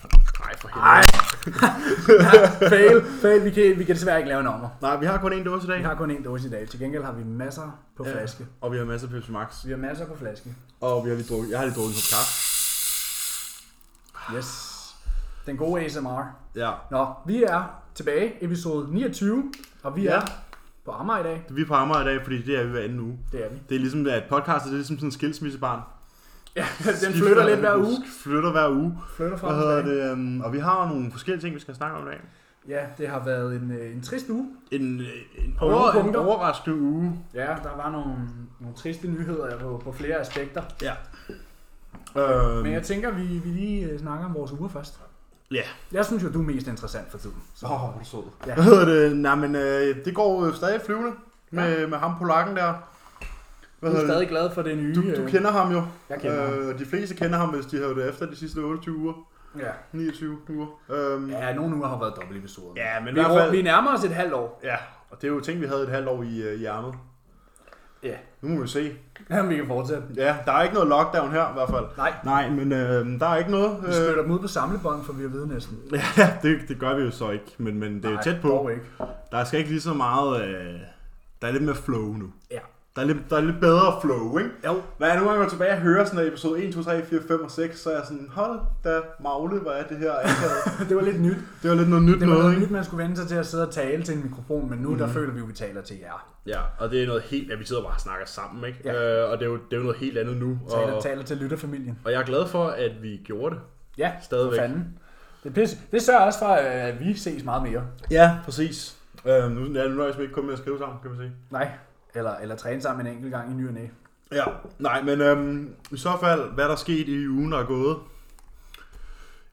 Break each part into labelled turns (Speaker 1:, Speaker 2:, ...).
Speaker 1: for
Speaker 2: Nej.
Speaker 1: helvede.
Speaker 2: fail, fail. Vi kan, vi kan desværre ikke lave en ommer.
Speaker 1: Nej, vi har kun én dåse i dag.
Speaker 2: Vi har kun én dåse i dag. Til gengæld har vi masser på flaske.
Speaker 1: Og vi har masser af Pepsi Max.
Speaker 2: Vi har masser på flaske.
Speaker 1: Og vi har lige drukket, jeg har lige drukket en kop kaffe.
Speaker 2: Yes. Den gode ASMR.
Speaker 1: Ja.
Speaker 2: Nå, vi er tilbage. Episode 29. Og vi
Speaker 1: Ja.
Speaker 2: er på Amager i dag.
Speaker 1: Vi er på Amager i dag, fordi det er vi hver anden uge.
Speaker 2: Det er vi.
Speaker 1: Det er ligesom, at podcastet det er ligesom sådan en skilsmissebarn.
Speaker 2: Ja, den flytter lidt hver uge.
Speaker 1: Flytter hver uge.
Speaker 2: Flytter fra
Speaker 1: Hvad hedder det? øhm, Og vi har jo nogle forskellige ting, vi skal snakke om i dag.
Speaker 2: Ja, det har været en, øh, en trist uge.
Speaker 1: En, øh, en,
Speaker 2: På nogle
Speaker 1: over, en
Speaker 2: punkter.
Speaker 1: overraskende uge.
Speaker 2: Ja, der var nogle, nogle triste nyheder på, på flere aspekter.
Speaker 1: Ja. Øhm,
Speaker 2: Men jeg tænker, vi, vi lige øh, snakker om vores uger først.
Speaker 1: Ja.
Speaker 2: Jeg synes jo, du er mest interessant for tiden. Så.
Speaker 1: Åh, hvor er du sød.
Speaker 2: Ja.
Speaker 1: Hvad hedder det? Nej, men øh, det går øh, stadig flyvende med, med ham polakken der. Hvad
Speaker 2: Du er
Speaker 1: hedder det?
Speaker 2: stadig glad for det nye.
Speaker 1: Du, du
Speaker 2: øh,
Speaker 1: kender ham jo.
Speaker 2: Jeg kender ham.
Speaker 1: øh, de fleste kender ham, hvis de har det efter de sidste 28 uger.
Speaker 2: Ja.
Speaker 1: 29 uger. Øhm, ja.
Speaker 2: ja, nogle uger har været dobbelt episode.
Speaker 1: ja, men i
Speaker 2: vi,
Speaker 1: hvert fald...
Speaker 2: vi nærmer os et halvt år.
Speaker 1: Ja, og det er jo ting, vi havde et halvt år i, øh, i ærmet.
Speaker 2: Ja.
Speaker 1: Nu må vi se.
Speaker 2: Jamen, vi kan fortsætte.
Speaker 1: Ja, der er ikke noget lockdown her i hvert fald.
Speaker 2: Nej,
Speaker 1: Nej, men øh, der er ikke noget.
Speaker 2: vi spytter dem ud på samlebånd, for vi er ved næsten.
Speaker 1: ja, det, det gør vi jo så ikke, men, men det er jo
Speaker 2: Nej,
Speaker 1: tæt på.
Speaker 2: Dog ikke.
Speaker 1: Der skal ikke lige så meget... Øh, der er lidt mere flow nu.
Speaker 2: Ja.
Speaker 1: Der er lidt, der er lidt bedre flow, ikke?
Speaker 2: Jo.
Speaker 1: Når jeg nogle gange går tilbage og hører sådan noget episode 1, 2, 3, 4, 5 og 6, så er jeg sådan, hold da magle, hvor er det her? akavet.
Speaker 2: det var lidt nyt.
Speaker 1: det var lidt noget nyt
Speaker 2: Det var
Speaker 1: noget,
Speaker 2: noget
Speaker 1: ikke?
Speaker 2: nyt, man skulle vende sig til at sidde og tale til en mikrofon, men nu mm-hmm. der føler vi jo, vi taler til jer.
Speaker 1: Ja, og det er noget helt, at vi sidder bare og snakker sammen, ikke?
Speaker 2: Ja.
Speaker 1: Øh, og det er, jo, det er jo noget helt andet nu.
Speaker 2: Taler, taler til lytterfamilien.
Speaker 1: og jeg er glad for, at vi gjorde det.
Speaker 2: Ja,
Speaker 1: Stadigvæk.
Speaker 2: for fanden. Det, pisse. det sørger også for, øh, at vi ses meget mere.
Speaker 1: Ja, præcis. Øh, nu, ja, nu nøjes vi ikke kun med at skrive sammen, kan man sige.
Speaker 2: Nej, eller, eller træne sammen en enkelt gang i ny og næ.
Speaker 1: Ja, nej, men øhm, i så fald, hvad der er sket i ugen, der er gået?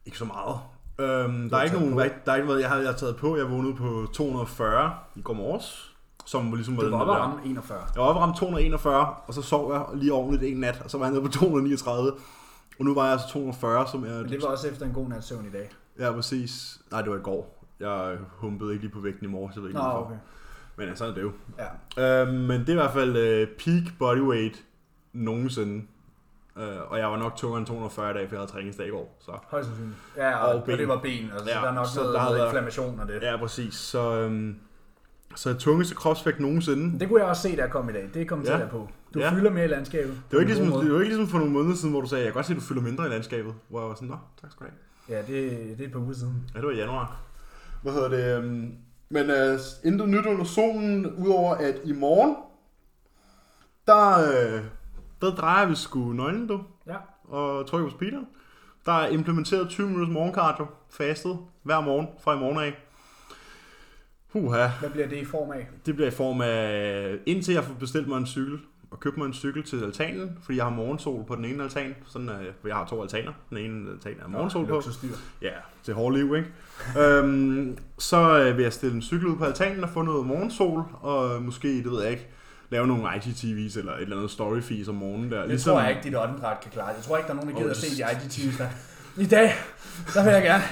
Speaker 1: Ikke så meget. Øhm, der, er
Speaker 2: har
Speaker 1: ikke
Speaker 2: taget
Speaker 1: nogen, der, er ikke noget, jeg har, jeg har taget på. Jeg vågnede på 240 i går morges, som ligesom var
Speaker 2: Du
Speaker 1: den
Speaker 2: var oppe
Speaker 1: der-
Speaker 2: og ramme 41.
Speaker 1: Jeg var oppe og ramte 241, og så sov jeg lige ordentligt en nat, og så var jeg nede på 239. Og nu var jeg altså 240, som er...
Speaker 2: Men det var også efter en god nats søvn i dag.
Speaker 1: Ja, præcis. Nej, det var i går. Jeg humpede ikke lige på vægten i morges, jeg ved ikke
Speaker 2: Nå,
Speaker 1: hvorfor.
Speaker 2: okay.
Speaker 1: Men ja, sådan er det jo.
Speaker 2: Ja.
Speaker 1: Øh, men det er i hvert fald øh, peak bodyweight nogensinde. Øh, og jeg var nok tungere end 240 i dag, for jeg havde træningsdag i går. Så.
Speaker 2: Højst sandsynligt. Ja, og,
Speaker 1: Og
Speaker 2: og,
Speaker 1: ben.
Speaker 2: det var ben, og så
Speaker 1: Ja,
Speaker 2: der er nok
Speaker 1: så
Speaker 2: noget,
Speaker 1: der har
Speaker 2: noget
Speaker 1: været-
Speaker 2: inflammation og det.
Speaker 1: Ja, præcis. Så, øh, så tungeste kropsvægt nogensinde.
Speaker 2: Det kunne jeg også se, der kom i dag. Det kom til
Speaker 1: Ja.
Speaker 2: der på. Du
Speaker 1: Ja.
Speaker 2: fylder mere i landskabet.
Speaker 1: Det var,
Speaker 2: På
Speaker 1: ikke
Speaker 2: en
Speaker 1: ligesom,
Speaker 2: god måde.
Speaker 1: det var ikke ligesom for nogle måneder siden, hvor du sagde, jeg kan godt se, at du fylder mindre i landskabet. Hvor jeg var sådan, nå, tak skal du have.
Speaker 2: Ja, det, det er et par uger siden.
Speaker 1: Ja, det var i januar. Hvad hedder det? øhm, Men øh, intet nyt under solen, udover at i morgen, der, øh, der drejer vi sgu nøglen, du,
Speaker 2: Ja.
Speaker 1: og trykker på speederen. Der er implementeret 20 minutters morgenkardio, fastet, hver morgen, fra i morgen af. Huha,
Speaker 2: Hvad bliver det i form af?
Speaker 1: det bliver i form af, indtil jeg får bestilt mig en cykel, og købt mig en cykel til altanen, fordi jeg har morgensol på den ene altan, sådan, øh, for jeg har to altaner, den ene altan er morgensol på,
Speaker 2: Luksusdyr.
Speaker 1: Ja, det hårde liv, ikke? øhm, så øh, vil jeg stille en cykel ud på altanen og få noget morgensol, og øh, måske, det ved jeg ikke, lave nogle IGTV's eller et eller andet storyfees om morgenen der. Ligesom
Speaker 2: Det tror jeg ikke, dit åndedræt kan klare. Jeg tror ikke, der er nogen, der gider
Speaker 1: Åh,
Speaker 2: at se
Speaker 1: det-
Speaker 2: de IGTV's der. I dag, der vil jeg gerne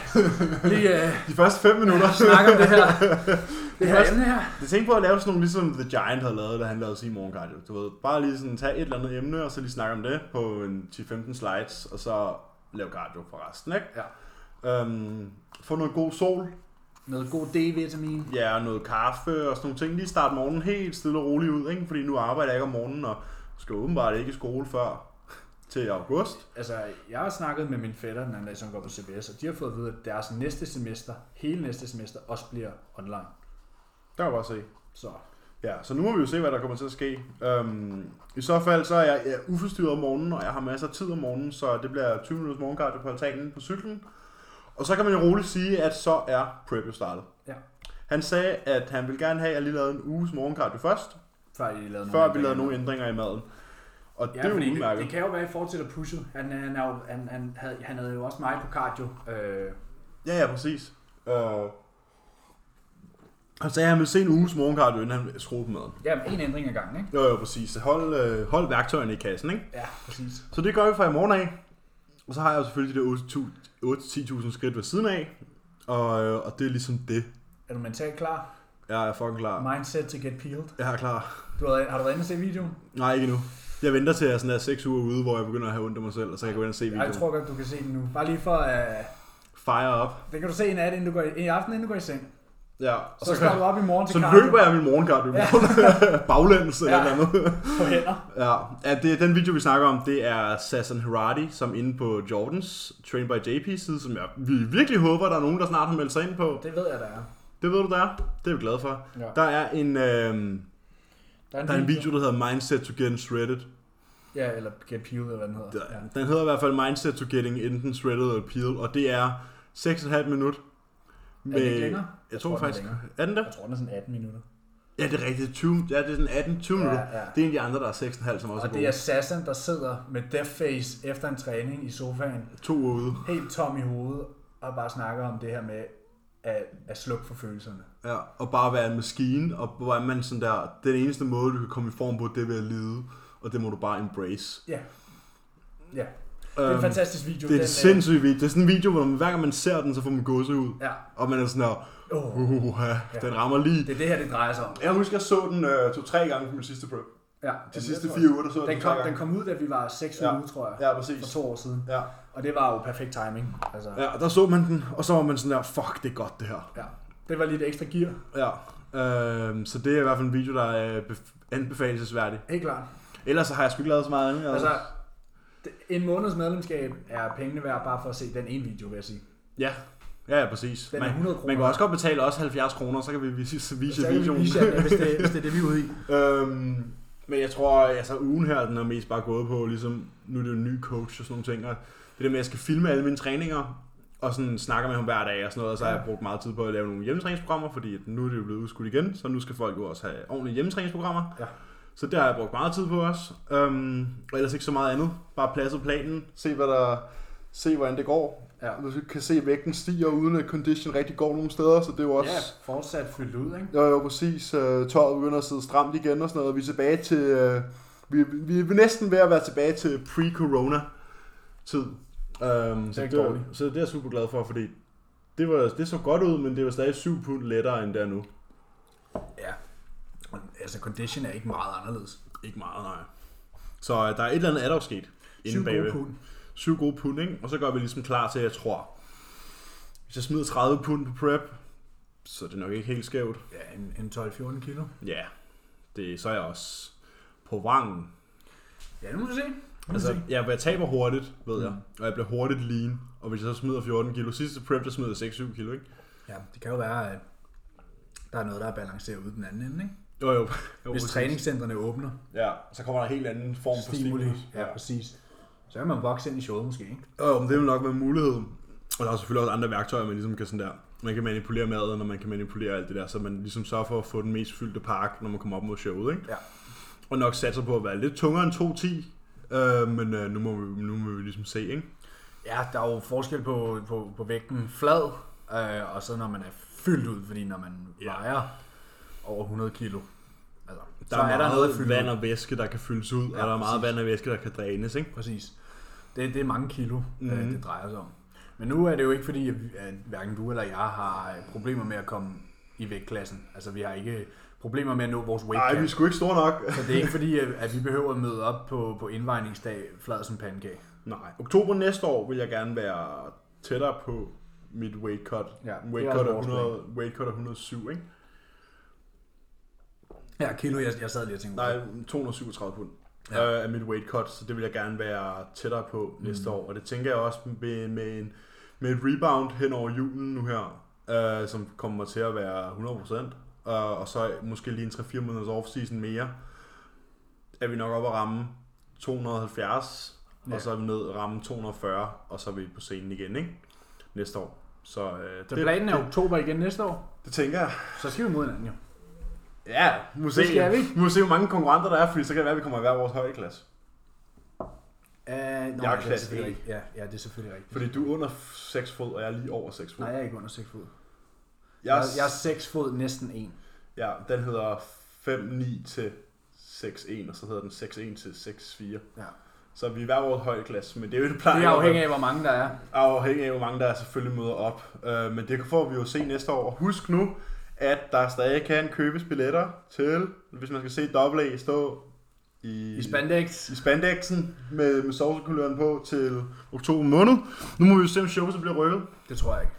Speaker 2: lige øh,
Speaker 1: De første fem minutter.
Speaker 2: snakke om det her. Det her
Speaker 1: også-
Speaker 2: emne her.
Speaker 1: Jeg tænkte på at lave sådan nogle, ligesom The Giant havde lavet, da han lavede sin morgenkardio. Du ved, bare lige sådan tage et eller andet emne, og så lige snakke om det på en 10-15 slides, og så lave cardio for resten, ikke?
Speaker 2: Ja.
Speaker 1: Øhm, få noget god sol,
Speaker 2: Noget god D-vitamin.
Speaker 1: Ja, og noget kaffe og sådan nogle ting. Lige starte morgenen helt stille og roligt ud, ikke? Fordi nu arbejder jeg ikke om morgenen, og skal åbenbart ikke i skole før til august.
Speaker 2: Altså, jeg har snakket med min fætter den anden dag, som går på CBS, og de har fået at vide, at deres næste semester, hele næste semester, også bliver online.
Speaker 1: Der kan jeg bare se.
Speaker 2: Så
Speaker 1: Ja, så nu må vi jo se, hvad der kommer til at ske. Øhm, I så fald, så er jeg, jeg er uforstyrret om morgenen, og jeg har masser af tid om morgenen, så det bliver 20 minutters morgenkardio på altanen på cyklen. Og så kan man jo roligt sige, at så er prep jo startet.
Speaker 2: Ja.
Speaker 1: Han sagde, at han ville gerne have, at jeg lige lavede en uges morgenkardio først,
Speaker 2: før I lavede
Speaker 1: før vi lavede nogle ændringer i maden. Og
Speaker 2: Ja,
Speaker 1: det er jo
Speaker 2: fordi det,
Speaker 1: udmærket.
Speaker 2: det, kan jo være, at I fortsætter pushet. Han, han, er jo, han, han, havde, han havde jo også mig på cardio. Øh,
Speaker 1: Ja, ja, præcis. Øh, han sagde, at han ville se en uges morgenkardio, inden han skruede på maden.
Speaker 2: ja, en ændring ad gangen, ikke?
Speaker 1: Jo, jo, præcis. Hold, øh, hold værktøjerne i kassen, ikke?
Speaker 2: Ja, præcis.
Speaker 1: Så det gør vi fra i morgen af. Og så har jeg jo selvfølgelig de der 8.000 8-10.000 skridt ved siden af. Og, øh, og det er ligesom det.
Speaker 2: Er du mentalt klar?
Speaker 1: Jeg er fucking klar.
Speaker 2: Mindset to get peeled.
Speaker 1: Jeg er klar.
Speaker 2: Du har, har du været inde og se videoen?
Speaker 1: Nej, ikke nu. Jeg venter til jeg er sådan der 6 uger ude, hvor jeg begynder at have ondt af mig selv, og så kan jeg gå ind og se
Speaker 2: Ej, Jeg
Speaker 1: videoen.
Speaker 2: tror godt, du kan se den nu. Bare lige for at... Uh,
Speaker 1: Fire up.
Speaker 2: Det kan du se i nat, inden du går i, i aften, inden du går i seng.
Speaker 1: Ja,
Speaker 2: Så, så
Speaker 1: og så,
Speaker 2: står
Speaker 1: kan,
Speaker 2: du op i morgen til
Speaker 1: så
Speaker 2: cardio
Speaker 1: løber jeg min morgengarde i morgen. Baglæns eller
Speaker 2: Ja.
Speaker 1: ja. noget.
Speaker 2: på hænder.
Speaker 1: Ja, ja det, den video, vi snakker om, det er Sassan Hirati, som er inde på Jordans Train by JP side, som jeg vi virkelig håber, der er nogen, der snart har meldt sig ind på.
Speaker 2: Det ved jeg, der er.
Speaker 1: Det ved du, der er. Det er vi glade for.
Speaker 2: Ja.
Speaker 1: Der er en, øh,
Speaker 2: Der er en,
Speaker 1: der er en video, der hedder Mindset to Getting Shredded.
Speaker 2: Ja, eller Get Peeled, eller hvad den hedder.
Speaker 1: Der-
Speaker 2: Ja.
Speaker 1: Den hedder i hvert fald Mindset to Getting Enten Shredded eller Peeled, og det er 6,5 minut.
Speaker 2: Er det ikke længere?
Speaker 1: Jeg, tror,
Speaker 2: den er
Speaker 1: faktisk...
Speaker 2: længere.
Speaker 1: Er den der?
Speaker 2: Jeg tror, den er sådan 18 minutter.
Speaker 1: Ja, det er rigtigt. 20, ja, det er sådan 18-20
Speaker 2: Ja,
Speaker 1: minutter.
Speaker 2: ja.
Speaker 1: Det er en af de andre, der er 6,5, som
Speaker 2: Og
Speaker 1: også er
Speaker 2: det er
Speaker 1: gode.
Speaker 2: Sassan, der sidder med deathface efter en træning i sofaen,
Speaker 1: To uger ude.
Speaker 2: helt tom i hovedet, og bare snakker om det her med at, at slukke for følelserne.
Speaker 1: Ja, og bare være en maskine, og hvor er man sådan der, den eneste måde, du kan komme i form på, det er ved at lide, og det må du bare embrace.
Speaker 2: Ja. Ja. Det er en
Speaker 1: Øhm,
Speaker 2: fantastisk video.
Speaker 1: det er en
Speaker 2: den,
Speaker 1: sindssyg video. Det er sådan en video, hvor man, hver gang man ser den, så får man gåse ud.
Speaker 2: øh, Ja.
Speaker 1: Og man er sådan her,
Speaker 2: Oh,
Speaker 1: uh,
Speaker 2: Ja.
Speaker 1: den rammer lige.
Speaker 2: det er det her, det drejer sig om.
Speaker 1: Jeg husker, jeg så den øh, to-tre gange på min sidste prep.
Speaker 2: Ja,
Speaker 1: De
Speaker 2: den-
Speaker 1: sidste
Speaker 2: jeg tror-
Speaker 1: fire uger, der så jeg
Speaker 2: Den
Speaker 1: den, to-tre
Speaker 2: kom, den
Speaker 1: gange.
Speaker 2: kom ud, da vi var 6
Speaker 1: Ja.
Speaker 2: ja. uger, tror jeg,
Speaker 1: Ja,
Speaker 2: for
Speaker 1: præcis.
Speaker 2: to år siden.
Speaker 1: Ja.
Speaker 2: Og det var jo perfekt timing. Altså, ja.
Speaker 1: ja, og der så man den, og så var man sådan der, fuck, det er godt det her.
Speaker 2: ja. Det var lidt ekstra gear.
Speaker 1: Ja, øhm, så det er i hvert fald en video, der er øh, bef- anbefalesværdig.
Speaker 2: Helt klart.
Speaker 1: Ellers så har jeg sgu ikke lavet så meget andet.
Speaker 2: Altså, det- en måneds medlemskab er pengene værd bare for at se den ene video, vil jeg sige.
Speaker 1: ja. ja, ja, præcis.
Speaker 2: Den er 100 kroner.
Speaker 1: man kan også godt betale også 70 kroner, så kan vi vise,
Speaker 2: Så
Speaker 1: vise
Speaker 2: kan vi
Speaker 1: videoen.
Speaker 2: vise jer den, hvis, det, hvis det er det, vi er ude i.
Speaker 1: øhm, men jeg tror, altså ugen her, den er mest bare gået på, ligesom, nu er det jo en ny coach og sådan nogle ting, og det der med, at jeg skal filme alle mine træninger, og sådan snakker med ham hver dag og sådan noget, og så har jeg brugt meget tid på at lave nogle hjemmetræningsprogrammer, fordi at nu er det jo blevet udskudt igen, så nu skal folk jo også have ordentlige hjemmetræningsprogrammer.
Speaker 2: Ja.
Speaker 1: Så det har jeg brugt meget tid på også. Øhm, og ellers ikke så meget andet. Bare pladset planen, se hvad der, se hvordan det går.
Speaker 2: Ja.
Speaker 1: Du kan se, at vægten stiger, uden at condition rigtig går nogen steder, så det er jo også...
Speaker 2: Ja, fortsat fyldt ud, ikke?
Speaker 1: Jo, jo, præcis. Øh, tøjet begynder at sidde stramt igen og sådan noget. Vi er tilbage til... Øh, vi, vi er næsten ved at være tilbage til pre-corona-tid. Øhm, så,
Speaker 2: ikke
Speaker 1: det,
Speaker 2: dårligt.
Speaker 1: så det er jeg super glad for, fordi det, var, det så godt ud, men det var stadig 7 pund lettere end der nu.
Speaker 2: Ja. Men, Altså, condition er ikke meget anderledes.
Speaker 1: Ikke meget, nej. Så øh, der er et eller andet, er der jo sket.
Speaker 2: Syv
Speaker 1: Inden
Speaker 2: gode
Speaker 1: bagved.
Speaker 2: pund.
Speaker 1: Syv gode pund, ikke? Og så gør vi ligesom klar til, jeg tror, hvis jeg smider 30 pund på prep, så er det nok ikke helt skævt.
Speaker 2: Ja, en, en 12-14 kilo.
Speaker 1: Ja, det, så er jeg også på vangen.
Speaker 2: Ja, nu må du se. Nu må du
Speaker 1: Altså,
Speaker 2: se.
Speaker 1: ja, for jeg taber hurtigt,
Speaker 2: Mm.
Speaker 1: ved jeg. Og jeg bliver hurtigt lean. Og hvis jeg så smider 14 kilo. Sidste prep, der smider jeg 6-7 kilo, ikke?
Speaker 2: Ja, det kan jo være, at der er noget, der er balanceret ude den anden ende, ikke?
Speaker 1: Jo, jo.
Speaker 2: Hvis
Speaker 1: jo præcis.
Speaker 2: træningscentrene åbner,
Speaker 1: Ja, så kommer der en helt anden form for
Speaker 2: stimuli.
Speaker 1: stimulus.
Speaker 2: Ja, præcis. Så kan man vokse ind i showet måske, ikke?
Speaker 1: Jo, men det vil nok være en mulighed. Og der er selvfølgelig også andre værktøjer, man ligesom kan sådan der... Man kan manipulere maden, og man kan manipulere alt det der, så man ligesom sørger for at få den mest fyldte park, når man kommer op mod showet, ikke?
Speaker 2: Ja.
Speaker 1: Og nok satser på at være lidt tungere end 2-10, øh, men øh, nu, må vi, nu må vi ligesom se, ikke?
Speaker 2: Ja, der er jo forskel på, på, på vægten flad, øh, og så når man er fyldt ud, fordi når man
Speaker 1: Ja.
Speaker 2: ja. vejer over 100 kilo, altså,
Speaker 1: Der er, er der noget
Speaker 2: at fylde
Speaker 1: vand
Speaker 2: ud.
Speaker 1: og væske, der kan fyldes ud, ja,
Speaker 2: Ja,
Speaker 1: og der er meget
Speaker 2: præcis.
Speaker 1: vand og væske, der kan drænes, ikke?
Speaker 2: Præcis. Det, det er mange kilo, mm-hmm. øh,
Speaker 1: Mhm.
Speaker 2: det drejer sig om. Men nu er det jo ikke fordi, at, vi- at hverken du eller jeg har øh, problemer med at komme i vægtklassen. Altså, vi har ikke problemer med at nå vores weight
Speaker 1: Nej, vi
Speaker 2: cap.
Speaker 1: skulle ikke store nok.
Speaker 2: Så det er ikke fordi, at, at vi behøver at møde op på, på indvejningsdag flad som pandekage.
Speaker 1: Nej. Oktober næste år vil jeg gerne være tættere på mit weight cut.
Speaker 2: Ja, det
Speaker 1: weight,
Speaker 2: er
Speaker 1: cut
Speaker 2: også
Speaker 1: er
Speaker 2: vores
Speaker 1: 100, weight cut er 107, ikke?
Speaker 2: Ja, kilo, jeg, jeg sad lige og tænkte,
Speaker 1: Nej, 237 pund
Speaker 2: Ja. Mm.
Speaker 1: ja. øh, af mit weight cut, så det vil jeg gerne være tættere på næste år. Og det tænker jeg også med, med, en, med et rebound hen over julen nu her, øh, som kommer til at være 100%. Øh, og så måske lige en 3-4 måneders off-season mere, er vi nok oppe at ramme 270, ja.
Speaker 2: Ja.
Speaker 1: og så er vi ned at ramme 240, og så er vi på scenen igen, ikke? Næste år. Så øh,
Speaker 2: Så
Speaker 1: det,
Speaker 2: planen er oktober igen næste år,
Speaker 1: det tænker jeg.
Speaker 2: så skal vi mod hinanden jo.
Speaker 1: Ja, må se,
Speaker 2: skal vi.
Speaker 1: må se, hvor mange konkurrenter der er, fordi så kan det være, at vi kommer i hver vores højdeklasse.
Speaker 2: Uh, nå, jeg
Speaker 1: er klasse E.
Speaker 2: Ja, ja, det er selvfølgelig rigtigt.
Speaker 1: Fordi du er under 6 fod, og jeg er lige over 6 fod.
Speaker 2: Nej, jeg er ikke under 6 fod.
Speaker 1: jeg,
Speaker 2: Jeg,
Speaker 1: er,
Speaker 2: jeg er 6 fod næsten 1.
Speaker 1: Ja, den hedder 5-9 til 6-1, og så hedder den 6-1 til 6-4.
Speaker 2: Ja.
Speaker 1: Så vi er i hver vores højdeklasse, men det er jo det
Speaker 2: Det
Speaker 1: plejer.
Speaker 2: er afhængigt af, hvor mange der er.
Speaker 1: afhængig af, hvor mange der selvfølgelig møder op. Øh, men det får vi jo se næste år. Og Husk nu, at der stadig kan købes billetter til, hvis man skal se AA stå i i,
Speaker 2: I spandex.
Speaker 1: i spandexen med, med sovsekuløren på til oktober måned. Nu må vi jo se, om showet så bliver rykket.
Speaker 2: Det tror jeg ikke.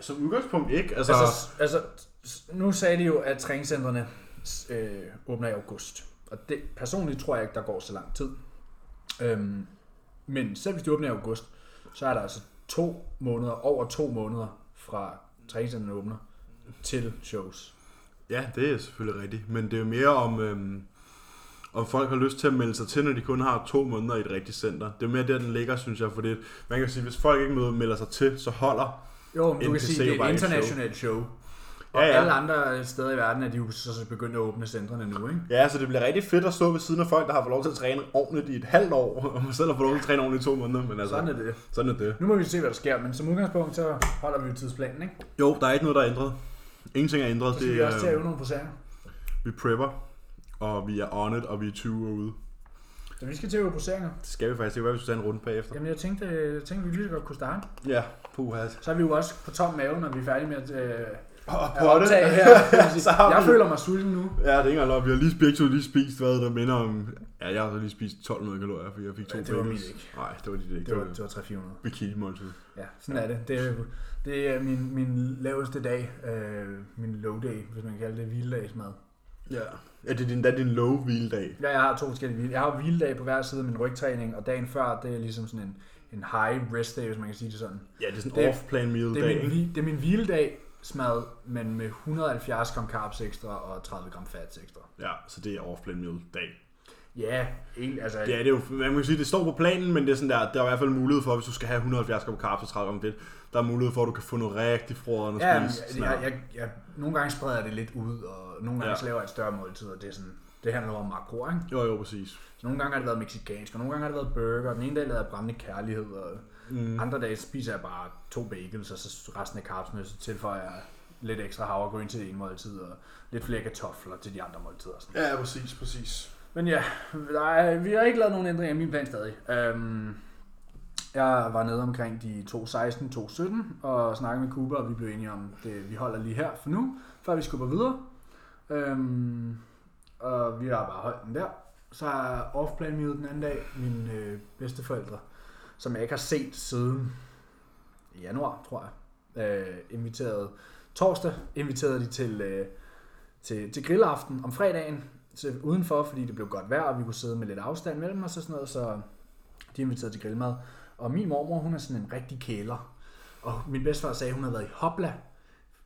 Speaker 1: Som udgangspunkt ikke. Altså,
Speaker 2: Altså,
Speaker 1: altså
Speaker 2: altså, altså s- nu sagde de jo, at træningscentrene s- øh, åbner i august. Og det, personligt tror jeg ikke, der går så lang tid. Øhm, men selv hvis de åbner i august, så er der altså to måneder, over to måneder fra træningscentrene åbner til shows.
Speaker 1: ja, det er selvfølgelig rigtigt. Men det er jo mere om, øhm, om folk har lyst til at melde sig til, når de kun har to måneder i et rigtigt center. Det er jo mere der, den ligger, synes jeg. Fordi man kan sige, hvis folk ikke møder- melder sig til, så holder.
Speaker 2: Jo, men du kan
Speaker 1: NTC
Speaker 2: sige, det
Speaker 1: jo
Speaker 2: er
Speaker 1: bare
Speaker 2: et
Speaker 1: et show.
Speaker 2: internationalt show. Og ja,
Speaker 1: Ja, ja.
Speaker 2: ja. alle andre steder i verden er de jo så så begyndt at åbne centrene nu, ikke?
Speaker 1: Ja, så det bliver rigtig fedt at stå ved siden af folk, der har fået lov til at træne ordentligt i et halvt år, og man selv har fået lov til at træne ordentligt i to måneder. Men altså,
Speaker 2: Sådan er det.
Speaker 1: sådan er det.
Speaker 2: Nu må vi se, hvad der sker, men som udgangspunkt, så holder vi jo tidsplanen, ikke?
Speaker 1: Jo, der er ikke noget, der er ændret. Ingenting er ændret.
Speaker 2: Så skal vi også til at øve nogle poseringer.
Speaker 1: vi prepper, og vi er on it, og vi er 20 uger ude.
Speaker 2: Så vi skal til at øve poseringer.
Speaker 1: Det skal vi faktisk. Det kan være, vi skal tage en runde bagefter.
Speaker 2: Jamen jeg tænkte, jeg tænkte, vi lige så godt kunne starte.
Speaker 1: Ja, puha.
Speaker 2: Så er vi jo også på tom mave, når vi er færdige med at, øh,
Speaker 1: Og
Speaker 2: at optage her. Det vil sige,
Speaker 1: Så har
Speaker 2: jeg
Speaker 1: vi-
Speaker 2: føler mig sulten nu.
Speaker 1: Ja, det er ikke engang løgn. Vi har lige begge to lige spist, hvad der minder om... Ja, jeg har så lige spist 1200 kalorier, fordi jeg fik to
Speaker 2: Ja, det var
Speaker 1: bagels.
Speaker 2: mit ikke.
Speaker 1: Nej, det var dit ikke.
Speaker 2: Det var, det var 300-400.
Speaker 1: bikini-måltid.
Speaker 2: Ja, sådan er det. Det er, det er min, min laveste dag, øh, min low day, hvis man kan kalde det hviledagsmad.
Speaker 1: Ja. Ja, det er din, da din low hviledag.
Speaker 2: Ja, jeg har to forskellige hvile. Jeg har jo hviledag på hver side af min rygtræning, og dagen før, det er ligesom sådan en, en high rest day, hvis man kan sige det sådan.
Speaker 1: Ja, det er sådan
Speaker 2: Det-
Speaker 1: en off-plan meal
Speaker 2: Det er min,
Speaker 1: dag, ikke?
Speaker 2: hvi- det er min hviledag smad, men med 170 gram carbs ekstra og 30 gram fats ekstra.
Speaker 1: Ja, så det er off-plan meal dag.
Speaker 2: Ja, en, altså,
Speaker 1: Ja, det er jo, man kan sige, det står på planen, men det er sådan der, der er i hvert fald mulighed for, hvis du skal have 170 gram carbs og 30 gram fedt, der er mulighed for, at du kan få noget rigtig frøderen at
Speaker 2: Ja,
Speaker 1: spise.
Speaker 2: jeg,
Speaker 1: Sådan
Speaker 2: jeg,
Speaker 1: der.
Speaker 2: jeg, jeg, nogle gange spreder jeg det lidt ud, og nogle gange
Speaker 1: Ja.
Speaker 2: ja. laver jeg et større måltid, og det, er sådan, det handler om makro, ikke?
Speaker 1: Jo, jo, præcis.
Speaker 2: Så nogle gange har det været mexicansk, og nogle gange har det været burger, og den ene dag lavede jeg brændende kærlighed, og
Speaker 1: Mm.
Speaker 2: mm. andre dage spiser jeg bare to bagels, og så resten af carbsene, så tilføjer jeg lidt ekstra havregryn til det ene måltid, og lidt flere kartofler til de andre måltider. og Sådan.
Speaker 1: Ja, præcis, præcis.
Speaker 2: Men ja, der er, vi har ikke lavet nogen ændringer i min plan stadig. Øhm, jeg var nede omkring de 2.16, 2.17 og snakkede med Cooper, og vi blev enige om, det vi holder lige her for nu, før vi skubber videre. Øhm, og vi har bare holdt den der. Så er off plan den anden dag, mine øh, bedsteforældre, som jeg ikke har set siden januar, tror jeg, øh, inviteret torsdag, inviterede de til, øh, til, til grillaften om fredagen, til udenfor, fordi det blev godt vejr, og vi kunne sidde med lidt afstand mellem os og sådan noget, så de inviterede til grillmad. Og min mormor, hun er sådan en rigtig kæler. Og min bedstefar sagde, at hun havde været i Hopla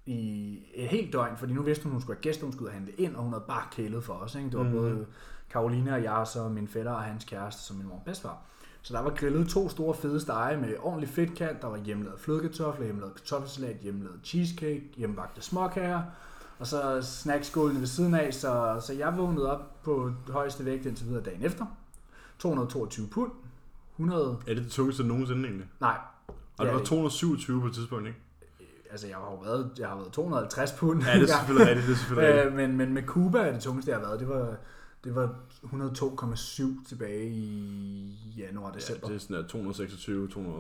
Speaker 2: i et helt døgn, fordi nu vidste hun, hun skulle have gæster, hun skulle ud og handle ind, og hun havde bare kælet for os. Ikke? Det var
Speaker 1: Mhm.
Speaker 2: mm. både Karoline og jeg, og så min fætter og hans kæreste, som min mor og bedstefar. Så der var grillet to store fede stege med ordentlig fedtkant, der var hjemmelavet flødekartofler, hjemmelavet kartoffelsalat, hjemmelavet cheesecake, hjemmebagte småkager, og så snackskålen ved siden af, så, så jeg vågnede op på højeste vægt indtil videre dagen efter. 222 pund, 100,
Speaker 1: Er det det tungeste nogensinde egentlig?
Speaker 2: nej,
Speaker 1: Og det
Speaker 2: Ja,
Speaker 1: var
Speaker 2: det-
Speaker 1: 227 på et tidspunkt, ikke?
Speaker 2: altså jeg har jo været, jeg har været 250 pund.
Speaker 1: Ja, det er selvfølgelig rigtigt, det er selvfølgelig rigtigt.
Speaker 2: Øh, men, men med Cuba er det tungeste, jeg har været. Det var, det var 102,7 tilbage i januar,
Speaker 1: Ja,
Speaker 2: december.
Speaker 1: det er sådan der 226, 200...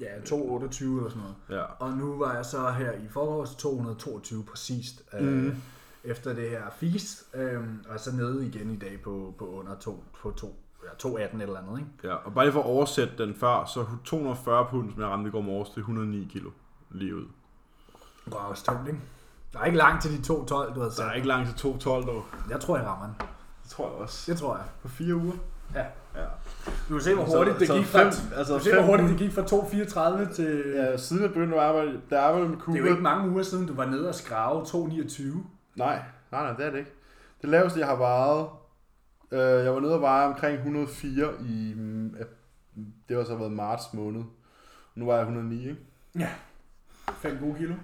Speaker 2: Ja, 228 eller sådan noget.
Speaker 1: Ja.
Speaker 2: Og nu var jeg så her i forårs 222 præcist. Øh,
Speaker 1: Mhm.
Speaker 2: efter det her fis, øh, og så nede igen i dag på, på under 2, på 2, ja, 218 eller andet, ikke?
Speaker 1: ja. Og bare lige for at oversætte den før, så 240 pund, som jeg ramte i går morges, det er 109 kilo lige ud.
Speaker 2: Det var også tungt, ikke? Der er ikke langt til de 212, du havde
Speaker 1: Der er
Speaker 2: sagt.
Speaker 1: ikke langt til 212 dog.
Speaker 2: Jeg tror, jeg rammer den.
Speaker 1: Det tror jeg også.
Speaker 2: Det tror jeg.
Speaker 1: På fire uger.
Speaker 2: Ja.
Speaker 1: ja.
Speaker 2: Du kan se, hvor
Speaker 1: Så-
Speaker 2: hurtigt det
Speaker 1: så
Speaker 2: gik
Speaker 1: fem-
Speaker 2: fra,
Speaker 1: altså
Speaker 2: du kan se, hvor
Speaker 1: fem
Speaker 2: hurtigt det gik fra 234 til... Ja.
Speaker 1: Ja, siden jeg begyndte at arbejde, der arbejdede med Cuba.
Speaker 2: Det er jo ikke mange uger siden, du var nede og skrave 229.
Speaker 1: Nej, nej, nej, det er det ikke. Det laveste, jeg har vejet, øh, jeg var nede og veje omkring 104 i, mm, ap- det har så været marts måned. Nu var jeg 109, ikke?
Speaker 2: 5 gode kilo.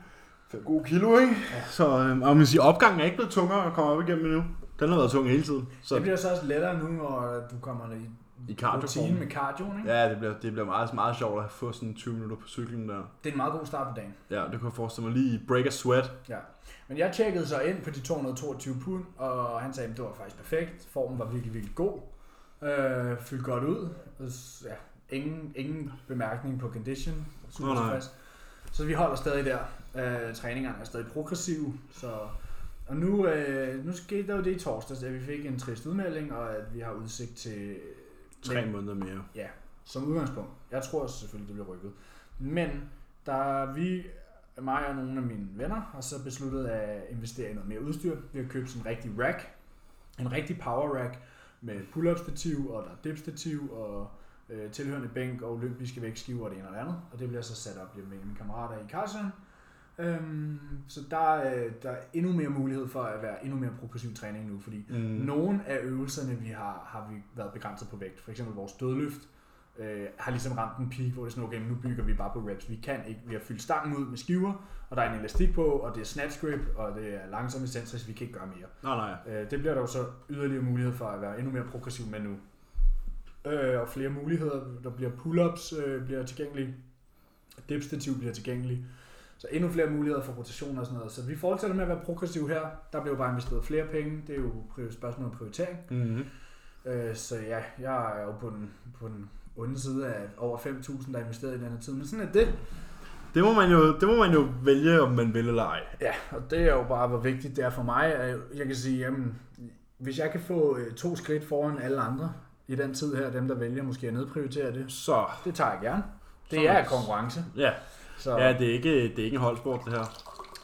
Speaker 1: Fem gode kilo, ikke? Ja. Så øh, og man siger, opgangen er ikke blevet tungere at komme op igennem endnu. Den har været tung hele tiden. Så,
Speaker 2: Så. Det bliver så også lettere nu, når du kommer i
Speaker 1: I cardioform.
Speaker 2: rutine med cardioen, ikke? Ja.
Speaker 1: Ja, det bliver, det bliver meget, meget sjovt at få sådan 20 minutter på cyklen der.
Speaker 2: Det er en meget god start på dagen.
Speaker 1: Ja, det kunne jeg forestille mig lige i break a sweat.
Speaker 2: Ja. Men jeg tjekkede så ind på de 222 pund, og han sagde, at det var faktisk perfekt. Formen var virkelig, virkelig god. Øh, fyldt godt ud. Og s- Ja, ingen, ingen bemærkning på condition. Super
Speaker 1: Nå, nej.
Speaker 2: tilfreds. Så vi holder stadig der. Øh, træningerne er stadig progressive, så Og nu, øh, nu skete der jo det i torsdags, at vi fik en trist udmelding, og at vi har udsigt til...
Speaker 1: Tre måneder mere.
Speaker 2: Ja, som udgangspunkt. Jeg tror selvfølgelig, det bliver rykket. Men der vi, mig og nogle af mine venner, har så besluttet at investere i noget mere udstyr. Vi har købt sådan en rigtig rack, en rigtig power rack med pull-up stativ, og der er dip stativ, og øh, tilhørende bænk og olympiske vægtskiver og det ene og det andet. Og det bliver så sat op lidt med mine kammerater i Karlsson. Øhm, så der, øh, der er endnu mere mulighed for at være endnu mere progressiv træning nu, fordi
Speaker 1: Mm.
Speaker 2: nogle af øvelserne, vi har, har vi været begrænset på vægt. For eksempel vores dødløft øh, har ligesom ramt en peak, hvor det er sådan, okay, men nu bygger vi bare på reps. Vi kan ikke, vi har fyldt stangen ud med skiver, og der er en elastik på, og det er snatch grip, og det er langsomme centris, vi kan ikke gøre mere.
Speaker 1: Nej, nej.
Speaker 2: Øh, det bliver der jo så yderligere mulighed for at være endnu mere progressiv med nu. Øh, og flere muligheder. Der bliver pull-ups øh, bliver tilgængelige. Dipstativ bliver tilgængelig. Så endnu flere muligheder for rotation og sådan noget. Så vi fortsætter med at være progressiv her. Der bliver jo bare investeret flere penge. Det er jo pri- et spørgsmål om prioritering.
Speaker 1: Mm-hmm.
Speaker 2: Øh, så ja, jeg er jo på den, på den onde side af over 5.000, der er investeret i den her tid. Men sådan er det.
Speaker 1: Det, må man jo, det må man jo vælge, om man vil eller ej.
Speaker 2: Ja, og det er jo bare, hvor vigtigt det er for mig. at Jeg kan sige, jamen, hvis jeg kan få øh, to skridt foran alle andre i den tid her, dem der vælger måske at nedprioritere det,
Speaker 1: Så,
Speaker 2: det tager jeg gerne. Det
Speaker 1: Så-
Speaker 2: er konkurrence.
Speaker 1: ja.
Speaker 2: Så,
Speaker 1: Ja, det er ikke, det er ikke en holdsport, det her.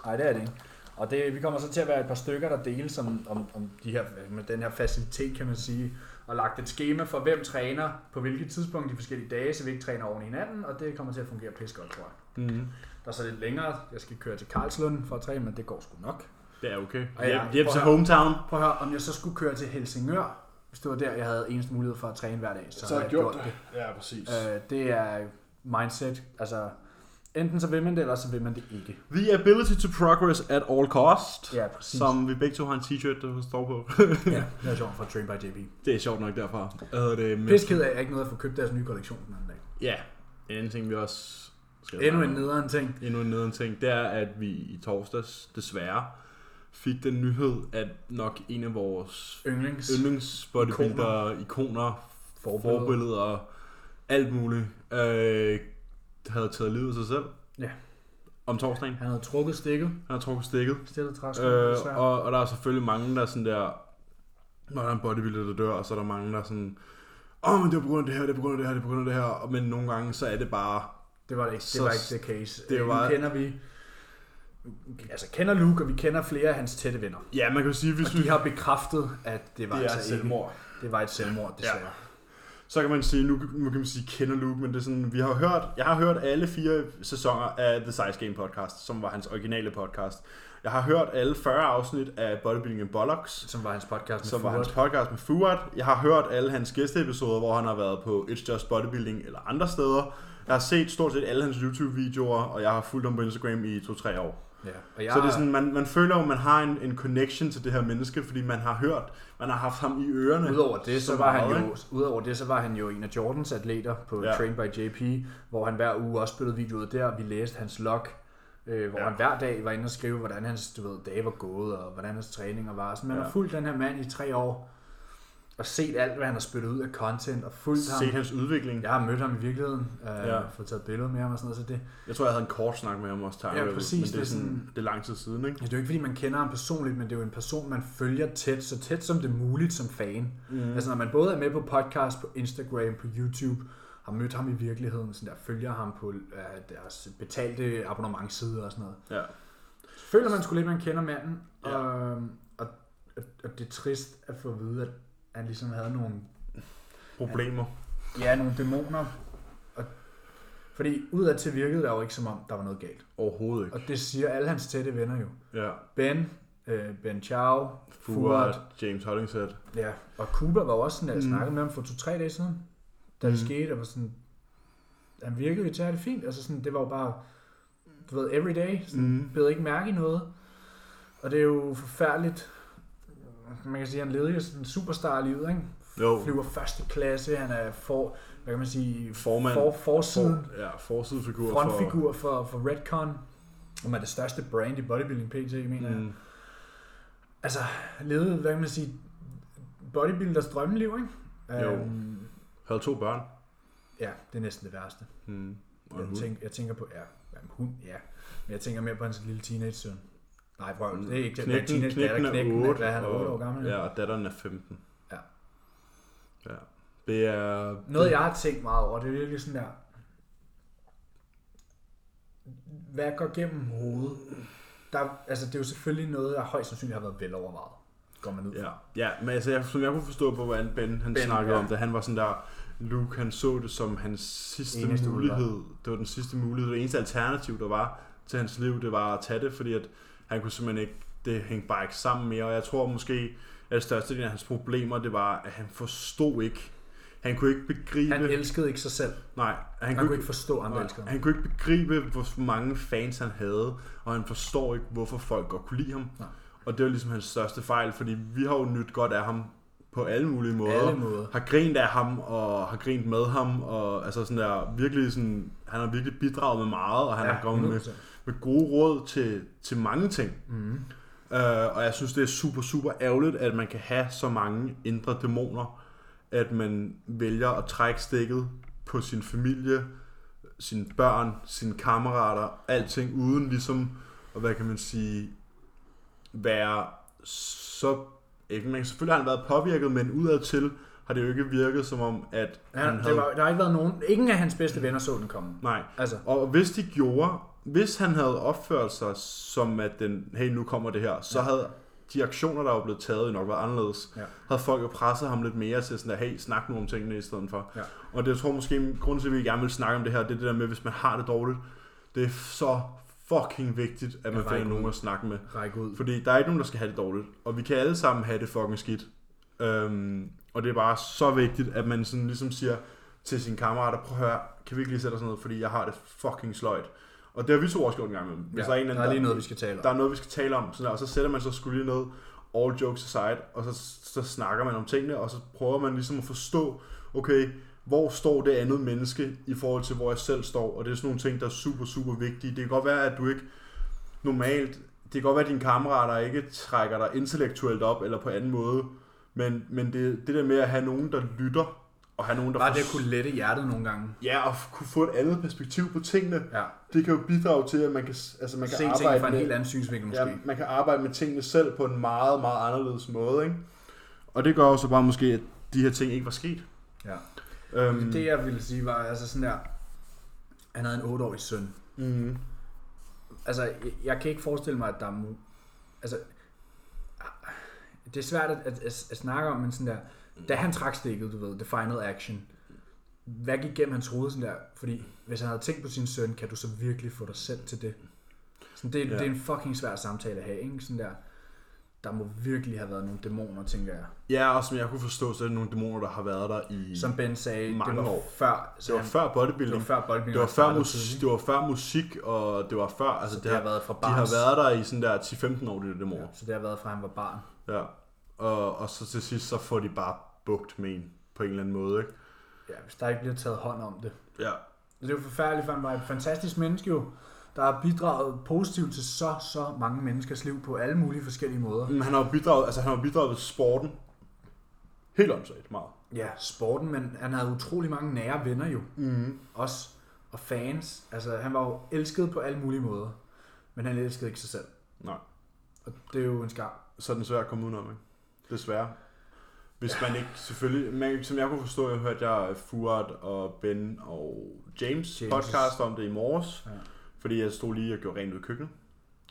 Speaker 2: Nej, det er det ikke. Og det, vi kommer så til at være et par stykker, der deles om, om, om de her, med den her facilitet, kan man sige, og lagt et schema for, hvem træner på hvilket tidspunkt de forskellige dage, så vi ikke træner oven i hinanden, og det kommer til at fungere pisse godt, tror jeg.
Speaker 1: Mm-hmm.
Speaker 2: Der er så lidt længere, jeg skal køre til Karlslund for at træne, men det går sgu nok.
Speaker 1: Det er okay.
Speaker 2: Og ja,
Speaker 1: Hjem, hjem
Speaker 2: prøv
Speaker 1: til
Speaker 2: at-
Speaker 1: hometown.
Speaker 2: Prøv at høre, om jeg så skulle køre til Helsingør, hvis det var der, jeg havde eneste mulighed for at træne hver dag, så, så jeg gjort det.
Speaker 1: Ja, præcis.
Speaker 2: det. Øh, det er mindset. Altså, enten så vil man det, eller så vil man det ikke.
Speaker 1: The ability to progress at all cost.
Speaker 2: Ja, præcis.
Speaker 1: Som vi begge to har en t-shirt, der står på.
Speaker 2: ja, det er sjovt fra Train by JP.
Speaker 1: det er sjovt nok derfra. Øh, det er men...
Speaker 2: Pisse ked af, at jeg ikke nåede at få købt deres nye kollektion den anden dag.
Speaker 1: Ja, en anden ting vi også skal
Speaker 2: Endnu en nederen ting.
Speaker 1: endnu en nederen ting, det er, at vi i torsdags desværre fik den nyhed, at nok en af vores
Speaker 2: Yndlings.
Speaker 1: yndlingsbodybuilder, ikoner, ikoner
Speaker 2: Forbilleder.
Speaker 1: forbilleder. forbilleder, alt muligt, øh, havde taget livet af sig selv.
Speaker 2: Ja.
Speaker 1: Om torsdagen.
Speaker 2: Han havde trukket stikket.
Speaker 1: Han har trukket stikket.
Speaker 2: Stillet træsko.
Speaker 1: Øh,
Speaker 2: desværre.
Speaker 1: og, og der er selvfølgelig mange, der er sådan der, når der er en bodybuilder, der dør, og så er der mange, der er sådan, åh, oh, men det er på grund af det her, det er på grund af det her, det er på grund af det her, Og- men nogle gange, så er det bare,
Speaker 2: Det var det ikke. Det
Speaker 1: Så-
Speaker 2: var ikke the case.
Speaker 1: det
Speaker 2: Det var...
Speaker 1: var-
Speaker 2: Nu kender vi... Altså, kender Luke, og vi kender flere af hans tætte venner.
Speaker 1: ja, man kan jo sige, hvis
Speaker 2: Og
Speaker 1: vi...
Speaker 2: de har bekræftet, at det var
Speaker 1: det er
Speaker 2: altså ikke,
Speaker 1: selvmord.
Speaker 2: det var et selvmord, desværre. Ja.
Speaker 1: Så kan man sige, nu, nu kan man sige, kender Luke, men det er sådan, vi har hørt, jeg har hørt alle fire sæsoner af The Size Game podcast, som var hans originale podcast. Jeg har hørt alle 40 afsnit af Bodybuilding and Bollocks,
Speaker 2: Som var hans podcast med
Speaker 1: som var
Speaker 2: Furet.
Speaker 1: hans podcast med Fuad. Jeg har hørt alle hans gæsteepisoder, hvor han har været på It's Just Bodybuilding eller andre steder. Jeg har set stort set alle hans YouTube-videoer, og jeg har fulgt ham på Instagram i 2-3 år.
Speaker 2: Ja. Og jeg,
Speaker 1: Ja. Så det er sådan, man, man føler jo, man har en, en connection til det her menneske, fordi man har hørt, man har haft ham i ørerne.
Speaker 2: Udover det, så,
Speaker 1: så
Speaker 2: var
Speaker 1: meget,
Speaker 2: han jo, udover det, så var han jo en af Jordans atleter på ja.
Speaker 1: Ja.
Speaker 2: Train by JP, hvor han hver uge også spillede videoet der, og vi læste hans log, øh, hvor ja.
Speaker 1: Ja.
Speaker 2: han hver dag var inde og skrive, hvordan hans du ved, dage var gået, og hvordan hans træninger var. Så man ja.
Speaker 1: Ja.
Speaker 2: har fulgt den her mand i tre år, og set alt, hvad han har spyttet ud af content, og fulgt
Speaker 1: Set
Speaker 2: ham.
Speaker 1: hans udvikling. Ja.
Speaker 2: Jeg har mødt ham i virkeligheden, øh, ja.
Speaker 1: Ja.
Speaker 2: fået taget billeder med ham og sådan noget, så det,
Speaker 1: Jeg tror, jeg havde en kort snak med ham også, Tyler,
Speaker 2: Ja, præcis,
Speaker 1: men det
Speaker 2: det er
Speaker 1: er, sådan,
Speaker 2: sådan-
Speaker 1: det er lang tid siden, ikke?
Speaker 2: Ja, det er jo ikke, fordi man kender ham personligt, men det er jo en person, man følger tæt, så tæt som det er muligt som fan. Mm. Altså, når man både er med på podcast, på Instagram, på YouTube, har mødt ham i virkeligheden, sådan der, følger ham på øh, deres betalte abonnementssider og sådan noget.
Speaker 1: Ja.
Speaker 2: Så føler man sgu lidt, man kender manden,
Speaker 1: Ja.
Speaker 2: og, og, og, og det er trist at få at vide, at han ligesom havde nogle,
Speaker 1: Problemer.
Speaker 2: ja, nogle dæmoner. Og, fordi udadtil virkede der jo ikke, som om der var noget galt.
Speaker 1: Overhovedet ikke.
Speaker 2: Og det siger alle hans tætte venner jo.
Speaker 1: Ja.
Speaker 2: Ben, øh, Ben Chao,
Speaker 1: Fuad,
Speaker 2: Fuad,
Speaker 1: James Hollingshead.
Speaker 2: Ja, og Cooper var jo også sådan, at jeg
Speaker 1: Mm.
Speaker 2: snakkede med ham for to-tre dage siden, da det mm. skete, og var sådan, han virkede jo til at have det fint, altså sådan, det var jo bare, du ved, everyday, sådan,
Speaker 1: Mm.
Speaker 2: bed ikke mærke i noget, og det er jo forfærdeligt, man kan sige, han levede jo sådan en superstar livet, ikke?
Speaker 1: Jo.
Speaker 2: Flyver første klasse, han er for, hvad kan man sige,
Speaker 1: Formand.
Speaker 2: for, forsiden,
Speaker 1: For, ja, forsidefigur. for-
Speaker 2: frontfigur for, for Redcon, som er det største brand i bodybuilding pt, mener jeg.
Speaker 1: Mm.
Speaker 2: altså, levede, hvad kan man sige, bodybuilders drømmeliv, ikke?
Speaker 1: Jo.
Speaker 2: Øhm,
Speaker 1: Havde to børn.
Speaker 2: ja, det er næsten det værste.
Speaker 1: Mm. Og en
Speaker 2: Jeg
Speaker 1: hund.
Speaker 2: tænker, jeg tænker på, ja, jamen, hund, ja. Men jeg tænker mere på hans lille teenage-søn. Nej, prøv, det er ikke det.
Speaker 1: Mm. Knægten,
Speaker 2: Martinez, knægten,
Speaker 1: knægten
Speaker 2: datter,
Speaker 1: er
Speaker 2: knægten, er,
Speaker 1: 8,
Speaker 2: hvad er han
Speaker 1: og-
Speaker 2: 8 år gammel?
Speaker 1: Ja, og datteren er 15.
Speaker 2: Ja.
Speaker 1: Ja. Det er...
Speaker 2: Noget, jeg har tænkt meget over, det er virkelig sådan der, hvad går gennem hovedet? Der, altså, det er jo selvfølgelig noget, der højst sandsynligt har været velovervejet. Går man ud
Speaker 1: Ja,
Speaker 2: fra.
Speaker 1: ja men altså, jeg, som jeg kunne forstå på, hvordan Ben, han
Speaker 2: Ben,
Speaker 1: ben, snakkede
Speaker 2: ja.
Speaker 1: ja. om det, han var sådan der, Luke, han så det som hans sidste
Speaker 2: Eneste
Speaker 1: Eneste mulighed. Det var den sidste mulighed. Det eneste alternativ, der var til hans liv, det var at tage det, fordi at han kunne simpelthen ikke, det hængte bare ikke sammen mere. Og jeg tror måske, at største af hans problemer, det var, at han forstod ikke. Han kunne ikke begribe...
Speaker 2: Han elskede ikke sig selv. Han,
Speaker 1: nej, han,
Speaker 2: han kunne ikke forstå, at andre elskede
Speaker 1: Nej,
Speaker 2: ham.
Speaker 1: han kunne ikke begribe, hvor mange fans han havde, og han forstår ikke, hvorfor folk godt kunne lide ham.
Speaker 2: Nej.
Speaker 1: Og det var ligesom hans største fejl, fordi vi har jo nyt godt af ham på alle mulige
Speaker 2: På
Speaker 1: måder.
Speaker 2: alle måder.
Speaker 1: Har grint af ham, og har grint med ham, og altså sådan der, virkelig sådan, han har virkelig bidraget med meget, og han ja, har kommet med,
Speaker 2: 100%.
Speaker 1: med gode råd til, til mange ting.
Speaker 2: Mhm.
Speaker 1: Øh, og jeg synes, det er super, super ærgerligt, at man kan have så mange indre dæmoner, at man vælger at trække stikket på sin familie, sine børn, sine kammerater, alting, uden ligesom, og hvad kan man sige, være så... Ikke, man, selvfølgelig har han været påvirket, men udadtil har det jo ikke virket som om, at
Speaker 2: Ja,
Speaker 1: han
Speaker 2: det
Speaker 1: havde...
Speaker 2: var, der har ikke været nogen, ingen af hans bedste venner så den komme.
Speaker 1: Nej,
Speaker 2: Altså,
Speaker 1: og hvis de gjorde, hvis han havde opført sig som at den, hey nu kommer det her, så
Speaker 2: Ja.
Speaker 1: ja. havde de aktioner, der var blevet taget, jo nok været anderledes.
Speaker 2: Ja.
Speaker 1: Havde folk jo presset ham lidt mere til sådan der, hey, snak nu om tingene i stedet for.
Speaker 2: Ja.
Speaker 1: Og det jeg tror måske, grunden til, at vi gerne vil snakke om det her, det er det der med, hvis man har det dårligt, det er så fucking vigtigt, at man
Speaker 2: række
Speaker 1: finder nogen
Speaker 2: ud.
Speaker 1: at snakke med.
Speaker 2: række ud.
Speaker 1: Fordi der er ikke nogen, der skal have det dårligt. Og vi kan alle sammen have det fucking skidt. Øhm, og det er bare så vigtigt, at man sådan ligesom siger til sine kammerater, prøv at høre, kan vi ikke lige sætte os ned, fordi jeg har det fucking sløjt. Og det har vi to også gjort en gang med.
Speaker 2: Ja,
Speaker 1: Hvis ja, der er en eller
Speaker 2: der
Speaker 1: anden,
Speaker 2: er lige noget, vi skal tale om.
Speaker 1: der er noget, vi skal tale om, sådan der, og så sætter man sig skulle lige ned, all jokes aside, og så, så snakker man om tingene, og så prøver man ligesom at forstå, okay, hvor står det andet menneske i forhold til, hvor jeg selv står, og det er sådan nogle ting, der er super, super vigtige. Det kan godt være, at du ikke normalt, det kan godt være, at dine kammerater ikke trækker dig intellektuelt op, eller på anden måde, men, men det, det der med at have nogen, der lytter, og have nogen, der
Speaker 2: Bare det at
Speaker 1: forstår-
Speaker 2: kunne lette hjertet nogle gange.
Speaker 1: ja, og kunne få et andet perspektiv på tingene,
Speaker 2: Ja.
Speaker 1: det kan jo bidrage til, at man kan, altså man kan
Speaker 2: Se tingene
Speaker 1: arbejde
Speaker 2: fra en
Speaker 1: med,
Speaker 2: helt anden synsvinkel måske.
Speaker 1: Ja, man kan arbejde med tingene selv på en meget, meget anderledes måde, ikke? Og det gør jo så bare måske, at de her ting ikke var sket.
Speaker 2: Ja.
Speaker 1: Øhm,
Speaker 2: Det jeg ville sige var altså sådan der, han havde en 8-årig søn.
Speaker 1: mm,
Speaker 2: Altså, jeg, jeg kan ikke forestille mig, at der er... mu- Altså, ah, det er svært at, at, at, at snakke om, men sådan der, da han trak stikket, du ved, the final action, hvad gik gennem hans hoved sådan der? Fordi hvis han havde tænkt på sin søn, kan du så virkelig få dig selv til det? Sådan, det, ja.
Speaker 1: Ja.
Speaker 2: det er en fucking svær samtale at have, ikke? Sådan der, der må virkelig have været nogle dæmoner, tænker jeg.
Speaker 1: ja, og som jeg kunne forstå, så er det nogle dæmoner, der har været der i...
Speaker 2: Som Ben sagde, det
Speaker 1: Mange
Speaker 2: var
Speaker 1: år.
Speaker 2: før, så
Speaker 1: det var
Speaker 2: han-
Speaker 1: før
Speaker 2: det var
Speaker 1: bodybuilding.
Speaker 2: før boldbilen.
Speaker 1: Det var før, mus- det var før musik, og det var før... Altså,
Speaker 2: Så
Speaker 1: det har,
Speaker 2: været fra
Speaker 1: de
Speaker 2: barns-
Speaker 1: har været der i sådan der 10-15 år, de der dæmoner.
Speaker 2: Ja, så det har været fra, han var barn.
Speaker 1: Ja. ja. Og, og så til sidst, så får de bare bugt med en på en eller anden måde, ikke?
Speaker 2: Ja, hvis der ikke bliver taget hånd om det.
Speaker 1: Ja.
Speaker 2: Det er jo forfærdeligt, for han var et fantastisk menneske jo, der har bidraget positivt til så, så mange menneskers liv på alle mulige forskellige måder.
Speaker 1: Men han har jo bidraget, altså han har jo bidraget ved sporten. Helt omsat meget.
Speaker 2: Ja, sporten, men han havde utrolig mange nære venner jo,
Speaker 1: Mm.
Speaker 2: også, og fans. Altså, han var jo elsket på alle mulige måder, men han elskede ikke sig selv.
Speaker 1: Nej.
Speaker 2: Og det er jo en skam.
Speaker 1: så er den svær at komme udenom, ikke? Desværre. Hvis man ikke, selvfølgelig, man, som jeg kunne forstå, jeg hørte jeg Fuad og Ben og James,
Speaker 2: James'
Speaker 1: James. podcast om det i morges,
Speaker 2: Ja.
Speaker 1: ja. fordi jeg stod lige og gjorde rent ud i køkkenet.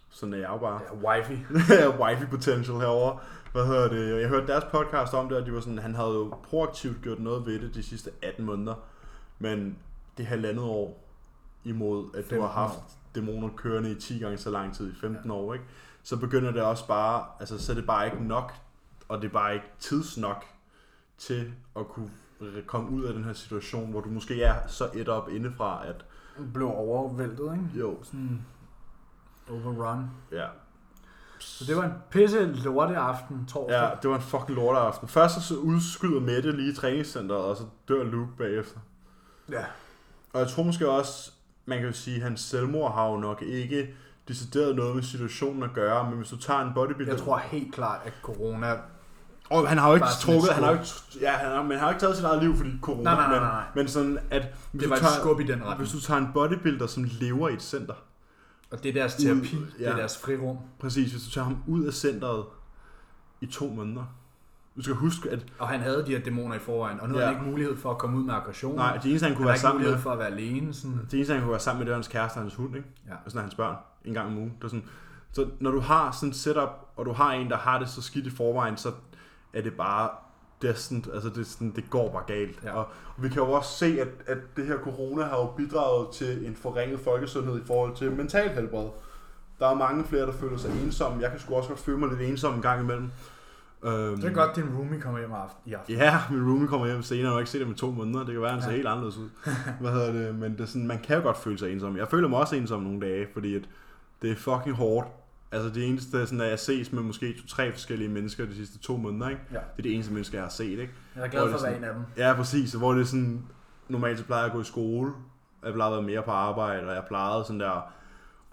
Speaker 1: Sådan er jeg jo bare.
Speaker 2: Ja, wifey.
Speaker 1: Wifey potential herover. Hvad hedder det? Jeg hørte deres podcast om det, og de var sådan, han havde jo proaktivt gjort noget ved det de sidste 18 måneder. Men det halvandet år imod, at du
Speaker 2: 15
Speaker 1: har haft
Speaker 2: år.
Speaker 1: dæmoner kørende i 10 gange så lang tid, i 15
Speaker 2: Ja.
Speaker 1: ja. år, ikke? så begynder det også bare, altså så er det bare ikke nok, og det er bare ikke tidsnok til at kunne re- komme ud af den her situation, hvor du måske er så et op indefra, at
Speaker 2: Blev overvældet, ikke?
Speaker 1: jo,
Speaker 2: Sådan Mm. overrun.
Speaker 1: ja,
Speaker 2: Så det var en pisse lorte aften torsdag.
Speaker 1: Ja, det var en fucking lorteaften. Først så udskyder Mette lige i træningscenteret, og så dør Luke bagefter.
Speaker 2: ja.
Speaker 1: Og jeg tror måske også, man kan jo sige, at hans selvmord har jo nok ikke decideret noget med situationen at gøre, men hvis du tager en bodybuilder...
Speaker 2: Jeg tror helt klart, at corona...
Speaker 1: Og han har jo ikke
Speaker 2: Bare sådan
Speaker 1: trukket,
Speaker 2: et
Speaker 1: han har jo ikke, ja, han har, men han har jo ikke taget sit eget liv, fordi corona...
Speaker 2: Nej, nej, nej, nej, nej.
Speaker 1: Men, men sådan, at hvis
Speaker 2: Det
Speaker 1: du
Speaker 2: var et
Speaker 1: tager,
Speaker 2: skub i den retning.
Speaker 1: hvis du tager en bodybuilder, som lever i et center,
Speaker 2: Og Og det er deres terapi,
Speaker 1: Ud,
Speaker 2: det
Speaker 1: ja.
Speaker 2: er deres frirum.
Speaker 1: Præcis, hvis du tager ham ud af centret i to måneder. Du skal huske, at
Speaker 2: Og han havde de her dæmoner i forvejen, og nu ja.
Speaker 1: Ja.
Speaker 2: har han ikke mulighed for at komme ud med aggression.
Speaker 1: nej, de eneste, han kunne
Speaker 2: Uh, han har ikke
Speaker 1: være sammen med,
Speaker 2: mulighed for at være alene. Sådan.
Speaker 1: det eneste, han kunne være sammen med, det var hans kæreste og hans hund, ikke?
Speaker 2: Ja.
Speaker 1: Og sådan er hans børn, en gang om ugen. Det var sådan, så når du har sådan et setup, og du har en, der har det så skidt i forvejen, så er det bare destined, altså det, er sådan, det går bare galt.
Speaker 2: Ja.
Speaker 1: Og, og vi kan jo også se, at, at det her corona har jo bidraget til en forringet folkesundhed i forhold til mental helbred. Der er mange flere, der føler sig ensomme. Jeg kan sgu også godt føle mig lidt ensom en gang imellem. Øhm,
Speaker 2: Det er godt, din roomie kommer hjem af- i aften.
Speaker 1: Ja, min roomie kommer hjem senere, og jeg har ikke set ham i to måneder. Det kan være, han ser
Speaker 2: Ja.
Speaker 1: ja. helt anderledes ud. Hvad hedder det? Men det er sådan, man kan jo godt føle sig ensom. Jeg føler mig også ensom nogle dage, fordi at det er fucking hårdt. Altså det eneste, sådan, at jeg ses med måske to-tre forskellige mennesker de sidste to måneder, ikke?
Speaker 2: Ja.
Speaker 1: det er det eneste menneske, jeg har set. Ikke?
Speaker 2: Jeg er
Speaker 1: Hvor er
Speaker 2: glad
Speaker 1: det
Speaker 2: for at være
Speaker 1: sådan-
Speaker 2: en af dem.
Speaker 1: Ja, præcis. Hvor det er sådan, normalt så plejer jeg at gå i skole, jeg plejer at være mere på arbejde, og jeg plejede sådan der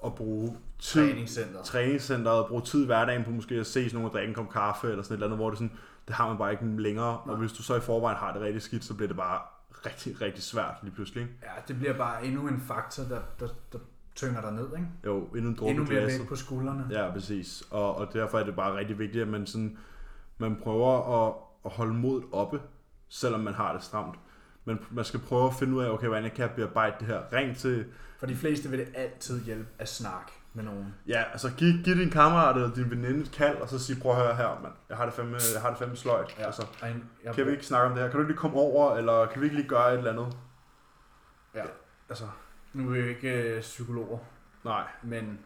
Speaker 1: at bruge tid
Speaker 2: Træningscenter.
Speaker 1: træningscenteret og bruge tid i hverdagen på måske at ses nogen og drikke en kop kaffe eller sådan et eller andet, hvor det, sådan, det har man bare ikke længere. Og hvis du så i forvejen har det rigtig skidt, så bliver det bare rigtig, rigtig svært lige pludselig. Ikke?
Speaker 2: Ja, det bliver bare endnu en faktor, der, der, der tynger dig ned. Ikke?
Speaker 1: Jo, endnu en dråbe
Speaker 2: Endnu
Speaker 1: i
Speaker 2: mere
Speaker 1: glasset.
Speaker 2: vægt på skuldrene.
Speaker 1: Ja, præcis. Og, og derfor er det bare rigtig vigtigt, at man, sådan, man prøver at, at holde modet oppe, selvom man har det stramt. Men man skal prøve at finde ud af, okay, hvordan kan jeg bearbejde det her? Ring til
Speaker 2: For de fleste vil det altid hjælpe at snakke med nogen.
Speaker 1: Ja, altså giv, giv din kammerat eller din veninde et kald, og så sig, prøv at høre her, mand. Jeg har det fandme, jeg har det fandme sløjt. Ja. Altså,
Speaker 2: Og en- jeg,
Speaker 1: kan vi ikke snakke om det her? Kan du ikke lige komme over, eller kan vi ikke lige gøre et eller andet?
Speaker 2: Ja.
Speaker 1: Altså,
Speaker 2: Nu er vi jo ikke øh, psykologer,
Speaker 1: nej.
Speaker 2: men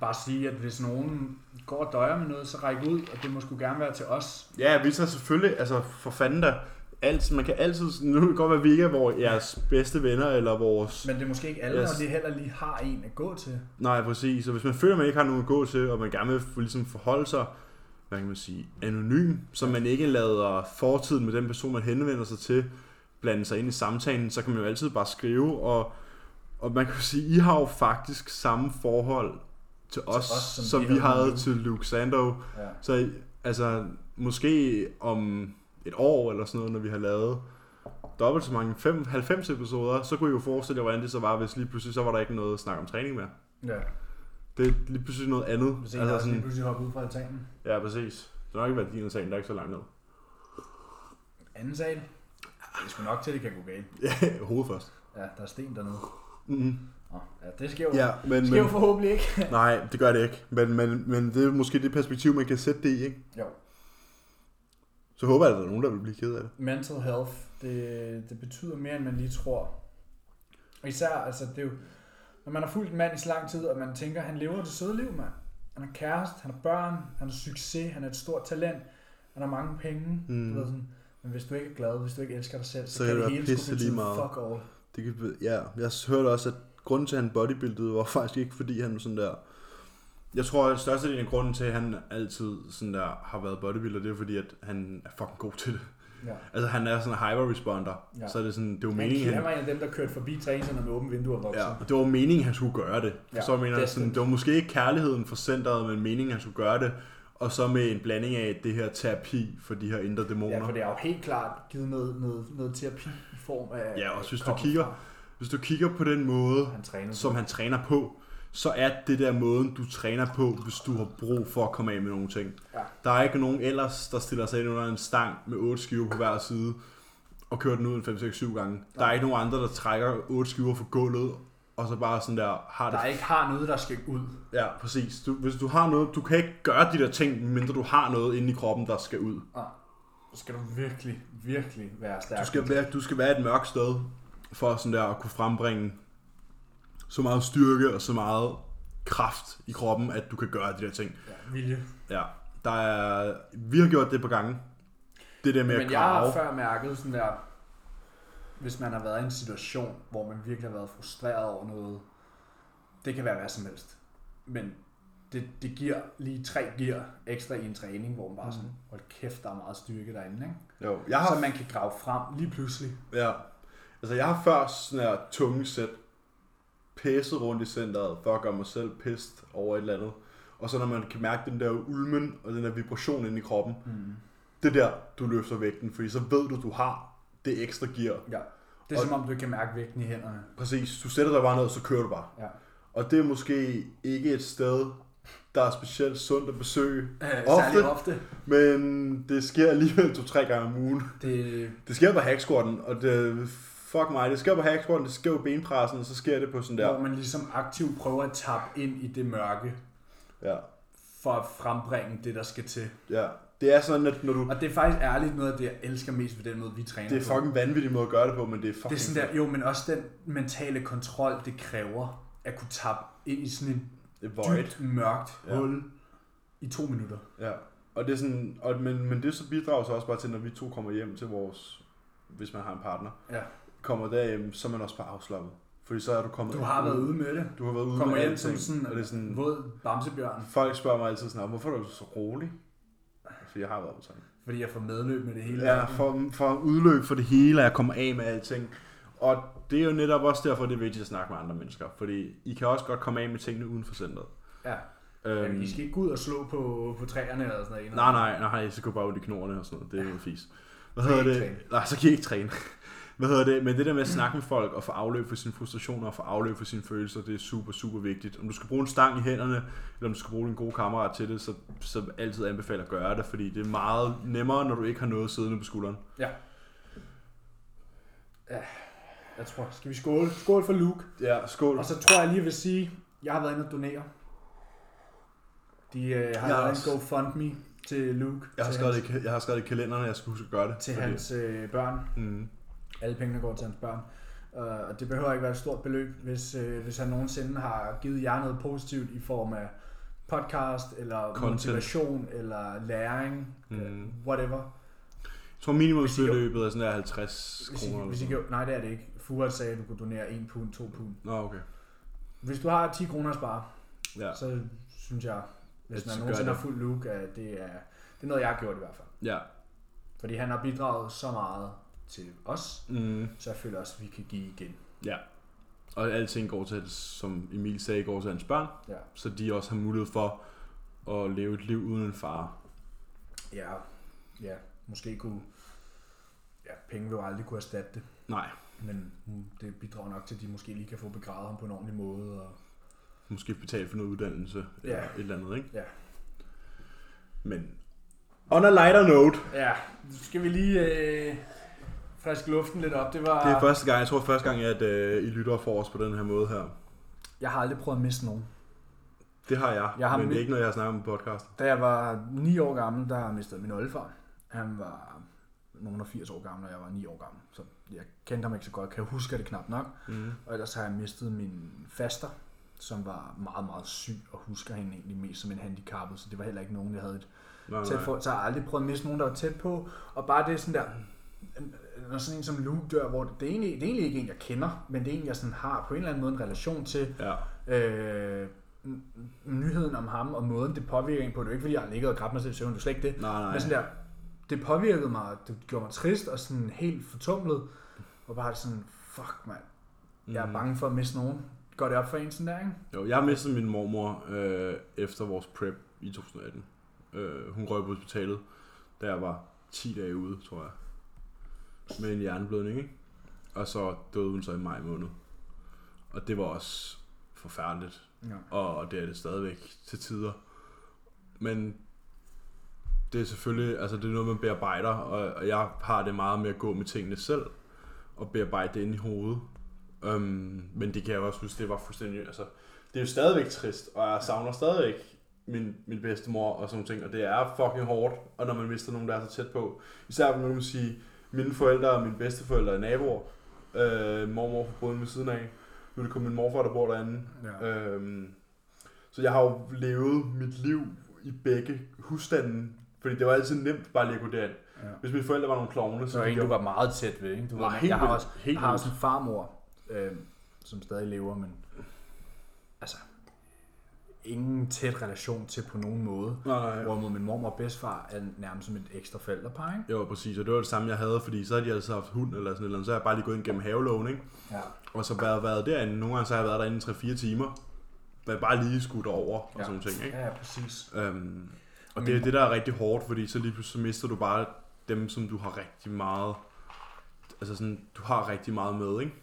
Speaker 2: bare sige, at hvis nogen går og døjer med noget, så række ud, og det må sgu gerne være til os.
Speaker 1: Ja, vi tager selvfølgelig, altså for fanden da, alt, man kan altid, nu kan det godt være, vi ikke er vores, jeres bedste venner, eller vores... Men...
Speaker 2: Men det er måske ikke alle,
Speaker 1: Yes.
Speaker 2: yes. og det heller lige har en at gå til.
Speaker 1: Nej, præcis. Og hvis man føler, at man ikke har nogen at gå til, og man gerne vil ligesom forholde sig, hvad kan man sige, anonym, så man ikke lader fortiden med den person, man henvender sig til, blande sig ind i samtalen, så kan man jo altid bare skrive, og, og man kan jo sige, I har jo faktisk samme forhold til os,
Speaker 2: os, som
Speaker 1: som,
Speaker 2: vi
Speaker 1: som vi
Speaker 2: havde med
Speaker 1: havde
Speaker 2: Luke.
Speaker 1: til Luke Sando.
Speaker 2: Ja.
Speaker 1: Så I- altså, måske om et år eller sådan noget, når vi har lavet dobbelt så mange, fem, 90 episoder, så kunne I jo forestille jer, hvordan det så var, hvis lige pludselig så var der ikke noget at snakke om træning mere.
Speaker 2: ja.
Speaker 1: Det er lige pludselig noget andet.
Speaker 2: Hvis en altså,
Speaker 1: Altså
Speaker 2: også lige
Speaker 1: sådan,
Speaker 2: pludselig hopper ud fra altanen.
Speaker 1: ja, præcis. Det har nok ikke været din sag, der er ikke så langt ned.
Speaker 2: Anden sal. Det er sgu nok til, at det kan gå galt.
Speaker 1: Ja, hovedet først.
Speaker 2: Ja, der er sten dernede.
Speaker 1: Mm-hmm.
Speaker 2: Nå, ja, det sker jo, ja,
Speaker 1: Ja, men,
Speaker 2: men... sker jo
Speaker 1: men,
Speaker 2: forhåbentlig ikke.
Speaker 1: nej, det gør det ikke. Men, men, men det er måske det perspektiv, man kan sætte det i, ikke?
Speaker 2: Jo.
Speaker 1: Så håber jeg, at der er nogen, der vil blive ked af det.
Speaker 2: mental health, det, det betyder mere, end man lige tror. Og især, altså, det er jo, når man har fulgt en mand i så lang tid, og man tænker, han lever det søde liv, mand. Han har kæreste, han har børn, han har succes, han er et stort talent, han har mange penge, mm.
Speaker 1: Mm.
Speaker 2: du ved sådan. Men hvis du ikke er glad, hvis du ikke elsker dig selv, så,
Speaker 1: Så
Speaker 2: kan
Speaker 1: kan
Speaker 2: det
Speaker 1: det være
Speaker 2: hele
Speaker 1: pisse
Speaker 2: sgu
Speaker 1: lige
Speaker 2: betyde
Speaker 1: meget.
Speaker 2: fuck all.
Speaker 1: Det kan, ja, jeg hørte også, at grunden til, at han bodybuildede, var faktisk ikke, fordi han sådan der... Jeg tror, at størstedelen af grunden til, at han altid sådan der har været bodybuilder, det er fordi, at han er fucking god til det.
Speaker 2: Ja.
Speaker 1: Altså, han er sådan en hyper-responder.
Speaker 2: Ja.
Speaker 1: Ja. Så er det sådan, det var
Speaker 2: Men
Speaker 1: meningen,
Speaker 2: han var en af dem, der kørte forbi træningscenteret med åbne vinduer og voksede.
Speaker 1: Ja, og det var meningen, han skulle gøre det.
Speaker 2: Ja,
Speaker 1: Ja, så jeg mener,
Speaker 2: det
Speaker 1: det,
Speaker 2: er
Speaker 1: sådan,
Speaker 2: sindssygt.
Speaker 1: det var måske ikke kærligheden for centret, men meningen, han skulle gøre det. Og så med en blanding af det her terapi for de her indre dæmoner.
Speaker 2: Ja, for det har jo helt klart givet noget, noget, noget terapi i form af...
Speaker 1: Ja, også hvis du
Speaker 2: kommet
Speaker 1: kigger-
Speaker 2: fra,
Speaker 1: Hvis du kigger på den måde,
Speaker 2: at Han trænede.
Speaker 1: som han træner på, så er det der måden, du træner på, hvis du har brug for at komme af med nogle ting.
Speaker 2: Ja.
Speaker 1: Der er ikke nogen ellers, der stiller sig ind under en stang med otte skiver på hver side og kører den ud en 5, 6, 7 gange. Der er
Speaker 2: Nej.
Speaker 1: ikke nogen andre, der trækker otte skiver fra gulvet og så bare sådan der har det
Speaker 2: Der ikke har noget, der skal ud.
Speaker 1: Ja, præcis. Du, hvis du har noget, du kan ikke gøre de der ting, mindre du har noget inde i kroppen, der skal ud.
Speaker 2: Nej. Så skal du virkelig, virkelig være stærk.
Speaker 1: Du skal være, du skal være et mørkt sted, for sådan der at kunne frembringe så meget styrke og så meget kraft i kroppen, at du kan gøre de der ting.
Speaker 2: Ja, vilje.
Speaker 1: Ja, der er, vi har gjort det på gange. Det der med at
Speaker 2: Men jeg
Speaker 1: grave.
Speaker 2: har før mærket sådan der, hvis man har været i en situation, hvor man virkelig har været frustreret over noget, det kan være hvad som helst. Men det, det giver lige tre gear ekstra i en træning, hvor man bare sådan, hold kæft, der er meget styrke derinde, ikke?
Speaker 1: Jo, Mm. jeg har
Speaker 2: Så man kan grave frem lige pludselig.
Speaker 1: Ja. Altså, jeg har før sådan her tunge sæt pisset rundt i centret, for at gøre mig selv pist over et eller andet. Og så når man kan mærke den der ulmen og den der vibration inde i kroppen,
Speaker 2: Mm.
Speaker 1: det er der, du løfter vægten, fordi så ved du, du har det ekstra gear.
Speaker 2: Ja. Det er
Speaker 1: Og-
Speaker 2: som om, du ikke kan mærke vægten i hænderne.
Speaker 1: Præcis, du sætter dig bare ned, og så kører du bare.
Speaker 2: Ja.
Speaker 1: Og det er måske ikke et sted, der er specielt sundt at besøge,
Speaker 2: Øh,
Speaker 1: Ofte.
Speaker 2: Særligt ofte.
Speaker 1: men det sker alligevel to-tre gange om ugen.
Speaker 2: Det,
Speaker 1: Det sker på hacksquatten, og det, fuck mig, det sker på hacksquatten, det sker på benpressen, og så sker det på sådan
Speaker 2: ja. Hvor
Speaker 1: der.
Speaker 2: man ligesom aktivt prøver at tappe ind i det mørke,
Speaker 1: Ja,
Speaker 2: for at frembringe det, der skal til.
Speaker 1: ja. Det er sådan, at når du...
Speaker 2: Og det er faktisk ærligt noget af det, jeg elsker mest ved den måde, vi træner
Speaker 1: Det er
Speaker 2: på.
Speaker 1: fucking vanvittig måde at gøre det på, men det er fucking...
Speaker 2: Det er sådan der, jo, men også den mentale kontrol, det kræver at kunne tappe ind i sådan en
Speaker 1: Det er void.
Speaker 2: dybt, mørkt
Speaker 1: Ja.
Speaker 2: hul i to minutter.
Speaker 1: Ja, og det er sådan, og, men, men det så bidrager så også bare til, når vi to kommer hjem til vores, hvis man har en partner,
Speaker 2: Ja.
Speaker 1: kommer derhjem, så er man også bare afslappet. Fordi så er du kommet
Speaker 2: Du har været ude med det.
Speaker 1: Du har været ude
Speaker 2: Kommer
Speaker 1: med
Speaker 2: hjem
Speaker 1: alting,
Speaker 2: som sådan,
Speaker 1: og det er sådan,
Speaker 2: Våd bamsebjørn,
Speaker 1: folk spørger mig altid sådan, "Nå, hvorfor er du så rolig? Fordi jeg har været på træning.
Speaker 2: fordi jeg får medløb med det hele.
Speaker 1: Ja, for, for udløb for det hele, og jeg kommer af med alting. Og det er jo netop også derfor, det er vigtigt at snakke med andre mennesker. Fordi I kan også godt komme af med tingene uden for centret.
Speaker 2: ja.
Speaker 1: Øhm,
Speaker 2: Jamen, I skal ikke gå ud og slå på, på træerne eller sådan noget.
Speaker 1: Nej, nej, nej, så går bare ud i knoerne og sådan noget. Det er noget fis. Hvad
Speaker 2: Så kan
Speaker 1: hedder
Speaker 2: I
Speaker 1: det?
Speaker 2: ikke
Speaker 1: Nej, så kan I ikke træne. Hvad hedder det? Men det der med at snakke med folk og få afløb for sine frustrationer og få afløb for sine følelser, det er super, super vigtigt. Om du skal bruge en stang i hænderne, eller om du skal bruge en god kammerat til det, så, så altid anbefaler at gøre det, fordi det er meget nemmere, når du ikke har noget siddende på skulderen.
Speaker 2: Jeg tror, skal vi skåle? Skål for Luke.
Speaker 1: Ja, skål.
Speaker 2: Og så tror jeg lige, jeg vil sige, jeg har været inde og donere. De øh, har
Speaker 1: Jeg har
Speaker 2: lavet
Speaker 1: også-
Speaker 2: en GoFundMe til Luke.
Speaker 1: Jeg har
Speaker 2: til
Speaker 1: skrevet
Speaker 2: hans,
Speaker 1: det, i- jeg har skrevet det i kalenderen, at jeg skulle huske at gøre det.
Speaker 2: Til
Speaker 1: fordi-
Speaker 2: hans øh, børn.
Speaker 1: Mm,
Speaker 2: Alle pengene går til hans børn. Øh, Og det behøver ikke være et stort beløb, hvis, øh, hvis han nogensinde har givet jer noget positivt i form af podcast, eller
Speaker 1: Content.
Speaker 2: Content. motivation, eller læring,
Speaker 1: Mm.
Speaker 2: mm. øh, whatever.
Speaker 1: Jeg tror minimumsbeløbet er sådan der 50
Speaker 2: Hvis I,
Speaker 1: kroner. eller
Speaker 2: hvis I,
Speaker 1: sådan
Speaker 2: gjorde- nej, det er det ikke. Furet sagde, at du kunne donere 1 pund, 2 pund.
Speaker 1: noget. Nå, okay.
Speaker 2: Hvis du har 10 kroner at spare,
Speaker 1: Ja.
Speaker 2: så synes jeg, hvis
Speaker 1: Så
Speaker 2: man
Speaker 1: gør
Speaker 2: nogensinde
Speaker 1: det.
Speaker 2: har fuldt Luke, at det er, det er noget, jeg har gjort i hvert fald.
Speaker 1: ja.
Speaker 2: Fordi han har bidraget så meget til os,
Speaker 1: Mm.
Speaker 2: så jeg føler også, at vi kan give igen.
Speaker 1: Ja. Og alting går til, som Emil sagde, går til hans børn,
Speaker 2: Ja,
Speaker 1: så de også har mulighed for at leve et liv uden en far.
Speaker 2: ja, ja. måske kunne... Ja, penge vil jo aldrig kunne erstatte det,
Speaker 1: Nej,
Speaker 2: men mm, det bidrager nok til, at de måske lige kan få begravet ham på en ordentlig måde. Og,
Speaker 1: måske betale for noget uddannelse
Speaker 2: Ja.
Speaker 1: eller et eller andet, ikke?
Speaker 2: Ja.
Speaker 1: Men on a lighter note,
Speaker 2: ja, nu skal vi lige øh, friske luften lidt op. Det var...
Speaker 1: det er første gang, jeg tror første gang, at øh, I lytter for os på den her måde her.
Speaker 2: Jeg har aldrig prøvet at miste nogen.
Speaker 1: Det har jeg,
Speaker 2: Jeg har
Speaker 1: men det er
Speaker 2: mit-
Speaker 1: ikke noget, jeg har snakket om på podcast.
Speaker 2: Da jeg var 9 år gammel, der mistede min oldefar. Han var nogen af 80 år gammel, og jeg var 9 år gammel. Så jeg kendte ham ikke så godt, kan jeg huske det knap nok.
Speaker 1: Mm.
Speaker 2: Og ellers har jeg mistet min faster, som var meget, meget syg, og husker hende egentlig mest som en handicappet, så det var heller ikke nogen, jeg havde et
Speaker 1: Nej,
Speaker 2: tæt
Speaker 1: nej.
Speaker 2: på. Så jeg har aldrig prøvet at miste nogen, der var tæt på. Og bare det sådan der, når sådan en som Luke dør, hvor det, det, er egentlig, det er egentlig ikke en, jeg kender, men det er en, jeg sådan har på en eller anden måde en relation til,
Speaker 1: Ja,
Speaker 2: øh, n- nyheden om ham og måden, det påvirker en på. Det er jo ikke, fordi jeg har ligget og grædt mig selv i søvn, det er slet ikke det.
Speaker 1: nej, nej.
Speaker 2: Men sådan der, det påvirkede mig, og det gjorde mig trist og sådan helt fortumlet. Og bare sådan, fuck mand, jeg er
Speaker 1: Mhm.
Speaker 2: bange for at miste nogen. Går det op for en sådan der, ikke?
Speaker 1: Jo, jeg mistede min mormor øh, efter vores prep i 2018. Øh, hun røg på hospitalet, da jeg var 10 dage ude, tror jeg. Med en hjerneblødning, ikke? Og så døde hun så i maj måned. Og det var også forfærdeligt.
Speaker 2: Ja.
Speaker 1: Og det er det stadigvæk til tider. Men det er selvfølgelig, altså det er noget, man bearbejder, og, og jeg har det meget med at gå med tingene selv, og bearbejde det ind i hovedet. Um, men det kan jeg også huske, det var fuldstændig, altså det er jo stadigvæk trist, og jeg savner stadigvæk min, min bedstemor og sådan nogle ting, og det er fucking hårdt, og når man mister nogen, der er så tæt på. Især når man kan sige, mine forældre og mine bedsteforældre er naboer, øh, mormor på boden ved siden af, nu er det kun min morfar, der bor derinde,
Speaker 2: Ja.
Speaker 1: Øhm, så jeg har jo levet mit liv i begge husstande, fordi det var altid nemt bare lige at gå derind.
Speaker 2: Ja.
Speaker 1: Hvis mine forældre var nogle klovne,
Speaker 2: Så
Speaker 1: så
Speaker 2: var en,
Speaker 1: ville
Speaker 2: du var
Speaker 1: jeg
Speaker 2: meget tæt ved, ikke? Du
Speaker 1: var
Speaker 2: var,
Speaker 1: helt
Speaker 2: jeg har
Speaker 1: vildt-
Speaker 2: også,
Speaker 1: helt
Speaker 2: jeg har
Speaker 1: vildt.
Speaker 2: også en farmor, øh, som stadig lever, men altså, ingen tæt relation til på nogen måde.
Speaker 1: Nej, nej.
Speaker 2: Hvorimod min mormor og bedstfar er nærmest som et ekstra forældrepar, ikke?
Speaker 1: Jo, præcis, og det var det samme, jeg havde, fordi så havde de altså haft hund eller sådan et eller andet, så har jeg bare lige gået ind gennem havelån, ikke?
Speaker 2: Ja.
Speaker 1: Og så været, været derinde, nogle gange så har jeg været derinde i 3-4 timer, men bare lige skudt over og
Speaker 2: Ja.
Speaker 1: sådan nogle ting, ikke?
Speaker 2: Ja, ja, præcis.
Speaker 1: Øhm, og
Speaker 2: Men-
Speaker 1: det er det, der er rigtig hårdt, fordi så lige pludselig så mister du bare dem, som du har rigtig meget, altså sådan, du har rigtig meget med, ikke?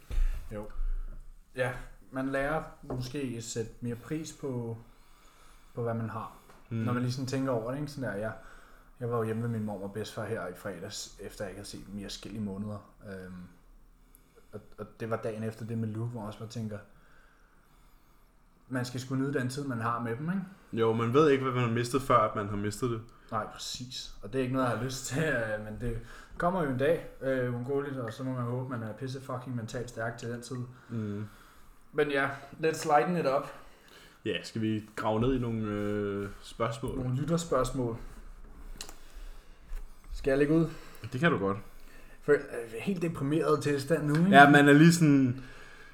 Speaker 2: Jo. Ja, man lærer måske at sætte mere pris på, på hvad man har. Mm. Når man lige sådan tænker over det, ikke? Sådan der, jeg, jeg var jo hjemme ved min mor og bedstfar her i fredags, efter jeg ikke havde set dem i forskellige måneder. Øhm, og, og, det var dagen efter det med Luke, hvor jeg også bare tænker, man skal sgu nyde den tid, man har med dem, ikke?
Speaker 1: Jo, man ved ikke, hvad man har mistet, før at man har mistet det.
Speaker 2: Nej, præcis. Og det er ikke noget, jeg har lyst til, øh, men det kommer jo en dag, øh, uundgåeligt, og så må man håbe, man er pisse fucking mentalt stærk til den tid.
Speaker 1: Mm.
Speaker 2: Men ja, let's lighten it up.
Speaker 1: Ja, skal vi grave ned i nogle øh, spørgsmål?
Speaker 2: Nogle lytterspørgsmål. Skal jeg lægge ud?
Speaker 1: Det kan du godt.
Speaker 2: For, øh, helt deprimeret tilstand nu, ikke?
Speaker 1: Ja, man er lige sådan...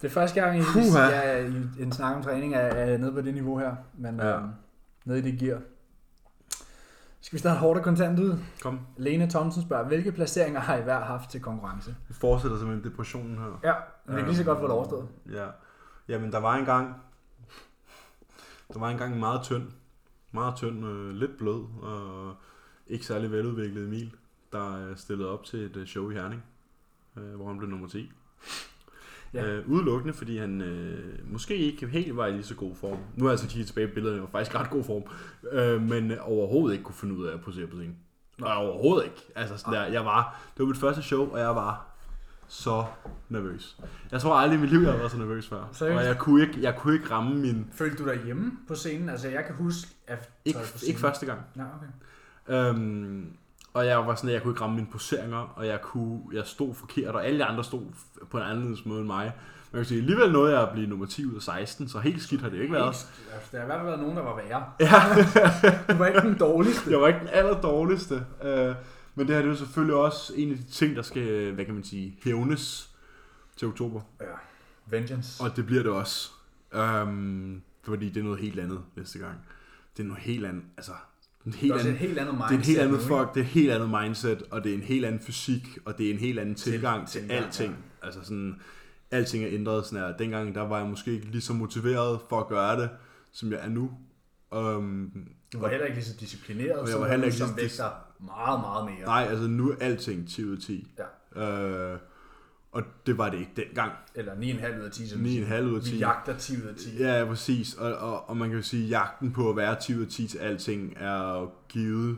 Speaker 2: Det er første gang, jeg,
Speaker 1: Puha.
Speaker 2: jeg er i en snak om træning er, er nede på det niveau her, men
Speaker 1: Ja.
Speaker 2: ja. øh, nede i det gear. Skal vi starte hårdt og kontant ud?
Speaker 1: Kom.
Speaker 2: Lene Thomsen spørger, hvilke placeringer har I hver haft til konkurrence?
Speaker 1: Vi fortsætter simpelthen depressionen her.
Speaker 2: Ja, men vi kan lige så godt få det overstået.
Speaker 1: Ja. Jamen, der var engang... Der var engang en meget tynd, meget tynd, øh, lidt blød og ikke særlig veludviklet Emil, der øh, stillede op til et øh, show i Herning, øh, hvor han blev nummer 10.
Speaker 2: Ja.
Speaker 1: Ja. Øh, udelukkende, fordi han øh, måske ikke helt var i lige så god form. Nu har jeg så kigget tilbage på billederne, og var faktisk ret god form. Øh, men overhovedet ikke kunne finde ud af at posere på scenen. Nej, overhovedet ikke. Altså, sådan der, jeg var, det var mit første show, og jeg var så nervøs. Jeg tror aldrig i mit liv, jeg har været så nervøs før.
Speaker 2: Seriøst?
Speaker 1: Og jeg kunne ikke, jeg kunne ikke ramme min...
Speaker 2: Følte du dig hjemme på scenen? Altså, jeg kan huske... At
Speaker 1: Ikke,
Speaker 2: tøj på scenen.
Speaker 1: ikke første gang.
Speaker 2: Nej, okay.
Speaker 1: Øhm, og jeg var sådan, at jeg kunne ikke ramme mine poseringer, og jeg, kunne, jeg stod forkert, og alle de andre stod f- på en anderledes måde end mig. Men jeg kan sige, alligevel nåede jeg at blive nummer 10 ud af 16, så helt skidt har det jo ikke været.
Speaker 2: Ikke- altså, der har i hvert fald været nogen, der var værre.
Speaker 1: Ja,
Speaker 2: Du var ikke den dårligste.
Speaker 1: jeg var ikke den aller dårligste. Øh, men det her det er jo selvfølgelig også en af de ting, der skal, hvad kan man sige, hævnes til oktober.
Speaker 2: Ja. Vengeance.
Speaker 1: Og det bliver det også. Øhm, fordi det er noget helt andet næste gang. Det er noget helt andet, altså... En
Speaker 2: det er
Speaker 1: helt
Speaker 2: også
Speaker 1: anden,
Speaker 2: et helt andet mindset.
Speaker 1: det er en helt andet
Speaker 2: nu, ikke?
Speaker 1: folk, det er et helt andet mindset, og det er en helt anden fysik, og det er en helt anden
Speaker 2: Til-
Speaker 1: tilgang til,
Speaker 2: tilgang,
Speaker 1: alting. Altså sådan, alting er ændret sådan her. Dengang, der var jeg måske ikke lige så motiveret for at gøre det, som jeg er nu. Um,
Speaker 2: Du var heller ikke lige så disciplineret,
Speaker 1: Og jeg
Speaker 2: som
Speaker 1: var
Speaker 2: du,
Speaker 1: heller ikke
Speaker 2: som
Speaker 1: lige så dis-
Speaker 2: vægter meget, meget mere.
Speaker 1: nej, altså nu er alting 10 ud af 10.
Speaker 2: Ja.
Speaker 1: Øh, og det var det ikke dengang.
Speaker 2: Eller 9,5 ud af 10, som
Speaker 1: 9,5 ud af 10.
Speaker 2: vi jagter 10 ud af 10.
Speaker 1: Ja, præcis. Og, og, og man kan jo sige, at jagten på at være 10 ud af 10 til alting er jo givet,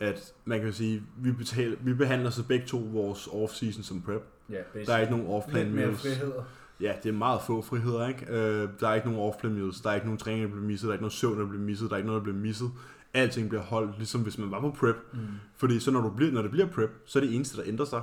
Speaker 1: at man kan jo sige, vi, betaler, vi behandler så begge to vores off-season som prep.
Speaker 2: Ja,
Speaker 1: Der er ikke nogen off-plan
Speaker 2: Lidt mere
Speaker 1: meals.
Speaker 2: frihed.
Speaker 1: Ja, det er meget få friheder, ikke? Øh, der er ikke nogen off-plan meals, der er ikke nogen træning, der bliver misset, der er ikke nogen søvn, der bliver misset, der er ikke noget, der bliver misset. Alting bliver holdt, ligesom hvis man var på prep.
Speaker 2: Mm.
Speaker 1: Fordi så når, du bliver, når det bliver prep, så er det eneste, der ændrer sig,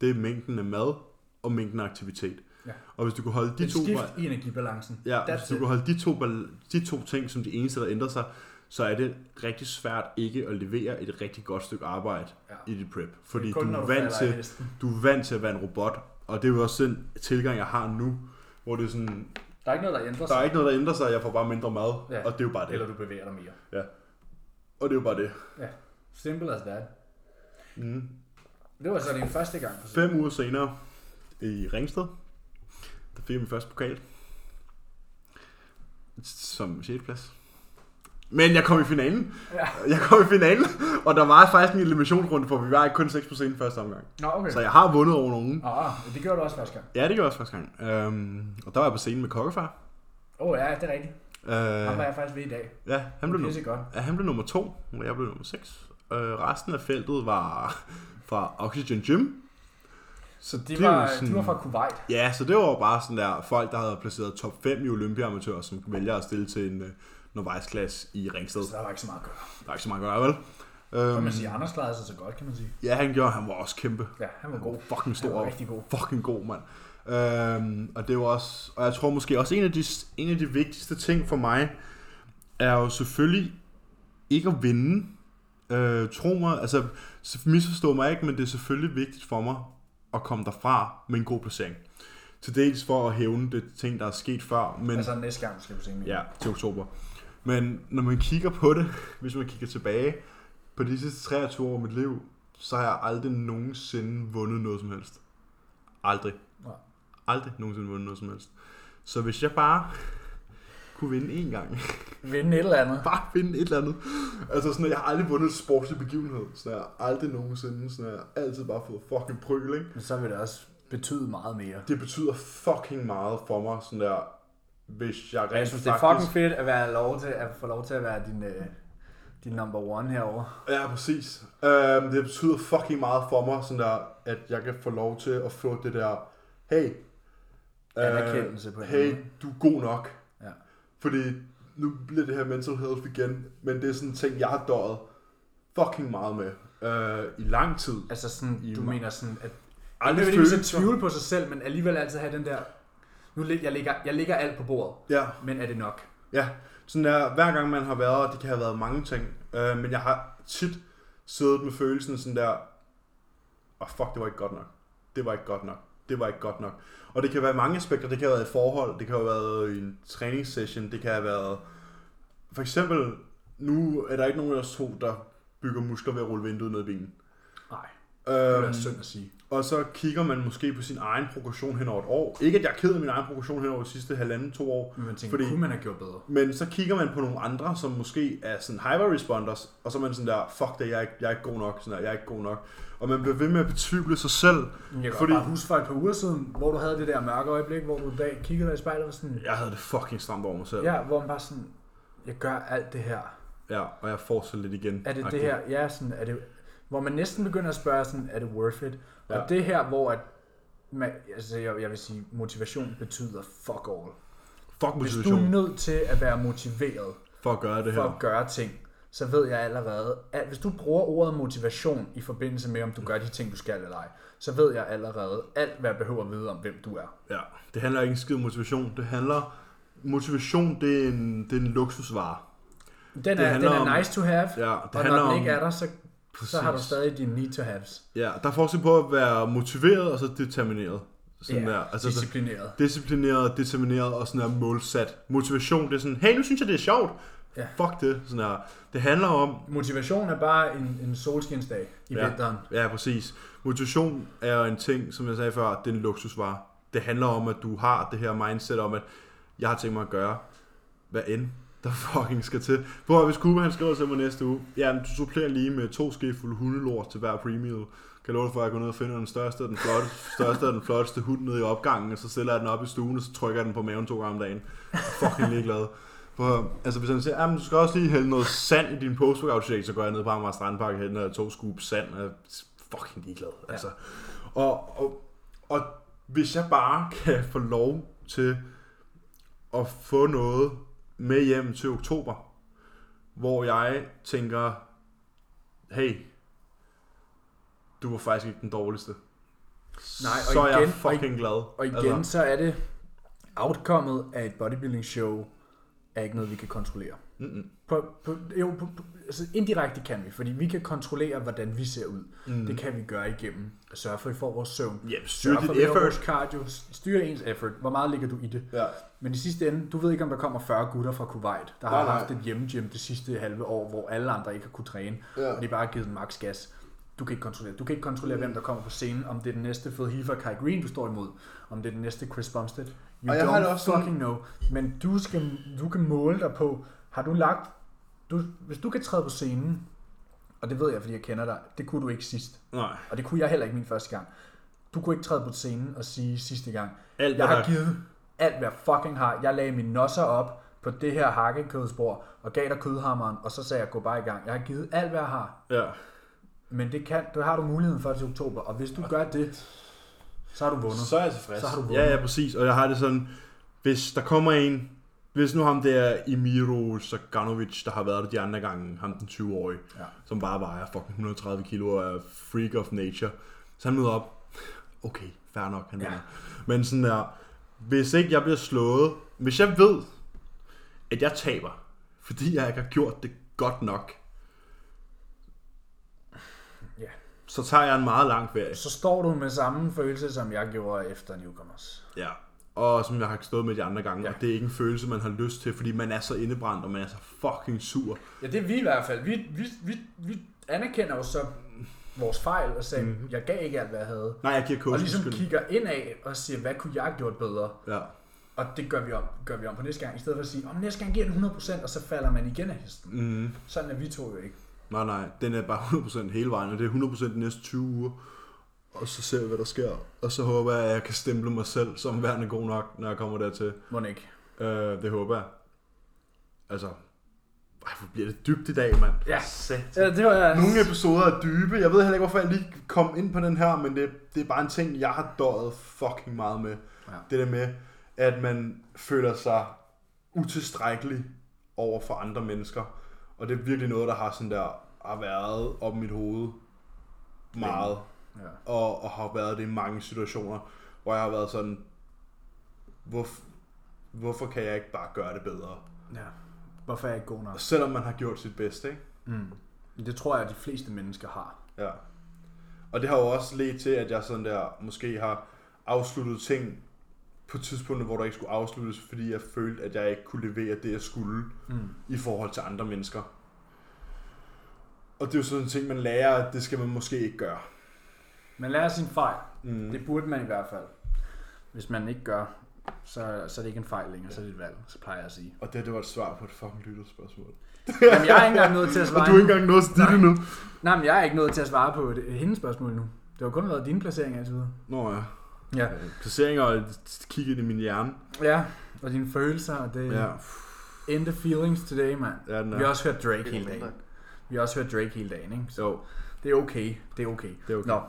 Speaker 1: det er mængden af mad og mængden af aktivitet.
Speaker 2: Ja.
Speaker 1: Og hvis du kunne holde de
Speaker 2: Et
Speaker 1: to...
Speaker 2: skift i energibalancen.
Speaker 1: Ja,
Speaker 2: That's
Speaker 1: hvis du
Speaker 2: it.
Speaker 1: kan holde de to, bal- de to ting som de eneste, der ændrer sig, så er det rigtig svært ikke at levere et rigtig godt stykke arbejde
Speaker 2: Ja.
Speaker 1: i dit prep. Fordi
Speaker 2: Kun
Speaker 1: du
Speaker 2: når
Speaker 1: er, vant
Speaker 2: falder af
Speaker 1: til,
Speaker 2: hesten.
Speaker 1: du er vant til at være en robot, og det er jo også den tilgang, jeg har nu, hvor det er sådan,
Speaker 2: Der er ikke noget, der ændrer
Speaker 1: der
Speaker 2: sig.
Speaker 1: er ikke noget, der ændrer sig, jeg får bare mindre mad,
Speaker 2: Ja.
Speaker 1: og det er jo bare det.
Speaker 2: Eller du bevæger dig mere.
Speaker 1: Og det er jo bare det.
Speaker 2: Simple as that.
Speaker 1: Mm.
Speaker 2: Det var så din første gang. for
Speaker 1: Fem uger senere i Ringsted, der fik jeg min første pokal. Som 6. plads. Men jeg kom i finalen.
Speaker 2: Ja.
Speaker 1: Jeg kom i finalen, og der var faktisk en eliminationsrunde, for vi var kun 6 på scenen første omgang.
Speaker 2: Nå, okay.
Speaker 1: Så jeg har vundet over nogen.
Speaker 2: Ah, det gjorde du også første gang.
Speaker 1: Ja, det gjorde jeg også første gang. Øhm, og der var jeg på scenen med Kokkefar.
Speaker 2: Åh, oh, ja, det er rigtigt. Ham var
Speaker 1: Øh,
Speaker 2: jeg faktisk ved i dag.
Speaker 1: ja, han blev,
Speaker 2: det
Speaker 1: nu,
Speaker 2: er så godt.
Speaker 1: ja, han blev nummer 2, og jeg blev nummer 6. Øh, resten af feltet var fra Oxygen Gym. Så
Speaker 2: De
Speaker 1: det er jo
Speaker 2: var,
Speaker 1: sådan-
Speaker 2: de var fra Kuwait.
Speaker 1: Ja, så det var jo bare sådan der folk, der havde placeret top 5 i Olympiamatører, som vælger at stille til en øh, novejsklasse i Ringsted.
Speaker 2: Så der var ikke så meget at gøre.
Speaker 1: Der er ikke så meget at gøre, vel?
Speaker 2: Så
Speaker 1: Øhm,
Speaker 2: man siger, Anders klarede sig så godt, kan man sige.
Speaker 1: ja, han gjorde, han var også kæmpe.
Speaker 2: Ja, han var
Speaker 1: Han
Speaker 2: god.
Speaker 1: var fucking
Speaker 2: Han
Speaker 1: stor
Speaker 2: var
Speaker 1: og
Speaker 2: rigtig god.
Speaker 1: fucking god, mand. Øhm, og det var også, og jeg tror måske også en af, de, en af de vigtigste ting for mig, er jo selvfølgelig ikke at vinde. Øh, tro mig, altså så misforstå mig ikke, men det er selvfølgelig vigtigt for mig at komme derfra med en god placering. Til dels for at hævne det ting, der er sket før, men
Speaker 2: Altså næste gang skal vi se mere.
Speaker 1: Ja, til oktober. Men når man kigger på det, hvis man kigger tilbage på de sidste 23 år af mit liv, så har jeg aldrig nogensinde vundet noget som helst. Aldrig.
Speaker 2: Nej.
Speaker 1: Aldrig nogensinde vundet noget som helst. Så hvis jeg bare kunne vinde én gang,
Speaker 2: Vinde et eller andet.
Speaker 1: bare vinde et eller andet. Altså sådan, at jeg har aldrig vundet et sportslig begivenhed. Sådan, jeg har aldrig nogensinde, sådan, jeg har altid bare fået fucking prøl, ikke?
Speaker 2: Men så vil det også betyde meget mere.
Speaker 1: det betyder fucking meget for mig, sådan der, hvis jeg rent
Speaker 2: Og jeg synes, det er fucking fedt at, være lov til, at få lov til at være din, øh, din number one herovre.
Speaker 1: Ja, præcis. Øhm, det betyder fucking meget for mig, sådan der, at jeg kan få lov til at få det der, hey,
Speaker 2: Øh,
Speaker 1: øh,
Speaker 2: Anerkendelse på en
Speaker 1: hey,
Speaker 2: måde.
Speaker 1: du er god nok.
Speaker 2: Ja.
Speaker 1: Fordi nu bliver det her mental health igen, men det er sådan en ting, jeg har døjet fucking meget med øh, i lang tid.
Speaker 2: Altså sådan,
Speaker 1: I
Speaker 2: du
Speaker 1: mig-
Speaker 2: mener sådan, at
Speaker 1: Aldrig
Speaker 2: det er at
Speaker 1: følelser.
Speaker 2: tvivle på sig selv, men alligevel altid have den der, nu lig, jeg, ligger, jeg ligger alt på bordet,
Speaker 1: Ja,
Speaker 2: men er det nok?
Speaker 1: ja. Sådan der, hver gang man har været, og det kan have været mange ting, øh, men jeg har tit siddet med følelsen sådan der, og oh, fuck, det var ikke godt nok. Det var ikke godt nok. Det var ikke godt nok. Og det kan være mange aspekter. Det kan have været i forhold, det kan have været i en træningssession, det kan have været... For eksempel, nu er der ikke nogen af os to, der bygger muskler ved at rulle vinduet ned i bilen.
Speaker 2: Nej, det er
Speaker 1: Øhm,
Speaker 2: synd at sige.
Speaker 1: og så kigger man måske på sin egen progression hen over et år. Ikke at jeg er ked af min egen progression hen over de sidste halvanden, to år,
Speaker 2: Men man tænker,
Speaker 1: fordi-
Speaker 2: fordi... kunne man have gjort bedre?
Speaker 1: men så kigger man på nogle andre, som måske er sådan hyper-responders, og så er man sådan der, fuck det, jeg er ikke, jeg er ikke god nok, sådan der, jeg er ikke god nok. Og man bliver ved med at betvivle sig selv.
Speaker 2: Jeg kan
Speaker 1: Fordi-
Speaker 2: fordi... bare huske for et par uger siden, hvor du havde det der mørke øjeblik, hvor du en dag kiggede dig i spejlet og var sådan,
Speaker 1: Jeg havde det fucking stramt over mig selv.
Speaker 2: ja, hvor man bare sådan, jeg gør alt det her.
Speaker 1: ja og jeg får så lidt igen.
Speaker 2: Er det
Speaker 1: Agtigt.
Speaker 2: det her, ja, sådan, er det, hvor man næsten begynder at spørge sådan, er det worth it? Ja.
Speaker 1: Ja.
Speaker 2: Og det her, hvor at, man, altså jeg, jeg vil sige, motivation betyder fuck all.
Speaker 1: Fuck
Speaker 2: Hvis du er
Speaker 1: motivation
Speaker 2: nødt til at være motiveret,
Speaker 1: for at gøre det
Speaker 2: for at
Speaker 1: her.
Speaker 2: gøre ting, så ved jeg allerede, at hvis du bruger ordet motivation i forbindelse med, om du gør de ting, du skal eller ej, så ved jeg allerede alt, hvad jeg behøver at vide om, hvem du er.
Speaker 1: Ja. Det handler ikke en skid om motivation. Det handler... Motivation, det er en, det er en luksusvare.
Speaker 2: Den er, den
Speaker 1: handler
Speaker 2: er
Speaker 1: om-
Speaker 2: nice to have,
Speaker 1: Ja, det
Speaker 2: og
Speaker 1: handler
Speaker 2: når den
Speaker 1: om-
Speaker 2: ikke er der, så, så har du
Speaker 1: Præcis.
Speaker 2: stadig dine need to haves.
Speaker 1: Ja, der er forskel på at være motiveret og så determineret. Sådan
Speaker 2: Ja,
Speaker 1: der. Altså, så-
Speaker 2: disciplineret.
Speaker 1: disciplineret, determineret og sådan her målsat. Motivation, det er sådan, hey, nu synes jeg, det er sjovt.
Speaker 2: Ja.
Speaker 1: Fuck det. Sådan her. Det handler om,
Speaker 2: Motivation er bare en, en solskinsdag i
Speaker 1: Ja.
Speaker 2: ja. vinteren.
Speaker 1: ja præcis, motivation er jo en ting, som jeg sagde før, det er en luksusvare. Det handler om, at du har det her mindset om, at jeg har tænkt mig at gøre, hvad end der fucking skal til. Hvor hvis Kuba han skriver til mig næste uge, jamen du supplerer lige med to skefulde hundelort til hver premium. Kan jeg love dig for, at jeg går ned og finder den største og den flotteste, største og den flotteste hund nede i opgangen, og så stiller jeg den op i stuen, og så trykker jeg den på maven to gange om dagen. Jeg er fucking ligeglad. For, altså hvis han siger, at du skal også lige hælde noget sand i din post-workout shake, så går jeg ned på Amager Strandpark og hælder to scoop sand, og jeg er fucking ligeglad.
Speaker 2: Ja.
Speaker 1: Altså. Og, og, og hvis jeg bare kan få lov til at få noget med hjem til oktober, hvor jeg tænker, hey, du var faktisk ikke den dårligste.
Speaker 2: Nej, og
Speaker 1: så er jeg
Speaker 2: igen- og
Speaker 1: fucking glad.
Speaker 2: Og igen, altså. så er det, outcomeet af et bodybuilding show er ikke noget, vi kan kontrollere.
Speaker 1: mm,
Speaker 2: På, på, jo, på, på, altså indirekte kan vi, fordi vi kan kontrollere, hvordan vi ser ud. Mm. Det kan vi gøre igennem at sørge for, at I får vores søvn.
Speaker 1: ja, styr
Speaker 2: Sørge for,
Speaker 1: dit
Speaker 2: at vi har
Speaker 1: effort.
Speaker 2: Vores cardio, styre ens effort. Hvor meget ligger du i det?
Speaker 1: Ja.
Speaker 2: Men i sidste ende, du ved ikke, om der kommer 40 gutter fra Kuwait, der har
Speaker 1: Nej, nej.
Speaker 2: haft et hjemmegym det sidste halve år, hvor alle andre ikke har kunne træne,
Speaker 1: Ja.
Speaker 2: og de bare har givet den max gas. Du kan ikke kontrollere. Du kan ikke kontrollere,
Speaker 1: Mm.
Speaker 2: hvem der kommer på scenen, om det er den næste Phil Heath og Kai Green, du står imod, om det er den næste Chris Bumstead. You
Speaker 1: Og jeg
Speaker 2: don't
Speaker 1: har det også sådan-
Speaker 2: fucking know. Men du, skal, du kan måle dig på, har du lagt... Du, hvis du kan træde på scenen, og det ved jeg, fordi jeg kender dig, det kunne du ikke sidst.
Speaker 1: Nej,
Speaker 2: Og det kunne jeg heller ikke min første gang. Du kunne ikke træde på scenen og sige sidste gang,
Speaker 1: alt
Speaker 2: jeg
Speaker 1: hvad
Speaker 2: har
Speaker 1: der-
Speaker 2: givet alt, hvad jeg fucking har. Jeg lagde mine nosser op på det her hakkekødsbord og gav dig kødhammeren, og så sagde jeg, gå bare i gang. Jeg har givet alt, hvad jeg har.
Speaker 1: Ja.
Speaker 2: Men det, kan, det har du muligheden for til oktober, og hvis du gør det, så har du vundet.
Speaker 1: Så er jeg tilfreds.
Speaker 2: Så har du vundet.
Speaker 1: ja, ja, præcis. Og jeg har det sådan, hvis der kommer en, hvis nu ham der Emiro Saganovic, der har været der de andre gange, ham den 20-årige,
Speaker 2: Ja.
Speaker 1: som bare vejer fucking 130 kilo og er freak of nature, så han møder op. Okay, fair nok, han
Speaker 2: Ja.
Speaker 1: ja. Men sådan der, hvis ikke jeg bliver slået, hvis jeg ved, at jeg taber, fordi jeg ikke har gjort det godt nok,
Speaker 2: Ja.
Speaker 1: så tager jeg en meget lang ferie.
Speaker 2: Så står du med samme følelse, som jeg gjorde efter Newcomers.
Speaker 1: Ja, og som jeg har stået med de andre gange, ja.
Speaker 2: Ja.
Speaker 1: og det er ikke en følelse, man har lyst til, fordi man er så indebrændt, og man er så fucking sur.
Speaker 2: Ja, det er vi i hvert fald. Vi, vi, vi, vi anerkender jo så vores fejl og sagde, mm-hmm. jeg gav ikke alt, hvad jeg havde.
Speaker 1: Nej, jeg giver coachen
Speaker 2: Og ligesom
Speaker 1: skyld.
Speaker 2: kigger indad og siger, hvad kunne jeg have gjort bedre?
Speaker 1: Ja,
Speaker 2: Og det gør vi om, gør vi om på næste gang, i stedet for at sige, om næste gang giver den 100%, og så falder man igen af hesten.
Speaker 1: mm.
Speaker 2: Sådan er vi to jo ikke.
Speaker 1: Nej, nej, den er bare 100% hele vejen, og det er 100% de næste 20 uger. Og så ser vi, hvad der sker. Og så håber jeg, at jeg kan stemple mig selv som værende god nok, når jeg kommer dertil.
Speaker 2: Må den ikke.
Speaker 1: Øh, det håber jeg. Altså, ej, hvor bliver det dybt i dag, mand.
Speaker 2: Ja.
Speaker 1: Sat.
Speaker 2: Ja, det var jeg.
Speaker 1: Nogle episoder er dybe. Jeg ved heller ikke, hvorfor jeg lige kom ind på den her, men det, det er bare en ting, jeg har døjet fucking meget med.
Speaker 2: Ja.
Speaker 1: Det der med, at man føler sig utilstrækkelig over for andre mennesker. Og det er virkelig noget, der har sådan der, har været op i mit hoved meget.
Speaker 2: Ja.
Speaker 1: og, og har været det i mange situationer, hvor jeg har været sådan, hvorf, hvorfor kan jeg ikke bare gøre det bedre?
Speaker 2: ja. Hvorfor er jeg ikke god nok?
Speaker 1: Og selvom man har gjort sit bedste, ikke?
Speaker 2: Mm. Det tror jeg, at de fleste mennesker har.
Speaker 1: Ja. Og det har jo også ledt til, at jeg sådan der, måske har afsluttet ting på tidspunkter, hvor der ikke skulle afsluttes, fordi jeg følte, at jeg ikke kunne levere det, jeg skulle
Speaker 2: Mm.
Speaker 1: i forhold til andre mennesker. Og det er jo sådan en ting, man lærer, at det skal man måske ikke gøre.
Speaker 2: Man lærer sin fejl.
Speaker 1: Mm.
Speaker 2: Det burde man i hvert fald. Hvis man ikke gør, så, så er det ikke en fejl længere, så er det et valg, så plejer jeg at sige.
Speaker 1: Og det, det var et svar på et fucking lytterspørgsmål.
Speaker 2: Jamen, jeg er ikke engang nået til at
Speaker 1: Og
Speaker 2: svare
Speaker 1: du er ikke
Speaker 2: endnu.
Speaker 1: engang nået til dit endnu.
Speaker 2: Nej, men jeg er ikke nået til at svare på det, hendes spørgsmål nu. Det har kun været dine placeringer indtil videre.
Speaker 1: Nå ja.
Speaker 2: Ja.
Speaker 1: Øh, placeringer og kigge ind i min hjerne.
Speaker 2: Ja, og dine følelser, og det
Speaker 1: Ja,
Speaker 2: ja. end the feelings today, mand.
Speaker 1: ja den
Speaker 2: Ja.
Speaker 1: er.
Speaker 2: Vi har også hørt Drake
Speaker 3: Det er
Speaker 2: hele dagen.
Speaker 3: mindre.
Speaker 2: Vi har også hørt Drake hele dagen, ikke? Så
Speaker 1: Jo,
Speaker 2: det er okay, det er okay.
Speaker 1: det er okay.
Speaker 2: Nå,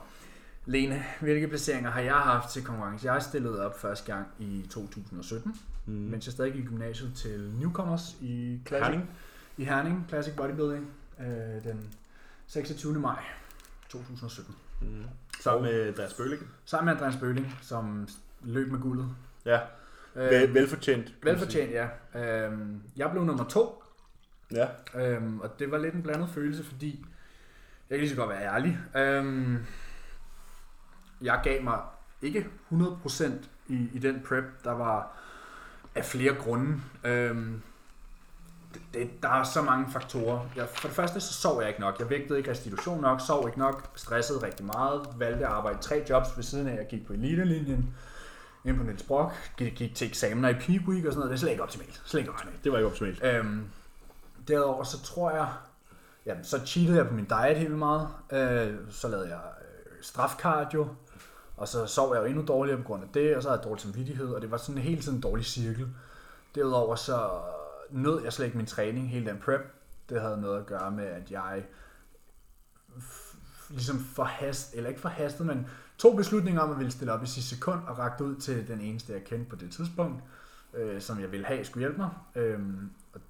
Speaker 2: Lene, hvilke placeringer har jeg haft til konkurrence? Jeg stillede op første gang i 2017,
Speaker 1: Mm.
Speaker 2: mens jeg stadig gik i gymnasiet til Newcomers i Classic,
Speaker 1: Herning?
Speaker 2: i Herning, Classic Bodybuilding, øh, den 26. maj 2017.
Speaker 1: Mm. Sammen med Andreas Bølling.
Speaker 2: Sammen med Andreas Bøling, som løb med guldet.
Speaker 1: Ja,
Speaker 2: Øh,
Speaker 1: Vel, velfortjent. kan man
Speaker 2: velfortjent, ja. Øh, jeg blev nummer to,
Speaker 1: sige. Ja.
Speaker 2: Øhm, og det var lidt en blandet følelse, fordi jeg kan lige så godt være ærlig. Øhm, jeg gav mig ikke 100% i, i den prep, der var af flere grunde. Øhm, det, det, der er så mange faktorer. Jeg, for det første så sov jeg ikke nok. Jeg vægtede ikke restitution nok, sov ikke nok, stressede rigtig meget, valgte at arbejde tre jobs ved siden af. Jeg gik på elitelinjen, ind på Niels Brock, gik, gik til eksamener i peak week og sådan noget. Det er slet ikke optimalt. Slet ikke optimalt.
Speaker 1: Det var ikke optimalt.
Speaker 2: Øhm, derudover så tror jeg, jamen, så cheatede jeg på min diet helt vildt meget. Øh, så lavede jeg øh, strafkardio, og så sov jeg jo endnu dårligere på grund af det, og så havde jeg dårlig samvittighed, og det var sådan hele tiden en dårlig cirkel. Derudover så nød jeg slet ikke min træning, hele den prep. Det havde noget at gøre med, at jeg f- ligesom forhast, eller ikke forhastet, men tog beslutninger om, at jeg ville stille op i sidste sekund, og rakte ud til den eneste, jeg kendte på det tidspunkt, øh, som jeg ville have skulle hjælpe mig. Øhm, og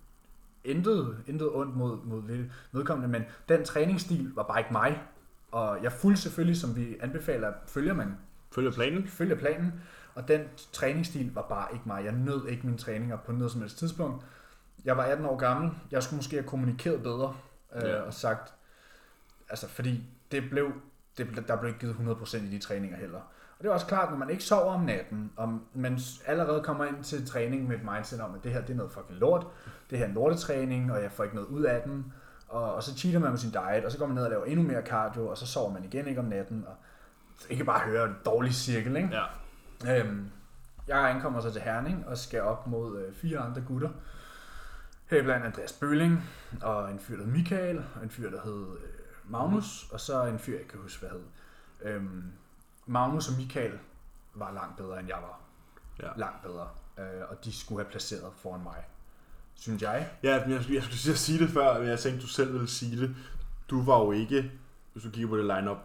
Speaker 2: intet, intet ondt mod, mod ved- vedkommende, men den træningsstil var bare ikke mig. Og jeg fulgte selvfølgelig, som vi anbefaler, følger man
Speaker 1: Følger planen?
Speaker 2: følger planen, og den træningsstil var bare ikke mig. Jeg nød ikke mine træninger på noget som helst tidspunkt. Jeg var 18 år gammel. Jeg skulle måske have kommunikeret bedre øh,
Speaker 1: Ja.
Speaker 2: og sagt, altså fordi det blev, det, ble- der blev ikke givet 100% i de træninger heller. Og det er også klart, når man ikke sover om natten, og man s- allerede kommer ind til træning med et mindset om, at det her det er noget fucking lort, det her er en lortetræning, og jeg får ikke noget ud af den, og, og så cheater man med sin diet, og så går man ned og laver endnu mere cardio, og så sover man igen ikke om natten, og ikke bare høre en dårlig cirkel, ikke?
Speaker 1: Ja.
Speaker 2: Øhm, jeg ankommer så til Herning og skal op mod øh, fire andre gutter. Heriblandt Andreas Bølling og en fyr, der hed Michael, og en fyr, der hed øh, Magnus, og så en fyr, jeg ikke kan huske, hvad hed. Øhm, Magnus og Michael var langt bedre, end jeg var.
Speaker 1: Ja.
Speaker 2: Langt bedre. Øh, og de skulle have placeret foran mig. Synes jeg.
Speaker 1: Ja, men jeg, jeg skulle til at sige det før, men jeg tænkte, du selv ville sige det. Du var jo ikke, hvis du kigger på det lineup,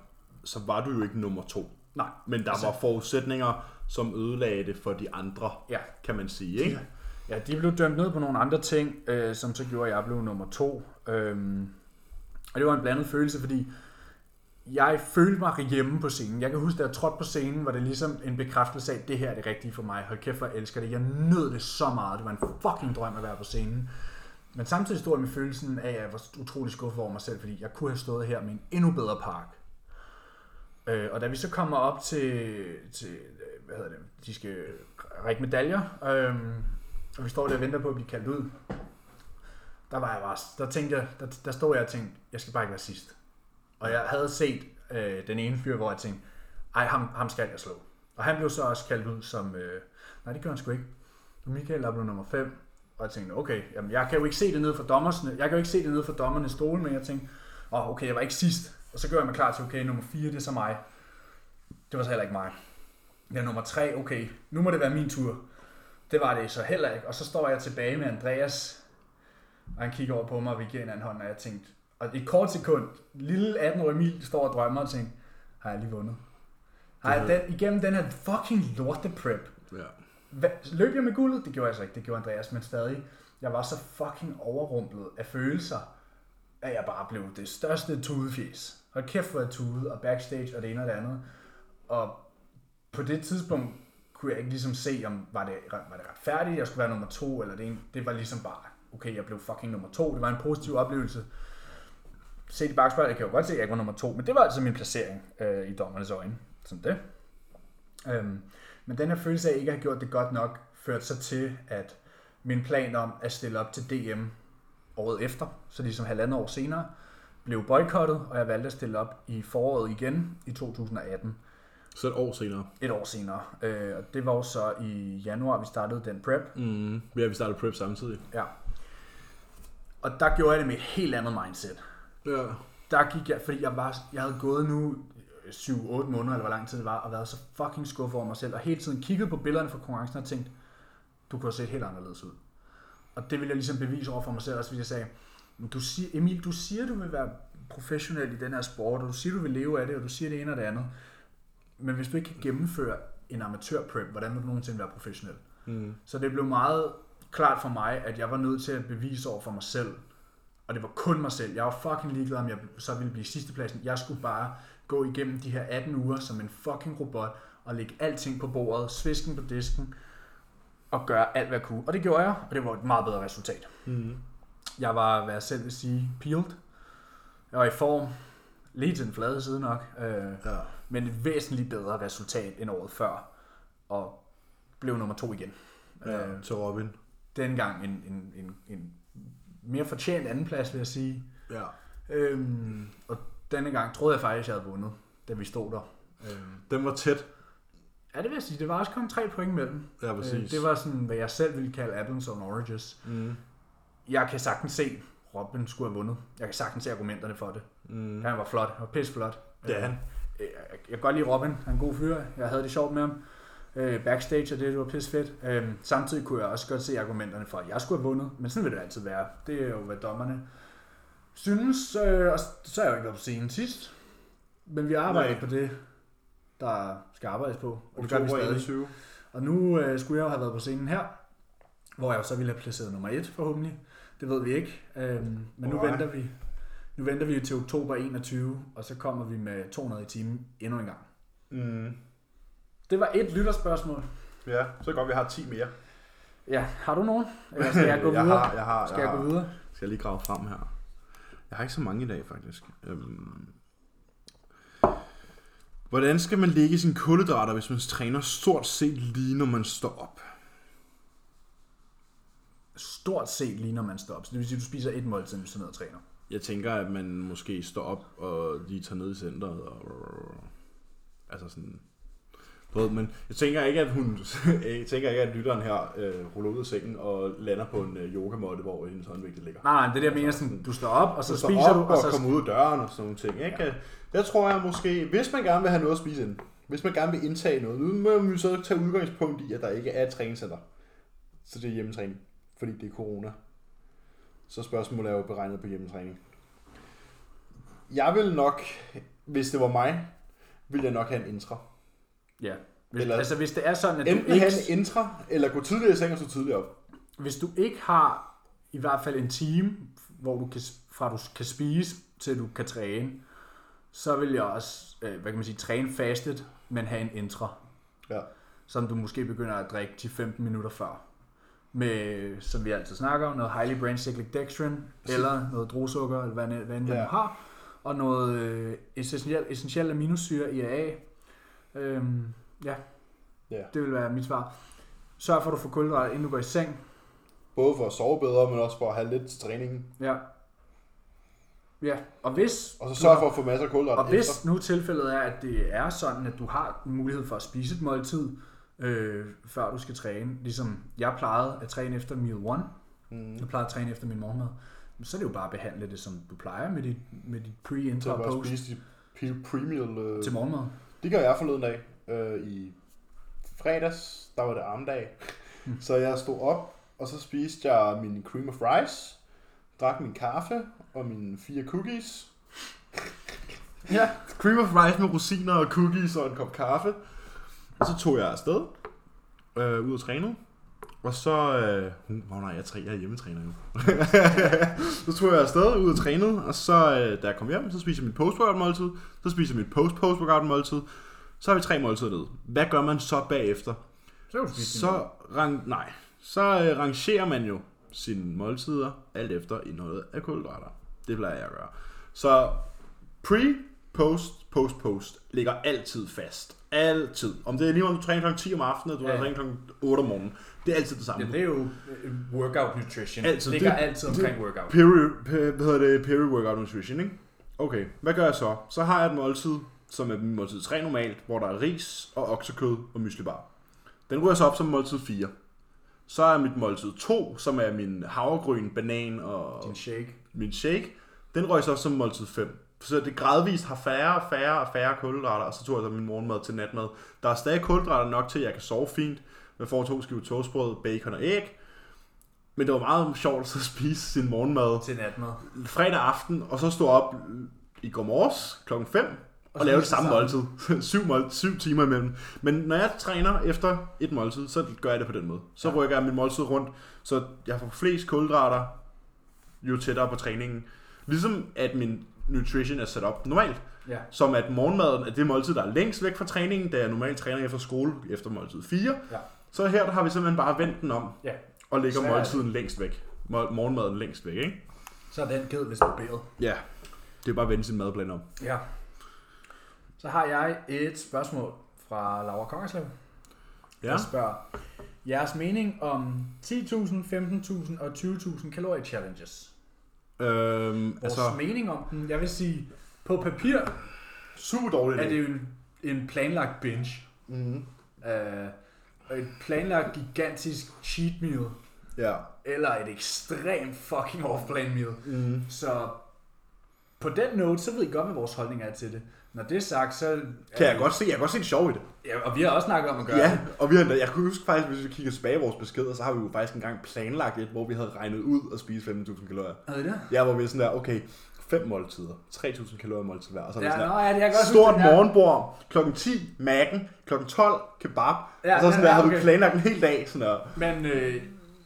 Speaker 1: så var du jo ikke nummer to.
Speaker 2: Nej.
Speaker 1: Men der
Speaker 2: Altså-
Speaker 1: var forudsætninger, som ødelagde det for de andre,
Speaker 2: Ja,
Speaker 1: kan man sige, ikke?
Speaker 2: Ja, de blev dømt ned på nogle andre ting, øh, som så gjorde, at jeg blev nummer to. Øhm, og det var en blandet følelse, fordi jeg følte mig hjemme på scenen. Jeg kan huske, da jeg trådte på scenen, var det ligesom en bekræftelse af, at det her er det rigtige for mig. Hold kæft, hvor jeg elsker det. Jeg nød det så meget. Det var en fucking drøm at være på scenen. Men samtidig stod jeg med følelsen af, at jeg var utrolig skuffet over mig selv, fordi jeg kunne have stået her med en endnu bedre park. Øh, og da vi så kommer op til, til øh, hvad hedder det, de skal række medaljer, øh, og vi står der og venter på at blive kaldt ud, der var jeg bare, der tænkte jeg, der, der stod jeg og tænkte, jeg skal bare ikke være sidst. Og jeg havde set øh, den ene fyr, hvor jeg tænkte, ej, ham, ham skal jeg slå. Og han blev så også kaldt ud som, øh, nej, det gør han sgu ikke. Og Michael der blev nummer 5, og jeg tænkte, okay, jamen, jeg kan jo ikke se det nede fra dommersne, jeg kan jo ikke se det nede fra dommernes stole, men jeg tænkte, åh, oh, okay, jeg var ikke sidst. Og så gør jeg mig klar til, okay, nummer 4, det er så mig. Det var så heller ikke mig. Ja, nummer 3, okay, nu må det være min tur. Det var det så heller ikke. Og så står jeg tilbage med Andreas, og han kigger over på mig, og vi giver hinanden hånd, og jeg tænkte, og i et kort sekund, lille 18-årig Emil står og drømmer og tænker, har jeg lige vundet? Har jeg den, igennem den her fucking lorte prep,
Speaker 1: Ja.
Speaker 2: hvad, løb jeg med guldet? Det gjorde jeg så ikke, det gjorde Andreas, men stadig. Jeg var så fucking overrumplet af følelser, at jeg bare blev det største tudefjes. Hold kæft, hvor jeg tudede, og backstage, og det ene og det andet. Og på det tidspunkt kunne jeg ikke ligesom se, om var det, var det retfærdigt, jeg skulle være nummer to, eller det ene. Det var ligesom bare, okay, jeg blev fucking nummer to. Det var en positiv oplevelse. Se i bagspejlet, jeg kan jo godt se, at jeg ikke var nummer to, men det var altså min placering øh, i dommernes øjne. Sådan det. Øhm, men den her følelse af ikke at have gjort det godt nok, førte så til, at min plan om at stille op til DM året efter, så ligesom halvandet år senere, blev boykottet, og jeg valgte at stille op i foråret igen i 2018,
Speaker 1: Så et år senere.
Speaker 2: et år senere. Øh, og det var jo så i januar, vi startede den prep,
Speaker 1: Mm. Ja, vi startede prep samtidig.
Speaker 2: ja. Og der gjorde jeg det med et helt andet mindset.
Speaker 1: Ja.
Speaker 2: der gik jeg, fordi jeg, var, jeg havde gået nu 7-8 måneder, eller hvor lang tid det var, og været så fucking skuffet over mig selv, og hele tiden kigget på billederne fra konkurrencen og tænkt, du kunne have set helt anderledes ud. Og det ville jeg ligesom bevise over for mig selv, også fordi jeg sagde, "Men du siger, Emil, du siger, du vil være professionel i den her sport, og du siger, du vil leve af det, og du siger det ene og det andet. Men hvis du ikke kan gennemføre en amatørprep, hvordan vil du nogensinde være professionel?
Speaker 1: Mm.
Speaker 2: Så det blev meget klart for mig, at jeg var nødt til at bevise over for mig selv, og det var kun mig selv. Jeg var fucking ligeglad, om jeg så ville blive sidstepladsen. Jeg skulle bare gå igennem de her 18 uger som en fucking robot, og lægge alting på bordet, svisken på disken, og gøre alt, hvad jeg kunne. Og det gjorde jeg, og det var et meget bedre resultat.
Speaker 1: Mm.
Speaker 2: Jeg var, hvad jeg selv vil sige, peeled. Jeg var i form, lige til den flade side nok. Øh,
Speaker 1: Ja.
Speaker 2: men et væsentligt bedre resultat end året før, og blev nummer to igen.
Speaker 1: ja.
Speaker 2: Øh,
Speaker 1: Til Robin.
Speaker 2: dengang en, en, en, en mere fortjent andenplads, vil jeg sige.
Speaker 1: Ja.
Speaker 2: Øhm, og denne gang troede jeg faktisk, jeg havde vundet, da vi stod der. Øhm,
Speaker 1: Den var tæt.
Speaker 2: ja, det vil jeg sige. Det var også kun tre point imellem.
Speaker 1: Ja, præcis.
Speaker 2: Øh, det var sådan, hvad jeg selv ville kalde apples and oranges.
Speaker 1: Mm.
Speaker 2: Jeg kan sagtens se, Robin skulle have vundet. Jeg kan sagtens se argumenterne for det.
Speaker 1: Mm.
Speaker 2: Han var flot. Han var pisseflot.
Speaker 1: Det er han.
Speaker 2: Øh, jeg jeg kan godt lide Robin. Han er en god fyr. Jeg havde det sjovt med ham. Øh, backstage og det, det var pisse fedt. Øh, samtidig kunne jeg også godt se argumenterne for, at jeg skulle have vundet. Men sådan vil det altid være. Det er jo, hvad dommerne synes. Øh, og s- så er jeg jo ikke været på scenen sidst. Men vi arbejder
Speaker 1: Nej.
Speaker 2: på det, der skal arbejdes på. Og det gør vi
Speaker 1: Oktober
Speaker 2: stadig.
Speaker 1: 21.
Speaker 2: Og nu øh, skulle jeg jo have været på scenen her, hvor jeg jo så ville have placeret nummer 1 forhåbentlig. Det ved vi ikke. Øhm, men nu
Speaker 1: Nej.
Speaker 2: venter vi. Nu venter vi jo til oktober 21, og så kommer vi med 200 i timen endnu en gang.
Speaker 1: Mm.
Speaker 2: Det var et lytterspørgsmål.
Speaker 1: Ja, så godt, vi har 10 mere.
Speaker 2: Ja, har du nogen? Eller skal Altså, jeg gå
Speaker 1: jeg
Speaker 2: videre?
Speaker 1: Har, jeg har,
Speaker 2: skal
Speaker 1: jeg
Speaker 2: jeg
Speaker 1: har.
Speaker 2: gå videre?
Speaker 1: Skal jeg lige grave frem her? Jeg har ikke så mange i dag, faktisk. Øhm. Hvordan skal man lægge sine kulhydrater, hvis man træner stort set lige, når man står op?
Speaker 2: Stort set lige når man står op. Så det vil sige, at du spiser et måltid, hvis du sidder ned og træner.
Speaker 1: Jeg tænker, at man måske står op og lige tager ned i centret. Og... Altså sådan... Du ved, men jeg tænker ikke, at hun, jeg tænker ikke, at lytteren her øh, ruller ud af sengen og lander på en øh, yogamåtte, hvor hendes håndvægte ligger.
Speaker 2: Nej, nej, det er det, jeg mener sådan, du står op, og så
Speaker 1: Så
Speaker 2: du
Speaker 1: står
Speaker 2: spiser
Speaker 1: op
Speaker 2: du,
Speaker 1: og,
Speaker 2: og så...
Speaker 1: kommer ud af døren og sådan nogle ting. Ikke? Ja. Der tror jeg måske, hvis man gerne vil have noget at spise ind, hvis man gerne vil indtage noget, nu må vi så tage udgangspunkt i, at der ikke er et træningscenter. Så det er hjemmetræning, fordi det er corona. Så spørgsmålet er jo beregnet på hjemmetræning. Jeg vil nok, hvis det var mig, ville jeg nok have en intra.
Speaker 2: Ja. Hvis,
Speaker 1: Eller-
Speaker 2: altså hvis det er sådan, at du
Speaker 1: Enten
Speaker 2: ikke...
Speaker 1: have en intra, eller gå tidligere i seng og stå tidligere op.
Speaker 2: hvis du ikke har i hvert fald en time, hvor du kan, fra du kan spise til du kan træne, så vil jeg også, øh, hvad kan man sige, træne fastet, men have en intra,
Speaker 1: Ja.
Speaker 2: som du måske begynder at drikke 10-15 minutter før. Med, som vi altid snakker om, noget highly brain cyclic dextrin, eller noget druesukker, eller hvad, end- hvad end man
Speaker 1: Ja.
Speaker 2: nu har, og noget øh, essentiel, essentiel aminosyre, IAA. Øhm, ja,
Speaker 1: Ja.
Speaker 2: det vil være mit svar. Sørg for, at du får kulhydrater, inden du går i seng.
Speaker 1: Både for at sove bedre, men også for at have lidt til træningen.
Speaker 2: Ja. Ja, og hvis,
Speaker 1: Og så
Speaker 2: du,
Speaker 1: sørg for at få masser af kulhydrater
Speaker 2: og hvis
Speaker 1: efter.
Speaker 2: nu tilfældet er, at det er sådan, at du har mulighed for at spise et måltid, øh, før du skal træne, ligesom jeg plejede at træne efter meal 1,
Speaker 1: Mm.
Speaker 2: jeg plejede at træne efter min morgenmad, så er det jo bare at behandle det, som du plejer med dit, med dit
Speaker 1: Så
Speaker 2: pre-intra
Speaker 1: jeg
Speaker 2: og
Speaker 1: bare
Speaker 2: post
Speaker 1: spise de pre- premium. Øh.
Speaker 2: til morgenmad.
Speaker 1: Det gør jeg forleden dag. Øh, I fredags, der var det armdag. Så jeg stod op, og så spiste jeg min cream of rice, drak min kaffe og mine fire cookies.
Speaker 2: Ja.
Speaker 1: Cream of rice med rosiner og cookies og en kop kaffe. Og så tog jeg afsted, øh, ud og trænede. Og så... Øh, uh, oh nej, jeg, træ, jeg er hjemmetræner nu. så tog jeg afsted, ud og trænede, og så, øh, da jeg kom hjem, så spiser jeg mit post-workout-måltid, så spiser jeg mit post-post-workout-måltid, så har vi tre måltider nede. Hvad gør man så bagefter?
Speaker 2: Så kan du spise din
Speaker 1: Så, rang, nej, så øh, rangerer man jo sine måltider alt efter indholdet af kulhydrater. Det plejer jeg at gøre. Så pre, post, post, post ligger altid fast. Altid. Om det er lige om du træner kl. 10 om aftenen, eller du
Speaker 3: Ja,
Speaker 1: ja.
Speaker 3: ja.
Speaker 1: træner kl. 8 om morgenen. Det er altid det samme.
Speaker 3: Ja, det er jo øh, workout nutrition.
Speaker 1: Altid.
Speaker 3: Altid. Ligger
Speaker 1: Det-
Speaker 3: altid omkring workout.
Speaker 1: Peri, per, hvad hedder det? Peri workout nutrition, ikke? Okay, hvad gør jeg så? Så har jeg et måltid, som er min måltid 3 normalt, hvor der er ris og oksekød og myslibar. Den ryger så op som måltid 4. Så er mit måltid 2, som er min havregryn, banan og
Speaker 2: din shake.
Speaker 1: min shake, den røg så op som måltid 5. Så det gradvist har færre og færre og færre kulhydrater, og så tog jeg så min morgenmad til natmad. Der er stadig kulhydrater nok til, at jeg kan sove fint. Jeg får to skiver toastbrød, bacon og æg. Men det var meget sjovt så at spise sin morgenmad
Speaker 3: Til natmad.
Speaker 1: fredag aften, og så stå op i går morges klokken 5 og, og lave det
Speaker 2: spise
Speaker 1: samme
Speaker 2: det
Speaker 1: måltid. syv, mål, syv timer imellem. Men når jeg træner efter et måltid, så gør jeg det på den måde. Så
Speaker 3: Ja.
Speaker 1: ja. rykker jeg min måltid rundt, så jeg får flest kulhydrater, jo tættere på træningen. Ligesom at min nutrition er sat op normalt.
Speaker 2: Ja.
Speaker 1: Som at morgenmaden er det måltid, der er længst væk fra træningen, da jeg normalt træner efter skole efter måltid 4.
Speaker 2: Ja.
Speaker 1: Så her der har vi simpelthen bare vendt den om,
Speaker 3: Ja.
Speaker 1: og lægger
Speaker 2: Så er
Speaker 1: måltiden længst væk. Mol- Morgenmaden længst væk, ikke?
Speaker 2: Så er den ked vist barberet.
Speaker 1: Ja, det er bare at vende sin madplan om.
Speaker 2: Ja. Så har jeg et spørgsmål fra Laura Kongerslev.
Speaker 1: Ja.
Speaker 2: der spørger, jeres mening om 10.000, 15.000 og 20.000 kalorie challenges.
Speaker 1: Øhm,
Speaker 2: Vores
Speaker 1: altså,
Speaker 2: altså, mening om dem, jeg vil sige, på papir
Speaker 1: super dårligt.
Speaker 2: er det jo en, en planlagt binge.
Speaker 1: Mm-hmm.
Speaker 2: Øh, og et planlagt gigantisk cheat meal,
Speaker 1: Ja.
Speaker 2: eller et ekstremt fucking off-plan meal.
Speaker 1: Mm.
Speaker 2: Så på den note, så ved I godt, hvad vores holdning er til det. Når det er sagt, så... er
Speaker 1: Kan jeg
Speaker 2: vi-
Speaker 1: godt se, jeg kan godt se det sjov i det.
Speaker 2: Ja, og vi har også snakket om at gøre
Speaker 1: Ja,
Speaker 2: det.
Speaker 1: og vi har, jeg kunne huske faktisk, hvis vi kigger tilbage i vores beskeder, så har vi jo faktisk engang planlagt et, hvor vi havde regnet ud at spise 15.000 kalorier.
Speaker 2: Er det det?
Speaker 1: Ja, hvor vi er sådan der, okay, fem måltider, 3.000 kalorier måltid hver, og så er ja,
Speaker 2: Ja,
Speaker 1: sådan
Speaker 2: nå,
Speaker 1: der,
Speaker 2: ja, det er godt
Speaker 1: stort morgenbord, klokken 10, macken, klokken 12, kebab, ja,
Speaker 2: Ja,
Speaker 1: og så sådan
Speaker 2: ja,
Speaker 1: der,
Speaker 2: ja,
Speaker 1: havde vi
Speaker 2: okay.
Speaker 1: planlagt en hel dag, sådan der.
Speaker 2: Men øh,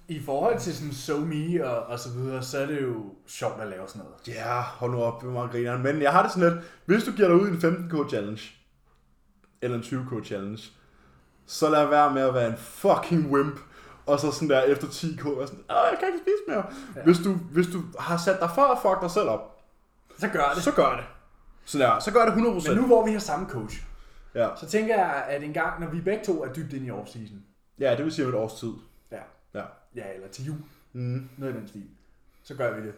Speaker 2: i forhold til sådan SoMe og, og så videre, så er det jo sjovt at lave sådan noget.
Speaker 1: Ja, yeah, hold nu op, hvor meget grineren. Men jeg har det sådan lidt, hvis du giver dig ud i en 15k challenge, eller en 20k challenge, så lad være med at være en fucking wimp, og så sådan der efter 10k, og sådan, åh, jeg kan ikke spise mere. Ja.
Speaker 2: Ja.
Speaker 1: Hvis, du, hvis du har sat dig for at fuck dig selv op,
Speaker 2: Så gør det.
Speaker 1: så gør det. Sådan der, så gør det 100%.
Speaker 2: Men nu hvor vi har samme coach,
Speaker 1: Ja.
Speaker 2: så tænker jeg, at en gang, når vi begge to er dybt inde i offseason,
Speaker 1: ja, det vil sige om et års tid.
Speaker 2: ja,
Speaker 1: Ja.
Speaker 2: ja, eller til jul,
Speaker 1: Mm.
Speaker 2: noget i den stil, så gør vi det.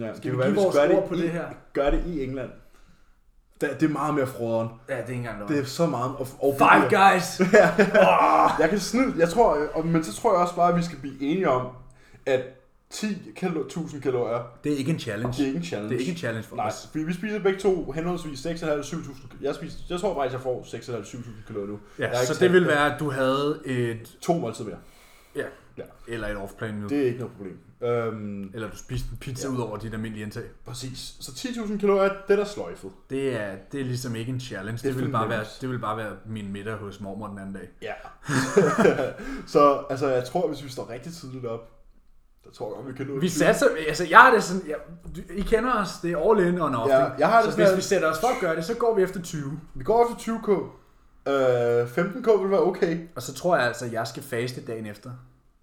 Speaker 1: ja
Speaker 2: Skal
Speaker 1: kan
Speaker 2: vi
Speaker 1: være,
Speaker 2: give
Speaker 1: vi
Speaker 2: vores
Speaker 1: gør
Speaker 2: ord på
Speaker 1: i,
Speaker 2: det her?
Speaker 1: Gør det i England. Det, det er meget mere froderen.
Speaker 2: Ja, det er ikke engang noget.
Speaker 1: Det er så meget... Og, og
Speaker 2: Five guys!
Speaker 1: Jeg kan snyd, jeg tror, øh, og- men så tror jeg også bare, at vi skal blive enige om, at 10 kalo- 1000 kalorier,
Speaker 3: Det er ikke en challenge.
Speaker 1: det er ikke en challenge.
Speaker 3: Det er ikke en challenge for
Speaker 1: Nej,
Speaker 3: os.
Speaker 1: vi, vi spiser begge to henholdsvis 6.500-7.000. Jeg, spiser, jeg tror faktisk, jeg får 6.500-7.000 kalorier nu.
Speaker 3: Ja,
Speaker 1: Jeg har ikke
Speaker 3: så det
Speaker 1: talt
Speaker 3: vil
Speaker 1: på
Speaker 3: være, at du havde et...
Speaker 1: To måltider mere.
Speaker 3: Ja.
Speaker 1: Ja.
Speaker 3: Eller et off-plan meal.
Speaker 1: Det er ikke noget problem. Øhm,
Speaker 3: Eller du spiste en pizza
Speaker 1: Ja.
Speaker 3: ud over dit almindelige indtag.
Speaker 1: præcis. Så 10.000 kalorier, det er der sløjfet.
Speaker 3: Det er, det er ligesom ikke en challenge. Det,
Speaker 1: Det er
Speaker 3: det, vil bare være,
Speaker 1: fornemt.
Speaker 3: det vil bare være min middag hos mormor den anden dag.
Speaker 1: Ja. så altså, jeg tror, hvis vi står rigtig tidligt op, der tror jeg godt, vi kan nå
Speaker 2: Vi
Speaker 1: 20.
Speaker 2: satser, altså jeg har det sådan, ja, du- I kender os, det er all in og off.
Speaker 1: Ja,
Speaker 2: ikke?
Speaker 1: jeg har det
Speaker 2: så
Speaker 1: sådan,
Speaker 2: hvis
Speaker 1: at-
Speaker 2: vi sætter os for at gøre det, så går vi efter 20.
Speaker 1: Vi går efter 20k. Øh, 15k vil være okay.
Speaker 2: Og så tror jeg altså, at jeg skal faste dagen efter.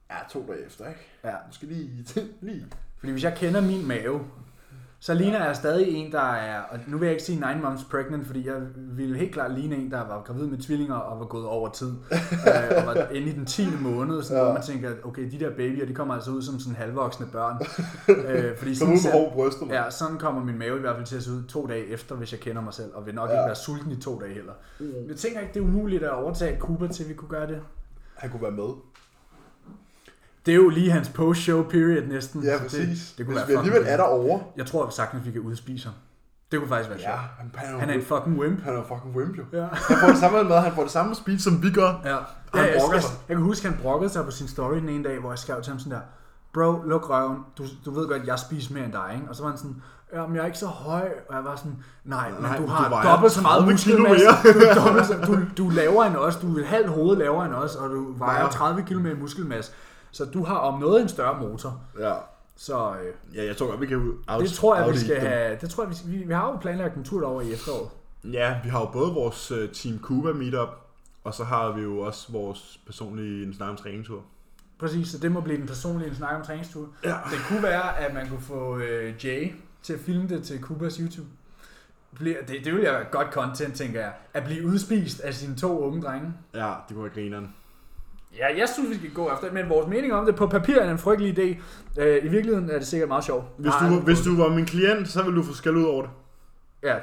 Speaker 1: Ja, to dage efter, ikke?
Speaker 2: Ja.
Speaker 1: Måske lige... lige.
Speaker 2: Fordi hvis jeg kender min mave, så ligner jeg stadig en, der er... Og nu vil jeg ikke sige 9 months pregnant, fordi jeg ville helt klart ligne en, der var gravid med tvillinger og var gået over tid. øh, og var inde i den 10. måned, så ja. hvor man tænker, okay, de der babyer, de kommer altså ud som sådan halvvoksne børn. øh, fordi
Speaker 1: Kom ud
Speaker 2: ser-
Speaker 1: med hårde bryster, mand.
Speaker 2: Ja, sådan kommer min mave i hvert fald til at se ud to dage efter, hvis jeg kender mig selv, og vil nok
Speaker 1: Ja.
Speaker 2: ja. ikke være sulten i to dage heller.
Speaker 1: Mm.
Speaker 2: Jeg tænker ikke, det er umuligt at overtage Cooper til, at vi kunne gøre det.
Speaker 1: Han kunne være med.
Speaker 2: Det er jo lige hans post-show period næsten.
Speaker 1: Ja,
Speaker 2: så
Speaker 1: præcis.
Speaker 2: Det, det kunne
Speaker 1: Hvis
Speaker 2: være
Speaker 1: vi alligevel
Speaker 2: fucking-
Speaker 1: er derovre.
Speaker 2: Jeg tror at sagtens, vi kan udspise ham. Det kunne faktisk være sjovt.
Speaker 1: Ja,
Speaker 2: Ja.
Speaker 1: han, han, er, jo
Speaker 2: Han er en
Speaker 1: wimp.
Speaker 2: fucking wimp.
Speaker 1: han er jo fucking wimp, jo.
Speaker 4: Ja.
Speaker 1: Han får det samme med, han får det samme speed, som vi gør.
Speaker 2: Ja.
Speaker 1: han
Speaker 2: jeg,
Speaker 1: brokker
Speaker 2: jeg,
Speaker 1: sig.
Speaker 2: jeg kan huske, han brokkede sig på sin story den ene dag, hvor jeg skrev til ham sådan der, bro, luk røven, du, du ved godt, jeg spiser mere end dig, ikke? Og så var han sådan, ja, men jeg er ikke så høj, og jeg var sådan, nej, men
Speaker 1: Nej,
Speaker 2: du
Speaker 1: du
Speaker 2: har
Speaker 1: vejer
Speaker 2: dobbelt så meget
Speaker 1: 30 kilo
Speaker 2: muskelmasse, du, er dobbelt så, du, du er lavere end os, du er halvt hoved lavere end os, og du vejer
Speaker 1: Vejer.
Speaker 2: 30 kilo mere muskelmasse, så du har om noget en større motor,
Speaker 1: Ja,
Speaker 2: så øh,
Speaker 1: ja jeg tror godt, vi kan ud.
Speaker 2: det tror jeg, vi skal have, det tror jeg, vi, skal- vi, vi har jo planlagt en tur over i efteråret.
Speaker 1: Ja, vi har jo både vores øh, Team Cuba meetup, og så har vi jo også vores personlige en snak om træningstur.
Speaker 2: Præcis, så det må blive den personlige snak om træningstur.
Speaker 1: Ja.
Speaker 2: Det kunne være, at man kunne få øh, Jay til at filme det til Kubas YouTube. Bliver- Det, det ville jeg være godt content, tænker jeg. At blive udspist af sine to unge drenge.
Speaker 1: Ja, det kunne være grineren.
Speaker 2: Ja, jeg synes, vi skal gå efter det, men vores mening om det på papir er en frygtelig idé. Øh, I virkeligheden er det sikkert meget sjovt.
Speaker 1: Hvis,
Speaker 2: Nej,
Speaker 1: du, hvis du var min klient, så ville du få skæld ud over det.
Speaker 2: Ja,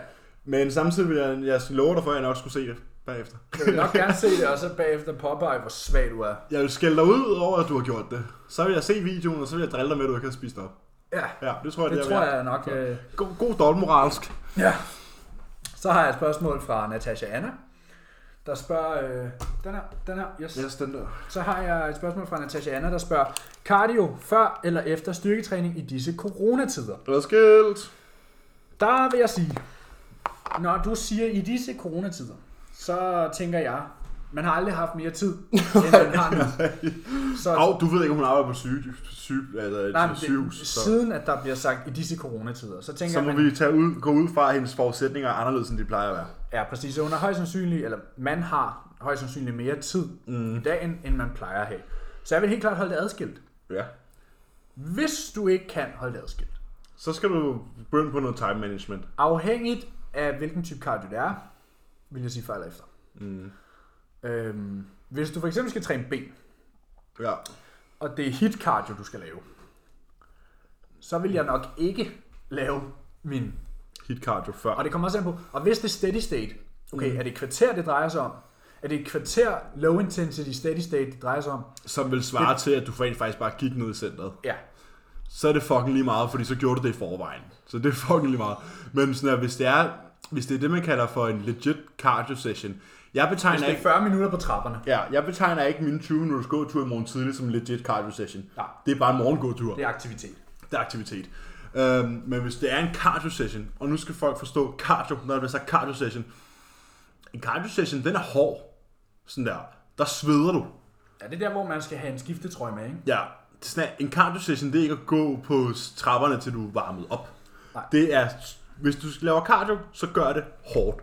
Speaker 1: Men samtidig vil jeg, jeg lover dig for, at jeg nok skulle se det bagefter.
Speaker 2: jeg vil nok gerne se det, og så bagefter påpege, hvor svag du er.
Speaker 1: Jeg vil skælde dig ud over, at du har gjort det. Så vil jeg se videoen, og så vil jeg drille dig med, at du ikke har spist op.
Speaker 2: Ja,
Speaker 1: Ja, det tror jeg, det,
Speaker 2: det
Speaker 1: er
Speaker 2: tror
Speaker 1: værd.
Speaker 2: jeg nok. Øh,
Speaker 1: God, god dobbeltmoralsk.
Speaker 2: Ja. Så har jeg et spørgsmål fra Natasha Anna, der spørger... Øh, den her, den her, yes. yes.
Speaker 1: den der.
Speaker 2: Så har jeg et spørgsmål fra Natasha Anna, der spørger... Cardio før eller efter styrketræning i disse coronatider?
Speaker 1: Det var skældt.
Speaker 2: Der vil jeg sige, når du siger i disse coronatider, så tænker jeg, man har aldrig haft mere tid, end man har nu. Så,
Speaker 1: Au, du ved ikke, om hun arbejder på syge, syge, altså,
Speaker 2: nej,
Speaker 1: Nej,
Speaker 2: men
Speaker 1: sygehus.
Speaker 2: det,
Speaker 1: Så,
Speaker 2: siden at der bliver sagt i disse coronatider, så tænker
Speaker 1: så må
Speaker 2: man,
Speaker 1: vi tage ud, gå ud fra, at hendes forudsætninger er anderledes, end de plejer at være.
Speaker 2: Ja, præcis. Så hun har højst sandsynligt, eller man har højst sandsynligt mere tid mm. i dagen, end man plejer at have. Så jeg vil helt klart holde det adskilt.
Speaker 1: Ja.
Speaker 2: Hvis du ikke kan holde det adskilt,
Speaker 1: Så skal du begynde på noget time management.
Speaker 2: afhængigt af hvilken type cardio det er, vil jeg sige før eller efter. Mm. Øhm, hvis du for eksempel skal træne ben,
Speaker 1: Ja.
Speaker 2: og det er hit cardio, du skal lave, så vil jeg nok ikke lave min
Speaker 1: Hit cardio før.
Speaker 2: Og det kommer også an på, og hvis det er steady state, okay, mm. er det et kvarter, det drejer sig om? Er det et kvarter low intensity steady state, det drejer sig om?
Speaker 1: Som vil svare til, at du rent faktisk bare gik ned i centret.
Speaker 2: Ja.
Speaker 1: Så er det fucking lige meget, fordi så gjorde du det i forvejen. Så det er fucking lige meget. Men sådan her, hvis det er, hvis det er det, man kalder for en legit cardio session. Jeg
Speaker 2: Hvis
Speaker 1: betegner
Speaker 2: det er
Speaker 1: ikke,
Speaker 2: 40 minutter på trapperne.
Speaker 1: ja, jeg betegner ikke mine 20 minutters gåtur i morgen tidlig som en legit cardio session.
Speaker 2: Nej.
Speaker 1: Det er bare en morgengåtur.
Speaker 2: Det er aktivitet.
Speaker 1: Det er aktivitet. Øhm, men hvis det er en cardio session, og nu skal folk forstå cardio, når der bliver sagt cardio session. En cardio session, den er hård. Sådan der. Der sveder du.
Speaker 2: Ja, det er der, hvor man skal have en skiftetrøje med, ikke?
Speaker 1: Ja, det er sådan, at en cardio session, det er ikke at gå på trapperne, til du er varmet op.
Speaker 2: Nej.
Speaker 1: Det er, hvis du laver cardio, så gør det hårdt.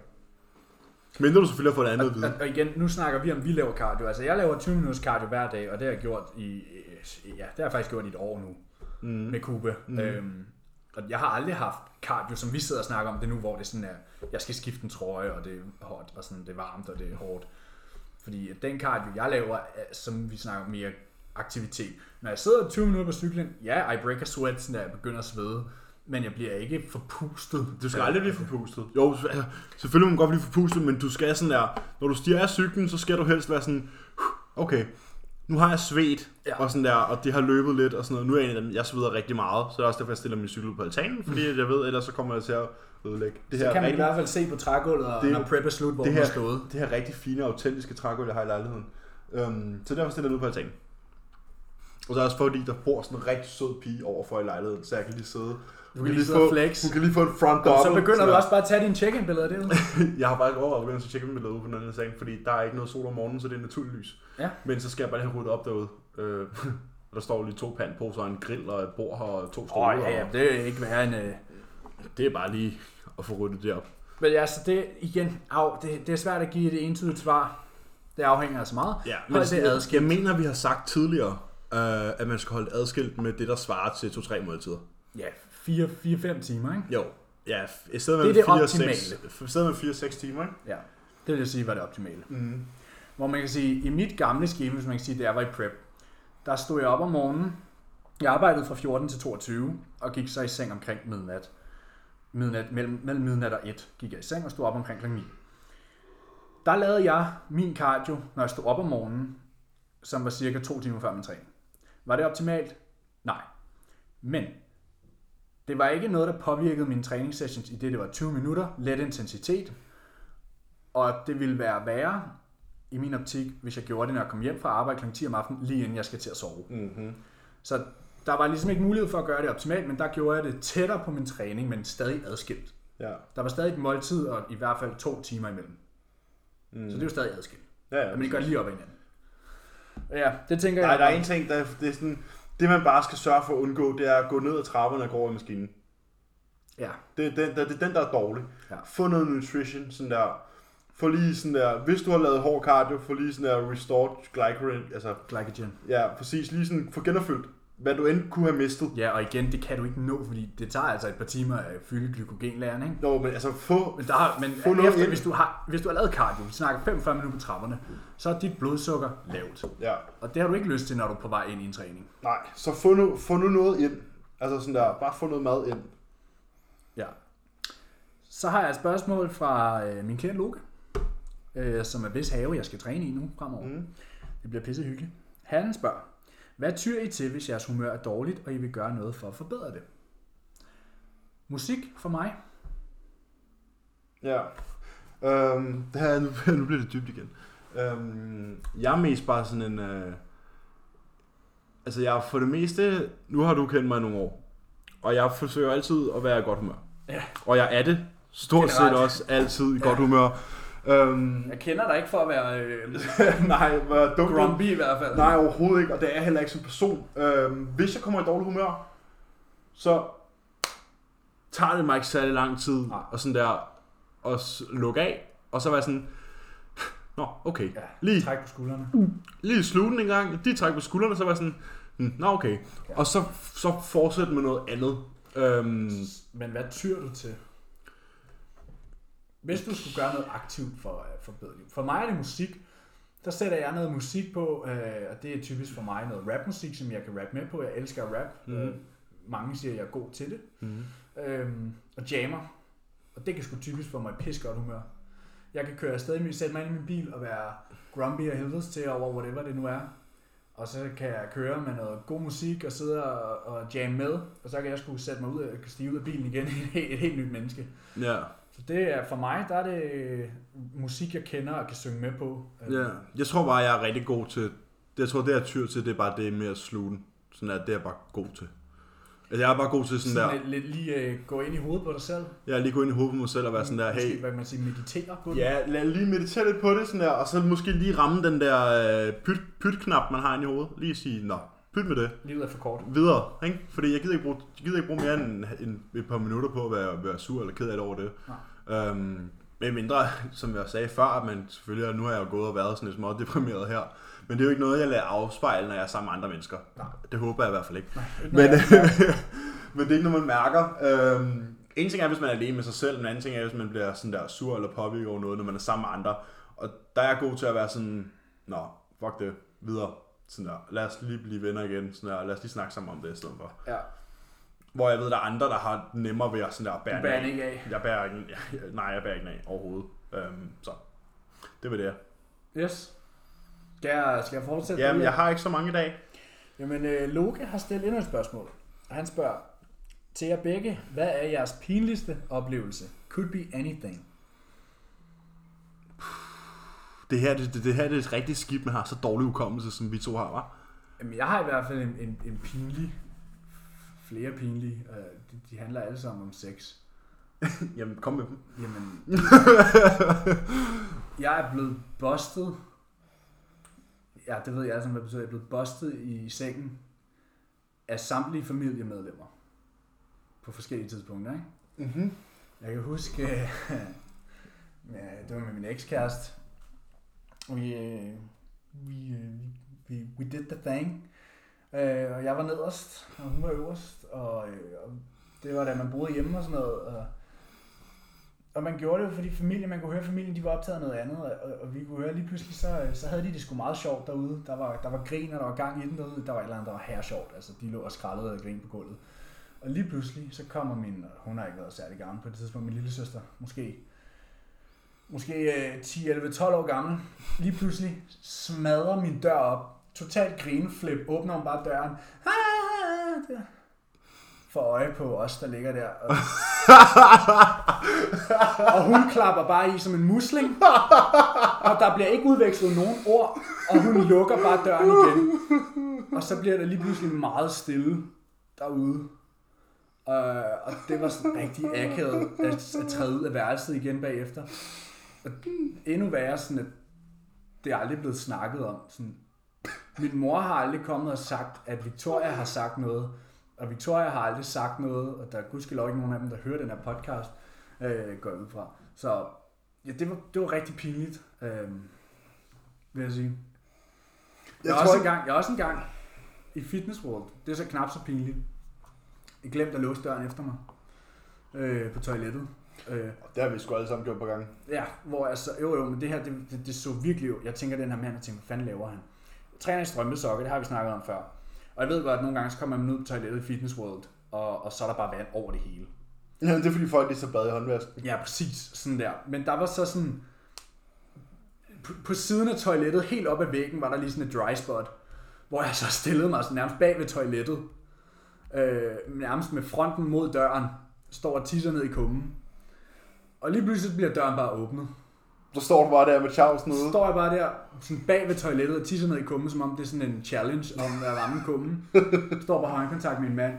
Speaker 1: Men du selvfølgelig har fået det andet at vide.
Speaker 2: Og- Og igen, nu snakker vi om, at vi laver cardio. Altså, jeg laver 20 minutters cardio hver dag, og det har jeg gjort i... øh, Ja, det har jeg faktisk gjort i et år nu mm. med Kube. Mm. Øhm, og jeg har aldrig haft cardio, som vi sidder og snakker om det nu, hvor det sådan er, jeg skal skifte en trøje, og det er hårdt, og sådan, det er varmt, og det er hårdt. Fordi at den cardio, jeg laver, er, som vi snakker om, mere aktivitet. Når jeg sidder 20 minutter på cyklen, ja, I break a sweat, sådan der, jeg begynder at svede, men jeg bliver ikke forpustet.
Speaker 1: Du skal aldrig blive forpustet. Jo, altså, selvfølgelig må man godt blive forpustet, men du skal sådan der, når du stiger af cyklen, så skal du helst være sådan, okay, nu har jeg svedt,
Speaker 2: Ja.
Speaker 1: ja. og sådan der, og det har løbet lidt, og sådan noget. Nu er jeg en af dem, jeg sveder rigtig meget, så det er også derfor, jeg stiller min cykel ud på altanen, fordi at jeg ved, ellers så kommer jeg til at ødelægge det
Speaker 2: Mm. Så
Speaker 1: her,
Speaker 2: kan man i
Speaker 1: rigtig,
Speaker 2: hvert fald se på trægulvet, og
Speaker 1: Det-
Speaker 2: når prep er slut, hvor
Speaker 1: det
Speaker 2: man
Speaker 1: her-
Speaker 2: har stået.
Speaker 1: det her rigtig fine, autentiske trægulv, jeg har i lejligheden. Øhm, så derfor stiller jeg den ud på altanen. Og så er også fordi, der bor sådan en rigtig sød pige overfor i lejligheden, så jeg kan lige sidde. Du
Speaker 2: lige sidde og flex.
Speaker 1: Hun kan lige få et front
Speaker 2: Og
Speaker 1: double.
Speaker 2: så begynder
Speaker 1: sådan
Speaker 2: du
Speaker 1: der.
Speaker 2: også bare at tage dine check-in-billeder derude.
Speaker 1: Jeg har faktisk overvejet at begynde at tjekke mit lade på den anden seng, fordi der er ikke noget sol om morgenen, så det er naturligt lys.
Speaker 2: Ja.
Speaker 1: Men så skal jeg bare lige have ryddet op derude. Øh, der står lige to pandposer, en grill og et bord her og to
Speaker 2: Åh,
Speaker 1: stole.
Speaker 2: oh, ja, ja,
Speaker 1: og
Speaker 2: det er ikke værre end... Øh...
Speaker 1: Det er bare lige at få ryddet det op.
Speaker 2: Men altså, det igen, au, det, det er svært at give et entydigt svar. Det afhænger altså meget.
Speaker 1: Ja,
Speaker 2: men det er
Speaker 1: jeg,
Speaker 2: adskilt.
Speaker 1: jeg mener, vi har sagt tidligere, øh, at man skal holde det adskilt med det, der svarer til 2-3 måltider.
Speaker 2: Ja, 4-5 timer, ikke?
Speaker 1: Jo. Ja, f- i stedet
Speaker 2: Det er
Speaker 1: med
Speaker 2: det
Speaker 1: 4-6 f- i stedet med 4-6 timer, ikke?
Speaker 2: Ja, det vil jeg sige var det optimale. Mm. Hvor man kan sige, i mit gamle schema, hvis man kan sige, det jeg var i prep, der stod jeg op om morgenen, jeg arbejdede fra 14 til 22, og gik så i seng omkring midnat. midnat mellem, mellem midnat og 1 gik jeg i seng og stod op omkring kl. 9. Der lavede jeg min cardio, når jeg stod op om morgenen, som var cirka to timer før min træning. Var det optimalt? Nej. Men Det var ikke noget, der påvirkede mine træningssessions i det, det var 20 minutter, let intensitet. Og det ville være værre i min optik, hvis jeg gjorde det, når jeg kom hjem fra arbejde kl. 10 om aftenen, lige inden jeg skal til at sove.
Speaker 1: Mm-hmm.
Speaker 2: Så der var ligesom ikke mulighed for at gøre det optimalt, men der gjorde jeg det tættere på min træning, men stadig adskilt.
Speaker 1: Ja.
Speaker 2: Der var stadig et måltid, og i hvert fald to timer imellem.
Speaker 1: Mm.
Speaker 2: Så det er jo stadig adskilt.
Speaker 1: ja, ja.
Speaker 2: Men det gør det lige op ad hinanden. Ja, det tænker
Speaker 1: Nej,
Speaker 2: jeg.
Speaker 1: der er en ting, der det er sådan... Det, man bare skal sørge for at undgå, det er at gå ned ad trapperne og gå over i maskinen.
Speaker 2: Ja,
Speaker 1: Det er den, der, det er den, der er dårlig.
Speaker 2: Ja.
Speaker 1: Få noget nutrition, sådan der. Få lige sådan der, hvis du har lavet hård cardio, få lige sådan der restored glycogen, altså
Speaker 2: glycogen.
Speaker 1: ja, præcis, lige sådan, få genopfyldt, hvad du end kunne have mistet.
Speaker 2: Ja, og igen, det kan du ikke nå, fordi det tager altså et par timer at fylde glykogenlæren, ikke?
Speaker 1: Jo, men altså få,
Speaker 2: Men, der, har- men
Speaker 1: Få noget
Speaker 2: efter,
Speaker 1: ind.
Speaker 2: hvis, du har, hvis du har lavet cardio, vi snakker 45 minutter på trapperne, så er dit blodsukker lavt.
Speaker 1: ja,
Speaker 2: Og det har du ikke lyst til, når du er på vej ind i en træning.
Speaker 1: nej, så få nu, få nu noget ind. Altså sådan der, bare få noget mad ind.
Speaker 2: Ja. Så har jeg et spørgsmål fra øh, min kære Loke, øh, som er hvis have, jeg skal træne i nu fremover. Mm. Det bliver pisse hyggeligt. Han spørger, hvad tyr I til, hvis jeres humør er dårligt, og I vil gøre noget for at forbedre det? Musik for mig.
Speaker 1: Ja. Øhm, det her, nu, nu bliver det dybt igen. Øhm, jeg er mest bare sådan en... Øh, altså jeg er for det meste... Nu har du kendt mig i nogle år. Og jeg forsøger altid at være i godt humør.
Speaker 2: Ja.
Speaker 1: Og jeg er det. Stort
Speaker 2: Generelt.
Speaker 1: set også altid i godt humør. Øhm,
Speaker 2: Jeg kender dig ikke for at være øh,
Speaker 1: nej, hvor er dumt.
Speaker 2: grumpy i hvert fald.
Speaker 1: Nej, overhovedet ikke. Og det er jeg heller ikke som person. Øhm, hvis jeg kommer i dårlig humør, så tager det mig ikke særlig lang tid
Speaker 2: Nej.
Speaker 1: og sådan der og s- lukke af. Og så var jeg sådan, nå, okay.
Speaker 2: Ja,
Speaker 1: Lige,
Speaker 2: Træk på skuldrene.
Speaker 1: lige slutten en gang, de træk på skuldrene, så var jeg sådan, "Hm, nå okay.
Speaker 2: Ja.
Speaker 1: Og så, så fortsætte med noget andet. Øhm,
Speaker 2: Men hvad tyr du til? Hvis du skulle gøre noget aktivt for at forbedre det. For mig er det musik. Der sætter jeg noget musik på, øh, og det er typisk for mig noget rapmusik, som jeg kan rappe med på. Jeg elsker at rap. Mm. Øh, mange siger, at jeg er god til det.
Speaker 1: Mhm.
Speaker 2: Øhm, og jammer. Og det kan sgu typisk få mig i pis godt humør. Jeg kan køre afsted, i- sætte mig ind i min bil og være grumpy og helvedes til over whatever det nu er. Og så kan jeg køre med noget god musik og sidde og, og jamme med. Og så kan jeg skulle sætte mig ud og stige ud af bilen igen. Et, et helt nyt menneske.
Speaker 1: ja,
Speaker 2: Så det er for mig, der er det musik, jeg kender og kan synge med på. Øh,
Speaker 1: ja. Jeg tror bare, jeg er rigtig god til, jeg tror det jeg tyr til, det er bare det med at slutte. Sådan at det er jeg bare god til. Altså, jeg er bare god til sådan, der,
Speaker 2: Sådan lidt, lidt lige øh, gå ind i hovedet på dig selv.
Speaker 1: Jeg er lige gået ind i hovedet på mig selv og være sådan der,
Speaker 2: Måske,
Speaker 1: hey,
Speaker 2: hvad kan man sige, meditere på det.
Speaker 1: ja, lad lige meditere lidt på det, sådan der, og så måske lige ramme den der øh, pyt, pytknap, man har inde i hovedet. Lige sige, nå, pyt med det,
Speaker 2: Livet er for kort.
Speaker 1: videre, ikke? Fordi jeg gider ikke bruge, jeg gider ikke bruge mere end, end et par minutter på at være, være sur eller ked af det over det. Øhm, med mindre, som jeg sagde før, at man selvfølgelig, og nu har jeg jo gået og været sådan lidt småt deprimeret her, men det er jo ikke noget, jeg lader afspejle, når jeg er sammen med andre mennesker.
Speaker 2: Nej.
Speaker 1: Det håber jeg i hvert fald ikke.
Speaker 2: Ikke
Speaker 1: Men, øh,
Speaker 2: noget, jeg-
Speaker 1: men det er ikke noget, man mærker. Øhm, en ting er, hvis man er alene med sig selv, en anden ting er, hvis man bliver sådan der sur eller påvirket over noget, når man er sammen med andre. Og der er jeg god til at være sådan, nå, fuck det, videre. Sådan der, lad os lige blive venner igen, sådan der, lad os lige snakke sammen om det i stedet for.
Speaker 2: Ja,
Speaker 1: Hvor jeg ved, der er andre, der har nemmere ved at sådan der bære
Speaker 2: du
Speaker 1: den
Speaker 2: bærer
Speaker 1: af.
Speaker 2: den ikke af.
Speaker 1: Jeg bærer ikke, nej, jeg bærer ikke den af overhovedet. Øhm, så det var det.
Speaker 2: Yes. Skal jeg, skal jeg fortsætte?
Speaker 1: Jamen,
Speaker 2: det?
Speaker 1: jeg har ikke så mange i dag.
Speaker 2: Jamen, øh, Loke har stillet endnu et spørgsmål. Og Han spørger, til jer begge, hvad er jeres pinligste oplevelse? Could be anything.
Speaker 1: Det her, det, det, det her det er et rigtigt skib, man har så dårlig hukommelse, som vi to har, var.
Speaker 2: Jamen, jeg har i hvert fald en, en, en pinlig, flere pinlige. Øh, de, de handler alle sammen om sex.
Speaker 1: Jamen, kom med dem.
Speaker 2: Jamen, jeg er blevet bustet. Ja, det ved jeg altså, hvad det betyder. Jeg er blevet bustet i sengen af samtlige familiemedlemmer på forskellige tidspunkter, ikke?
Speaker 1: Mhm.
Speaker 2: Jeg kan huske, ja, det var med min ekskæreste. Vi, øh, vi, øh, vi, we did the thing. Øh, og jeg var nederst, og hun var øverst, og, øh, og det var da man boede hjemme og sådan noget. Og, og man gjorde det jo, fordi familien, man kunne høre, familien de var optaget af noget andet, og, og- og vi kunne høre lige pludselig, så, øh, så havde de det sgu meget sjovt derude. Der var, der var grin, og der var gang i den derude. Der var et eller andet, der var her sjovt. Altså, de lå og skrællede og grin på gulvet. Og lige pludselig, så kommer min, og hun har ikke været særlig gammel på det tidspunkt, min lille søster, måske, måske øh, 10, 11, 12 år gammel, lige pludselig smadrer min dør op, totalt grineflip, åbner hun bare døren, ah, der. får øje på os, der ligger der. Og, og hun klapper bare i som en musling. Og der bliver ikke udvekslet nogen ord, og hun lukker bare døren igen. Og så bliver der lige pludselig meget stille derude. Øh, og det var sådan rigtig akavet at, at træde ud af værelset igen bagefter. Og endnu værre sådan, at det er aldrig blevet snakket om. Sådan, min mor har aldrig kommet og sagt, at Victoria har sagt noget, og Victoria har aldrig sagt noget, og der er gudskelov ikke nogen af dem, der hører den her podcast, øh, går jeg ud fra. Så ja, det, var, det var rigtig pinligt, øh, vil jeg sige. Jeg, jeg,
Speaker 1: Jeg
Speaker 2: er
Speaker 1: tror
Speaker 2: også
Speaker 1: ikke-
Speaker 2: engang, jeg er også engang i Fitness World, det er så knap så pinligt, jeg glemte at låse døren efter mig øh, på toilettet. Øh,
Speaker 1: Det har vi sgu alle sammen gjort på gang.
Speaker 2: Ja, hvor jeg så, jo jo, men det her, det, det, det så virkelig, jeg tænker den her mand, jeg tænker, hvad fanden laver han? Træner i strømpesokker, det har vi snakket om før. Og jeg ved godt, at nogle gange så kommer man ud på toilettet i Fitness World, og, og så er der bare vand over det hele.
Speaker 1: Ja, det er fordi folk lige så bad i håndvasken.
Speaker 2: Ja, præcis, sådan der. Men der var så sådan, på, på siden af toilettet, helt op ad væggen, var der lige sådan et dry spot, hvor jeg så stillede mig sådan nærmest bag ved toilettet, øh, nærmest med fronten mod døren, står og tisser ned i kummen. Og lige pludselig så bliver døren bare åbnet.
Speaker 1: Så står du bare der med Charlesen
Speaker 2: Så
Speaker 1: ude.
Speaker 2: står jeg bare der sådan bag ved toilettet og tisser ned i kummen, som om det er sådan en challenge om at ramme kummen. Står bare kontakt med en mand.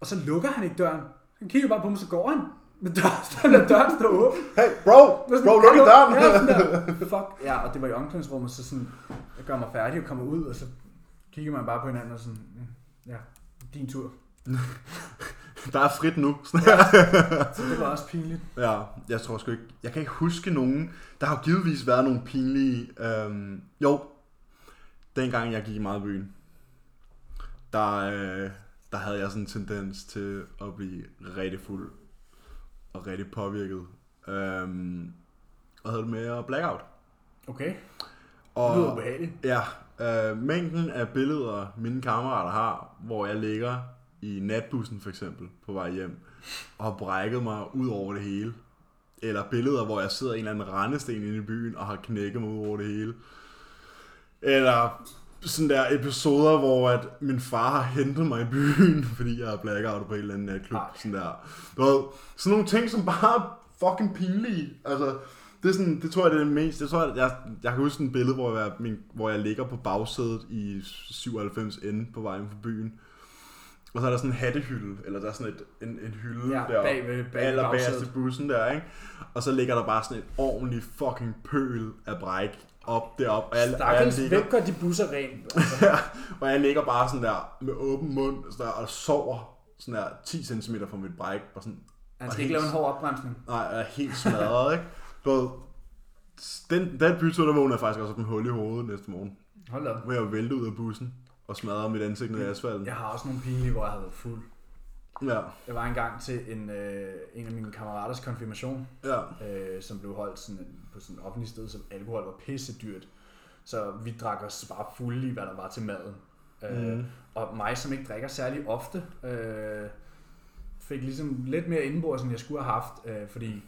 Speaker 2: Og så lukker han ikke døren. Han kigger bare på mig, så går han. Men døren, så lader døren stå åben.
Speaker 1: Hey, bro!
Speaker 2: Jeg var sådan,
Speaker 1: Bro, luk
Speaker 2: "Hallo?"
Speaker 1: døren!
Speaker 2: Ja, sådan der. Fuck. Ja, og det var i omklædningsrummet, så sådan, jeg gør mig færdig og kommer ud, og så kigger man bare på hinanden og sådan, "Mm, ja, din tur.
Speaker 1: Der er frit nu.
Speaker 2: Så det var også pinligt.
Speaker 1: Ja, jeg tror sgu ikke. Jeg kan ikke huske nogen. Der har jo givetvis været nogle pinlige... Øhm, jo, dengang jeg gik i meget byen, der, øh, der havde jeg sådan en tendens til at blive rigtig fuld og rigtig påvirket. Øhm, og havde det med at blackout.
Speaker 2: Okay, det lyder
Speaker 1: Og,
Speaker 2: ubehageligt.
Speaker 1: Ja, øh, mængden af billeder, mine kammerater har, hvor jeg ligger i natbussen for eksempel på vej hjem, og har brækket mig ud over det hele. Eller billeder, hvor jeg sidder i en eller anden rendesten inde i byen og har knækket mig ud over det hele. Eller sådan der episoder, hvor at min far har hentet mig i byen, fordi jeg er blackout på en eller anden natklub.
Speaker 2: Ej.
Speaker 1: Sådan der. Du ved, sådan nogle ting, som bare er fucking pinlige. Altså, det, er sådan, det tror jeg, det er det mest. Jeg, tror, jeg, jeg, jeg kan huske sådan et billede, hvor jeg, min, hvor jeg ligger på bagsædet i 97N på vejen fra byen. Og så er der sådan en hattehylde, eller der er sådan et, en, en hylde
Speaker 2: Ja,
Speaker 1: der
Speaker 2: bag ved- bag ved
Speaker 1: allerbagerst i
Speaker 2: bagsædet.
Speaker 1: bussen der, ikke? Og så ligger der bare sådan et ordentligt fucking pøl af bræk op derop. Og jeg, og jeg
Speaker 2: Stakkels,
Speaker 1: ligger,
Speaker 2: hvem gør de busser rent?
Speaker 1: Ja, og jeg ligger bare sådan der med åben mund sådan der, og sover sådan der 10 cm fra mit bræk. Og sådan,
Speaker 2: Han
Speaker 1: og
Speaker 2: skal ikke
Speaker 1: helt-
Speaker 2: lave en hård opbremsning.
Speaker 1: Nej, jeg er helt smadret, ikke? Du ved, den, den bytur, der vågnede jeg faktisk også op med hul i hovedet næste morgen.
Speaker 2: Hold op.
Speaker 1: Hvor jeg vælte ud af bussen og smadrede mit ansigt ned i asfalten.
Speaker 2: Jeg har også nogle pinlige, hvor jeg har været fuld.
Speaker 1: Ja,
Speaker 2: Jeg var engang til en, øh, en af mine kammeraters konfirmation,
Speaker 1: ja.
Speaker 2: øh, som blev holdt sådan, en- på sådan et offentligt sted, så alkohol var pisse dyrt. Så vi drak os bare fulde i, hvad der var til maden. Øh,
Speaker 1: Mhm.
Speaker 2: Og mig, som ikke drikker særlig ofte, øh, fik ligesom lidt mere indenbords, end jeg skulle have haft, øh, fordi,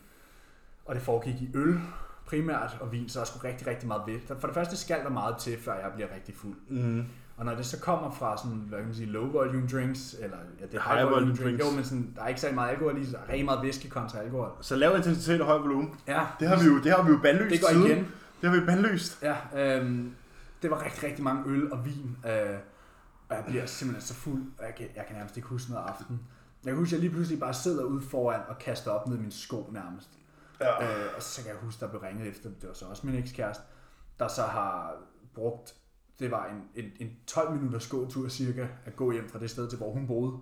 Speaker 2: og det foregik i øl primært, og vin, så der skulle rigtig, rigtig meget ved. For det første skal der meget til, før jeg bliver rigtig fuld.
Speaker 1: Mm.
Speaker 2: Og når det så kommer fra sådan, hvad kan man sige, low volume drinks, eller ja, det er high,
Speaker 1: High
Speaker 2: volume,
Speaker 1: volume
Speaker 2: drinks,
Speaker 1: drinks.
Speaker 2: jo, men sådan, der er ikke særlig meget alkohol i, så der er rigtig meget væske kontra alkohol.
Speaker 1: Så lav intensitet og høj volumen.
Speaker 2: Ja,
Speaker 1: Det har vi jo, det har vi jo bandlyst
Speaker 2: det går
Speaker 1: siden.
Speaker 2: igen.
Speaker 1: Det har vi bandlyst.
Speaker 2: Ja, øhm, det var rigtig, rigtig mange øl og vin, øh, og jeg bliver simpelthen så fuld, og jeg kan, jeg kan nærmest ikke huske noget af aftenen. Jeg kan huske, at jeg lige pludselig bare sidder ude foran og kaster op ned i min sko nærmest.
Speaker 1: Ja.
Speaker 2: Øh, og så kan jeg huske, der blev ringet efter, det var så også min ekskæreste, der så har brugt, det var en, en, en 12 minutters gåtur cirka, at gå hjem fra det sted til, hvor hun boede.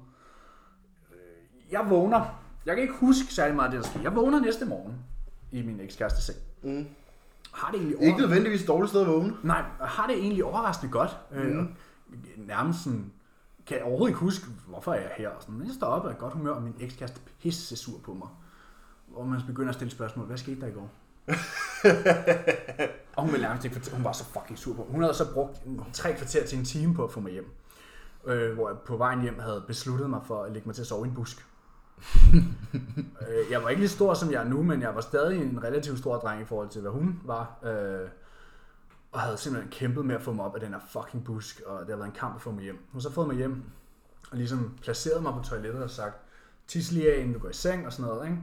Speaker 2: Øh, Jeg vågner, jeg kan ikke huske særlig meget af det, der skete. Jeg vågner næste morgen i min ekskæreste seng.
Speaker 1: Mm.
Speaker 2: Har det egentlig
Speaker 1: Ikke nødvendigvis et dårligt sted at vågne.
Speaker 2: Nej, har det egentlig overraskende godt. Mm. Nærmest sådan, kan jeg overhovedet ikke huske, hvorfor er jeg her. Og sådan. Men jeg står op og er i godt humør, og min ekskæreste er pisse sur på mig. Hvor man begynder at stille spørgsmål, hvad skete der i går? og hun ville nærmest ikke fortælle, hun var så fucking sur på mig. Hun havde så brugt en- tre kvarter til en time på at få mig hjem. Øh, hvor jeg på vejen hjem havde besluttet mig for at lægge mig til at sove i en busk. øh, jeg var ikke lige stor, som jeg er nu, men jeg var stadig en relativt stor dreng i forhold til, hvad hun var. Øh, og havde simpelthen kæmpet med at få mig op af den her fucking busk, og det har været en kamp at få mig hjem. Hun har så fået mig hjem, og ligesom placeret mig på toilettet og sagt, tis lige af, inden du går i seng og sådan noget, ikke?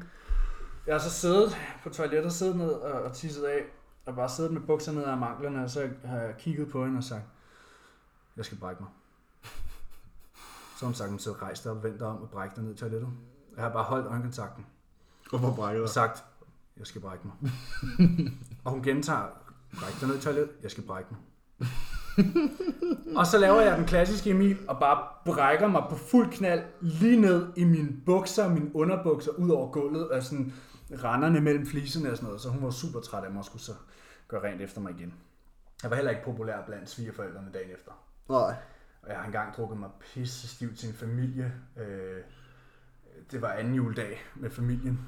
Speaker 2: Jeg har så siddet på toilettet, siddet ned og, og tisset af, og bare siddet med bukser ned af manglerne, og så har jeg kigget på hende og sagt, jeg skal brække mig. Så har hun sagt, hun sidder rejst op, vendt om og brækker dig ned i toilettet. Jeg har bare holdt øjenkontakten
Speaker 1: Og hvor brækker
Speaker 2: og
Speaker 1: dig?
Speaker 2: sagt, jeg skal brække mig. og hun gentager, bræk dig ned i toilettet, jeg skal brække mig. og så laver jeg den klassiske Emil og bare brækker mig på fuld knald lige ned i mine bukser og mine underbukser ud over gulvet og sådan renderne mellem fliserne og sådan noget. Så hun var super træt af mig og skulle så gøre rent efter mig igen. Jeg var heller ikke populær blandt svigerforældrene dagen efter.
Speaker 1: Nej.
Speaker 2: Og jeg har engang drukket mig pisse stiv til en familie. Øh, det var anden juledag med familien.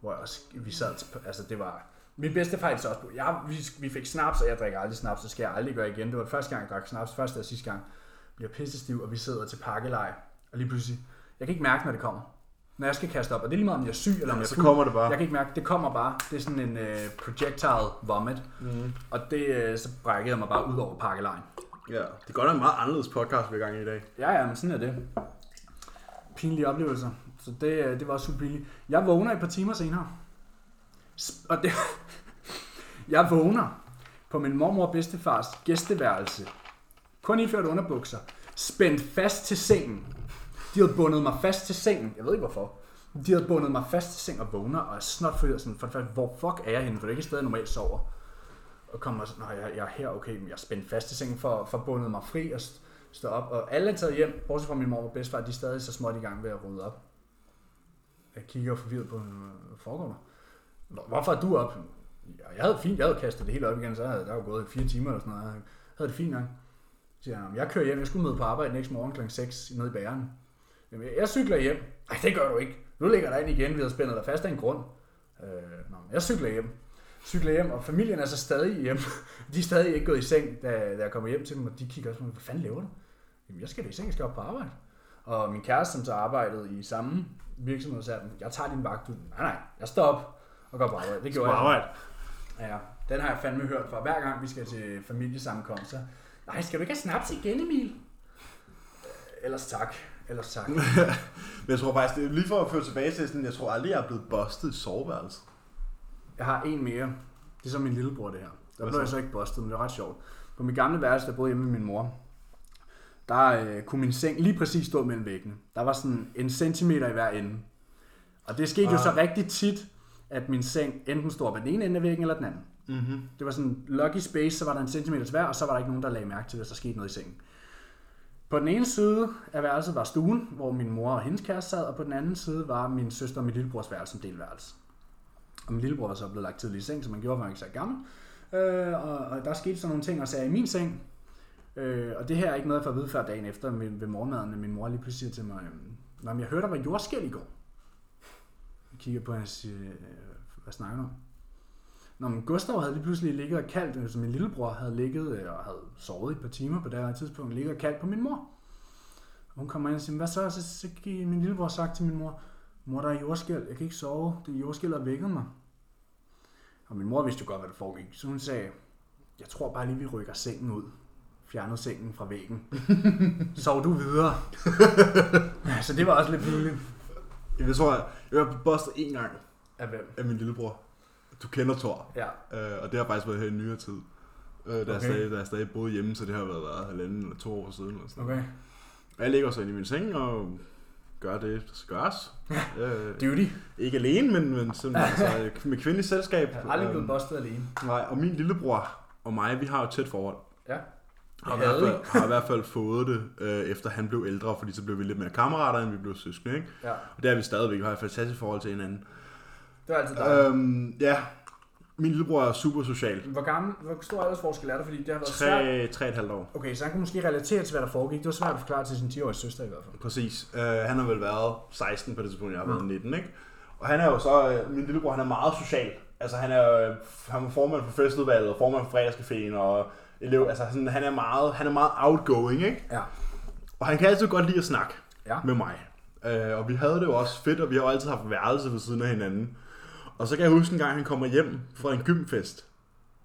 Speaker 2: Hvor jeg også, vi sad, til- altså det var, min bedste fejl så også på. Jeg, vi, vi fik snaps, og jeg drikker aldrig snaps, det skal jeg aldrig gøre igen. Det var det første gang, jeg drak snaps, første og sidste gang. Jeg bliver pisse stiv, og vi sidder til pakkeleje. Og lige pludselig, jeg kan ikke mærke, når det kommer. Når jeg skal kaste op, og det er lige meget, om jeg er syg, eller om jeg er
Speaker 1: Så
Speaker 2: fuld.
Speaker 1: kommer det bare.
Speaker 2: Jeg kan ikke mærke, det kommer bare. Det er sådan en øh, projectile vomit.
Speaker 1: Mhm.
Speaker 2: Mm. Og det, øh, så brækkede jeg mig bare ud over pakkelejen.
Speaker 1: Ja. Det er godt nok en meget anderledes podcast, vi er i gang i i dag.
Speaker 2: Ja, ja, men sådan er det. Pinlige oplevelser. Så det, øh, det var også super pinligt. Jeg vågner et par timer senere. Sp- Og det... Jeg vågner på min mormor og bedstefars gæsteværelse. Kun iført underbukser. Spændt fast til sengen. De havde bundet mig fast til sengen. Jeg ved ikke hvorfor. De havde bundet mig fast til sengen og vågner og er snot for sådan, for det første, hvor fuck er jeg henne? For det er ikke et sted, jeg normalt sover. Og kommer og sådan, "Nå, jeg, jeg er her, okay, men jeg er spændt fast til sengen for, for bundet mig fri og st- stå op. Og alle er taget hjem, bortset fra min mor og bedstefar, de er stadig så småt i gang ved at rydde op. Jeg kigger forvirret på, hvad foregår der? "Nå, Hvorfor er du op? "Ja, Jeg havde det fint, jeg havde kastet det hele op igen, så havde der var gået fire timer eller sådan noget. Jeg havde det fint nok. Så siger han, "Nå, men jeg kører hjem, jeg skulle møde på arbejde næste morgen kl. 6 nede i bæren. Jamen, jeg- jeg cykler hjem. Nej, det gør du ikke. Nu ligger der ind igen, vi har spændet dig fast af en grund. Øh, nå, men jeg cykler hjem. Cykler hjem, og familien er så stadig hjem. De er stadig ikke gået i seng, da, da jeg kommer hjem til dem, og de kigger også på mig, hvad fanden laver du? Jamen, jeg skal da i seng, jeg skal op på arbejde. Og min kæreste, som så arbejdede i samme virksomhed, sagde, jeg tager din vagt. Du, nej, nej, jeg står op og går på arbejde. Det gjorde jeg. Ja, den har jeg fandme hørt fra hver gang, vi skal til familiesammenkomster. Nej, skal du ikke have snaps igen, Emil? Øh, Ellers tak. Ellers tak.
Speaker 1: Men jeg tror faktisk, det er lige for at føre tilbage til sådan, jeg tror aldrig, jeg er blevet bustet i soveværelset.
Speaker 2: Jeg har en mere. Det er så min lillebror, det her. Der
Speaker 1: Hvad
Speaker 2: blev jeg
Speaker 1: så?
Speaker 2: så ikke bustet, men det er ret sjovt. På mit gamle værelse, der boede hjemme med min mor, der øh, kunne min seng lige præcis stå mellem væggene. Der var sådan en centimeter i hver ende. Og det skete jo
Speaker 1: Ah.
Speaker 2: så rigtig tit, at min seng enten stod på den ene ende af væggen eller den anden.
Speaker 1: Mm-hmm.
Speaker 2: Det var sådan lucky space, så var der en centimeter hver, og så var der ikke nogen, der lagde mærke til, hvis der skete noget i sengen. På den ene side af værelset var stuen, hvor min mor og hendes kæreste sad, og på den anden side var min søster og min lillebrors værelse som delværelse. Og min lillebror var så blevet lagt tidligt i seng, som han gjorde, for han var ikke så gammel. Øh, og, og der skete sådan nogle ting, og så er jeg i min seng. Øh, og det her er ikke noget, jeg får at vide før dagen efter ved, ved morgenmaden, at min mor lige pludselig siger til mig, øhm, Nå, men jeg hørte, der var jordskæl i går. Jeg kigger på hende og siger, "Øh, hvad snakker du om? Nå, men Gustav havde lige pludselig ligget og kaldt, øh, som min lillebror havde ligget øh, og havde sovet i et par timer på det her tidspunkt, ligget og kaldt på min mor. Og hun kommer ind og siger, hvad så? Så, så gik min lillebror og sagt til min mor, mor, der er jordskæl, jeg kan ikke sove, det er jordskæl, der vækkede mig. Og min mor vidste jo godt, hvad der foregik, så hun sagde, jeg tror bare lige, vi rykker sengen ud. Fjernede sengen fra væggen. Sov du videre. så det var også lidt pinligt.
Speaker 1: Jeg tror, jeg, jeg var bustet en gang
Speaker 2: Af hvem?
Speaker 1: af min lillebror. Du kender Thor.
Speaker 2: Ja.
Speaker 1: Øh, og det har faktisk været her i nyere tid. Øh, da, okay. jeg
Speaker 2: Okay.
Speaker 1: stadig, da jeg stadig boede hjemme, så det har været, været halvanden eller to år siden. Eller sådan.
Speaker 2: Okay.
Speaker 1: Og jeg ligger så inde i min seng og gør det, der skal gøres. øh,
Speaker 2: Duty.
Speaker 1: ikke alene, men, men simpelthen altså, med kvindelig selskab.
Speaker 2: Jeg har aldrig blevet
Speaker 1: Øhm,
Speaker 2: bustet alene.
Speaker 1: Nej, og min lillebror og mig, vi har jo et tæt forhold.
Speaker 2: Ja.
Speaker 1: Har
Speaker 2: Jeg
Speaker 1: i, hvert
Speaker 2: havde
Speaker 1: fald, har i hvert fald fået det, øh, efter han blev ældre, fordi så blev vi lidt mere kammerater, end vi blev søskende. Ikke?
Speaker 2: Ja.
Speaker 1: Og det er vi stadigvæk, vi har et fantastisk forhold til hinanden.
Speaker 2: Det var altid dejligt.
Speaker 1: Øhm, ja, min lillebror er super social.
Speaker 2: Hvor, gammel, hvor stor aldersforskel er der? Fordi det har været svært.
Speaker 1: Tre, tre et halvt år.
Speaker 2: Okay, så han kunne måske relatere til, hvad der foregik. Det var svært at forklare til sin 10-årige søster i hvert fald.
Speaker 1: Præcis. Øh, han har vel været 16 på det tidspunkt, jeg har
Speaker 2: Mm.
Speaker 1: været 19, ikke? Og han er jo så, øh, min lillebror, han er meget social. Altså han er, jo, øh, han er formand for festudvalget, og formand for fredagscaféen, og elev, altså sådan, han er meget, han er meget outgoing, ikke?
Speaker 2: Ja.
Speaker 1: Og han kan altid godt lide at snakke
Speaker 2: Ja.
Speaker 1: med mig. Øh, og vi havde det jo også fedt, og vi har jo altid haft værelse ved siden af hinanden. Og så kan jeg huske en gang, han kommer hjem fra en gymfest.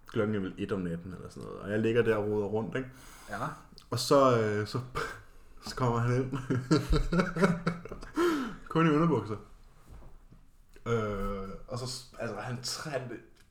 Speaker 1: Klokken er vel 1 om natten eller sådan noget. Og jeg ligger der og roder rundt, ikke?
Speaker 2: Ja.
Speaker 1: Og så, øh, så, Så kommer han ind. Kun i underbukser. Øh, og så, altså, han, tr- han,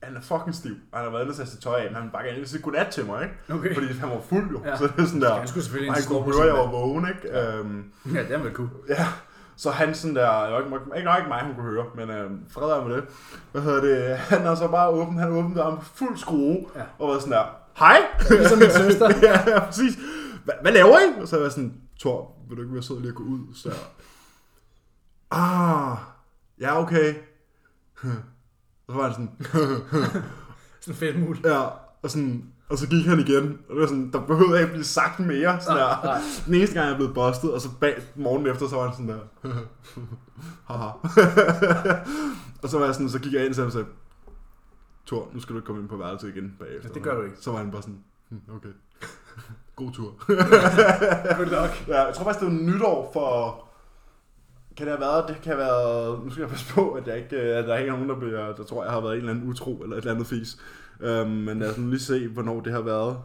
Speaker 1: han er fucking stiv, og han har været nødt til at tage sit tøj af, men han vil bare gerne lige sige godnat til mig, ikke?
Speaker 5: Okay.
Speaker 1: Fordi han var fuld jo,
Speaker 5: Ja.
Speaker 1: ja. så det er sådan der,
Speaker 2: Så han skulle selvfølgelig
Speaker 1: og
Speaker 2: ind
Speaker 1: han
Speaker 2: til
Speaker 1: kunne
Speaker 2: Storbritannien.
Speaker 1: høre, at jeg var vågen, ikke? Ja. Øhm,
Speaker 5: Ja, det er vel cool.
Speaker 1: Ja, så han sådan der, det var ikke, ikke, nok ikke mig, hun kunne høre, men øh, fred er med det. Hvad hedder det? Han har så bare åbnet, han åbnede armen på fuld skrue,
Speaker 5: Ja.
Speaker 1: ja. og var sådan der, hej!
Speaker 5: Ligesom min søster.
Speaker 1: ja, ja, præcis. Hva, hvad laver I? Og så var jeg sådan, Thor, vil du ikke være sød lige at gå ud? Så jeg, ah, ja okay. Og så var han sådan,
Speaker 2: Sådan fedt mul.
Speaker 1: ja, og sådan, og så gik han igen, og det var sådan, der behøvede ikke blive sagt mere. Sådan der.
Speaker 2: nej.
Speaker 1: Den eneste gang, jeg blev bustet, og så bag, morgenen efter, så var han sådan der, haha. og så var jeg sådan, så gik jeg ind til ham og sagde, Thor, nu skal du ikke komme ind på værelset igen bagefter.
Speaker 2: Det gør du ikke.
Speaker 1: Så var han bare sådan, "Hm, okay. God tur.
Speaker 2: Good luck.
Speaker 1: Ja, jeg tror faktisk, det var nytår for... Kan det have været, det kan have været... Nu skal jeg passe på, at, jeg ikke, at der ikke er nogen, der, bliver, der tror, jeg har været en eller anden utro eller et eller andet fis. Øhm, men lad os nu lige se, hvornår det har været.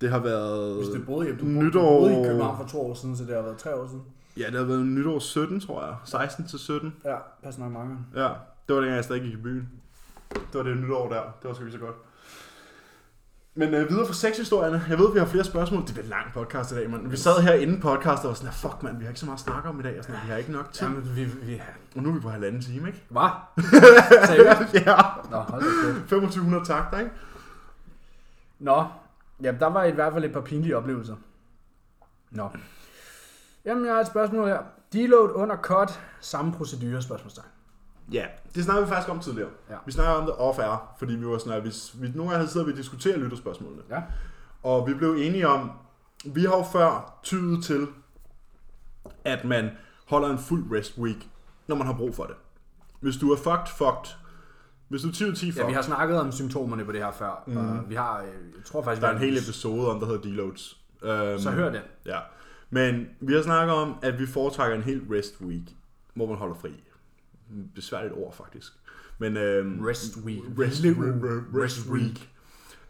Speaker 1: Det har været...
Speaker 2: Hvis det boede, i- du
Speaker 1: Nytår.
Speaker 2: boede i København for to år siden, så det har været tre år siden.
Speaker 1: Ja, det har været nytår 17, tror jeg. 16 til 17.
Speaker 2: Ja, pas nok mange.
Speaker 1: Ja, det var dengang, jeg stadig gik i byen. Det var det nytår der. Det var sgu ikke så godt. Men øh, videre fra sexhistorierne. Jeg ved, vi har flere spørgsmål. Det bliver en lang podcast i dag, mand. Vi sad her inden podcast og var sådan, "Ah, fuck mand, vi har ikke så meget at snakke om i dag. Og sådan, vi har ikke nok tid.
Speaker 2: Jamen, vi... vi
Speaker 1: Og nu er vi på halvanden time, ikke?
Speaker 5: Hvad?
Speaker 2: Seriøst?
Speaker 1: ja.
Speaker 5: Nå, hold da kæft.
Speaker 1: 2500 takter, ikke?
Speaker 2: Nå, jamen, der var i hvert fald et par pinlige oplevelser. Nå. Jamen, jeg har et spørgsmål her. Deload under cut, samme procedure, spørgsmålstegn.
Speaker 1: Ja, det snakkede vi faktisk om tidligere.
Speaker 2: Ja.
Speaker 1: Vi snakkede om det off-air, fordi vi var sådan, at hvis vi, nogle gange sidder vi og diskuterer lytterspørgsmålene.
Speaker 2: Ja.
Speaker 1: Og vi blev enige om, vi har jo før tydet til, at man holder en fuld rest week, når man har brug for det. Hvis du er fucked, fucked. Hvis du er 10 ud af 10 fucked,
Speaker 2: Ja, vi har snakket om symptomerne på det her før. Mm. Og vi har, øh, jeg tror faktisk,
Speaker 1: Mhm. der er en
Speaker 2: vi har-
Speaker 1: hel episode om, der hedder deloads. Um,
Speaker 2: Så hør den.
Speaker 1: Ja. Men vi har snakket om, at vi foretrækker en helt rest week, hvor man holder fri. Besværligt ord, faktisk. Men øhm,
Speaker 2: Rest week.
Speaker 1: rest, re, re, rest week.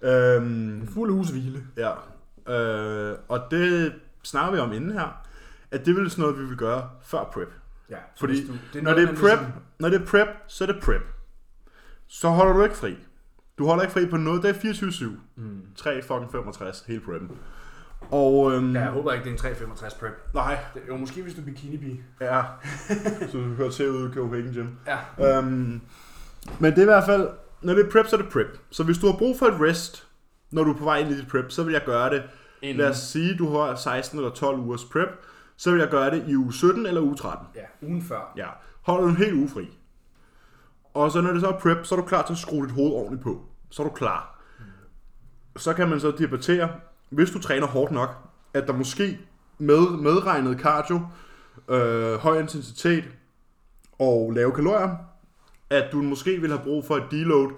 Speaker 1: Øhm,
Speaker 2: Fuld uges hvile.
Speaker 1: ja. Øh, og det snakker vi om inden her, at det er vel sådan noget, vi vil gøre før prep.
Speaker 2: Ja, så
Speaker 1: Fordi
Speaker 2: hvis
Speaker 1: det når,
Speaker 2: noget,
Speaker 1: det er
Speaker 2: man
Speaker 1: prep,
Speaker 2: ligesom-
Speaker 1: når det er prep, så er det prep. Så holder du ikke fri. Du holder ikke fri på noget. Det er 24-7. Mm. 3 fucking 65, hele preppen. Og øhm,
Speaker 2: Ja, jeg håber ikke, det er en 365 prep.
Speaker 1: nej,
Speaker 2: Det, jo, måske hvis du er bikini
Speaker 1: Ja. så du hører til ude i Copenhagen Gym.
Speaker 2: Ja.
Speaker 1: Øhm, men det er i hvert fald, når det er prep, så er det prep. Så hvis du har brug for et rest, når du er på vej ind i dit prep, så vil jeg gøre det.
Speaker 2: Inden.
Speaker 1: Lad os sige, du har 16 eller 12 ugers prep, så vil jeg gøre det i uge 17 eller uge 13.
Speaker 2: Ja, ugen før.
Speaker 1: Ja. Hold en hel uge fri. Og så når det så er prep, så er du klar til at skrue dit hoved ordentligt på. Så er du klar. Så kan man så debattere, hvis du træner hårdt nok, at der måske med medregnet cardio, øh, høj intensitet og lave kalorier, at du måske vil have brug for et deload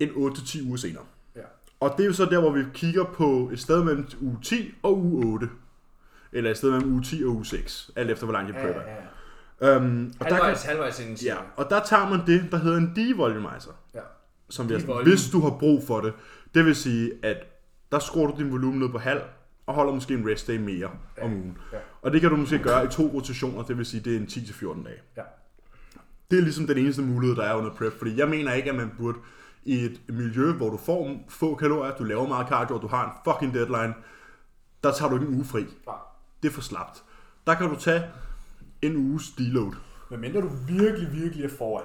Speaker 1: en 8-10 uger senere.
Speaker 2: Ja.
Speaker 1: Og det er jo så der, hvor vi kigger på et sted mellem uge 10 og uge 8. Eller et sted mellem uge 10 og uge 6, alt efter hvor langt jeg
Speaker 2: Ja,
Speaker 1: prepper.
Speaker 2: ja.
Speaker 1: Øhm, og, der kan,
Speaker 2: Halvvejs, halvvejs inden
Speaker 1: ja,
Speaker 2: siger jeg.
Speaker 1: og der tager man det, der hedder en devolumizer,
Speaker 2: ja.
Speaker 1: som vi har sådan,
Speaker 2: Devolume.
Speaker 1: hvis du har brug for det. Det vil sige, at der skruer du din volumen ned på halv, og holder måske en rest day mere om ugen.
Speaker 2: ja.
Speaker 1: Og det kan du måske gøre i to rotationer, det vil sige, det er en 10-14 dage.
Speaker 2: Ja.
Speaker 1: Det er ligesom den eneste mulighed, der er under prep, fordi jeg mener ikke, at man burde i et miljø, hvor du får få kalorier, du laver meget cardio, og du har en fucking deadline, der tager du ikke en uge fri.
Speaker 2: Nej.
Speaker 1: Det er for slapt. Der kan du tage en uges deload.
Speaker 2: Men mindre du virkelig, virkelig er foran.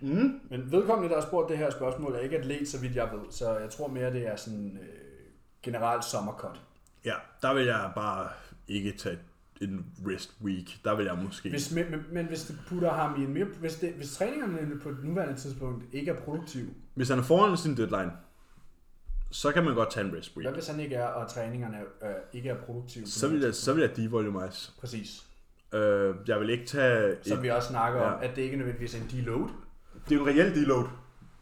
Speaker 2: Mm. Men vedkommende, der har spurgt det her spørgsmål, er ikke atlet, så vidt jeg ved. Så jeg tror mere, det er sådan øh, generelt sommercut.
Speaker 1: Ja, der vil jeg bare ikke tage en rest week. Der vil jeg måske...
Speaker 2: Hvis, men, men, men hvis det putter ham i en mere... Hvis, det, hvis træningerne på nuværende tidspunkt ikke er produktive,
Speaker 1: Hvis han er foran sin deadline, så kan man godt tage en rest
Speaker 2: hvad
Speaker 1: week.
Speaker 2: hvis han ikke er, og træningerne øh, ikke er produktive?
Speaker 1: Så vil jeg, så vil jeg devolumize.
Speaker 2: Præcis.
Speaker 1: Øh, jeg vil ikke tage... Et,
Speaker 2: Som vi også snakker ja. om,
Speaker 1: Ja.
Speaker 2: at det ikke nødvendigvis er en deload.
Speaker 1: det er jo en reel deload, men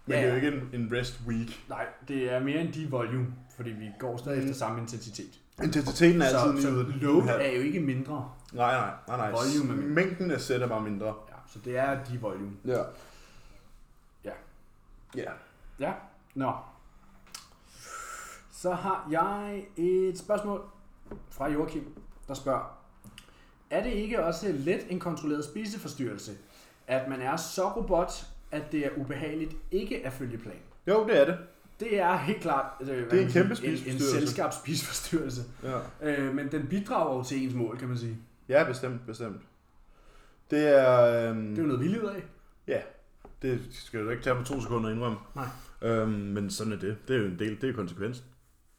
Speaker 2: Ja,
Speaker 1: det er
Speaker 2: ja.
Speaker 1: jo ikke en, en rest week.
Speaker 2: Nej, det er mere en devolume, fordi vi går stadig mm. efter samme intensitet.
Speaker 1: Intensiteten er
Speaker 2: Så,
Speaker 1: altid
Speaker 2: så
Speaker 1: nydet.
Speaker 2: load er jo ikke mindre.
Speaker 1: Nej, nej, nej, nej.
Speaker 2: Volume er mindre.
Speaker 1: Mængden af sæt er bare mindre.
Speaker 2: Ja, så det er devolume.
Speaker 1: Ja.
Speaker 2: Ja.
Speaker 1: Ja.
Speaker 2: Ja, nå. Så har jeg et spørgsmål. fra Joachim, der spørger, er det ikke også let en kontrolleret spiseforstyrrelse, at man er så robot, at det er ubehageligt ikke at følge plan?
Speaker 1: Jo, det er det.
Speaker 2: Det er helt klart øh, hvad
Speaker 1: en
Speaker 2: kan man sige,
Speaker 1: kæmpe
Speaker 2: en, en
Speaker 1: spiseforstyrrelse.
Speaker 2: selskabsspiseforstyrrelse.
Speaker 1: Ja.
Speaker 2: Øh, men den bidrager jo til ens mål, kan man sige.
Speaker 1: Ja, bestemt, bestemt. Det er... Øhm,
Speaker 2: Det er jo noget, vi lider af.
Speaker 1: Ja, det skal du ikke tage på to sekunder at indrømme.
Speaker 2: Nej.
Speaker 1: Øhm, men sådan er det. Det er jo en del. Det er konsekvens.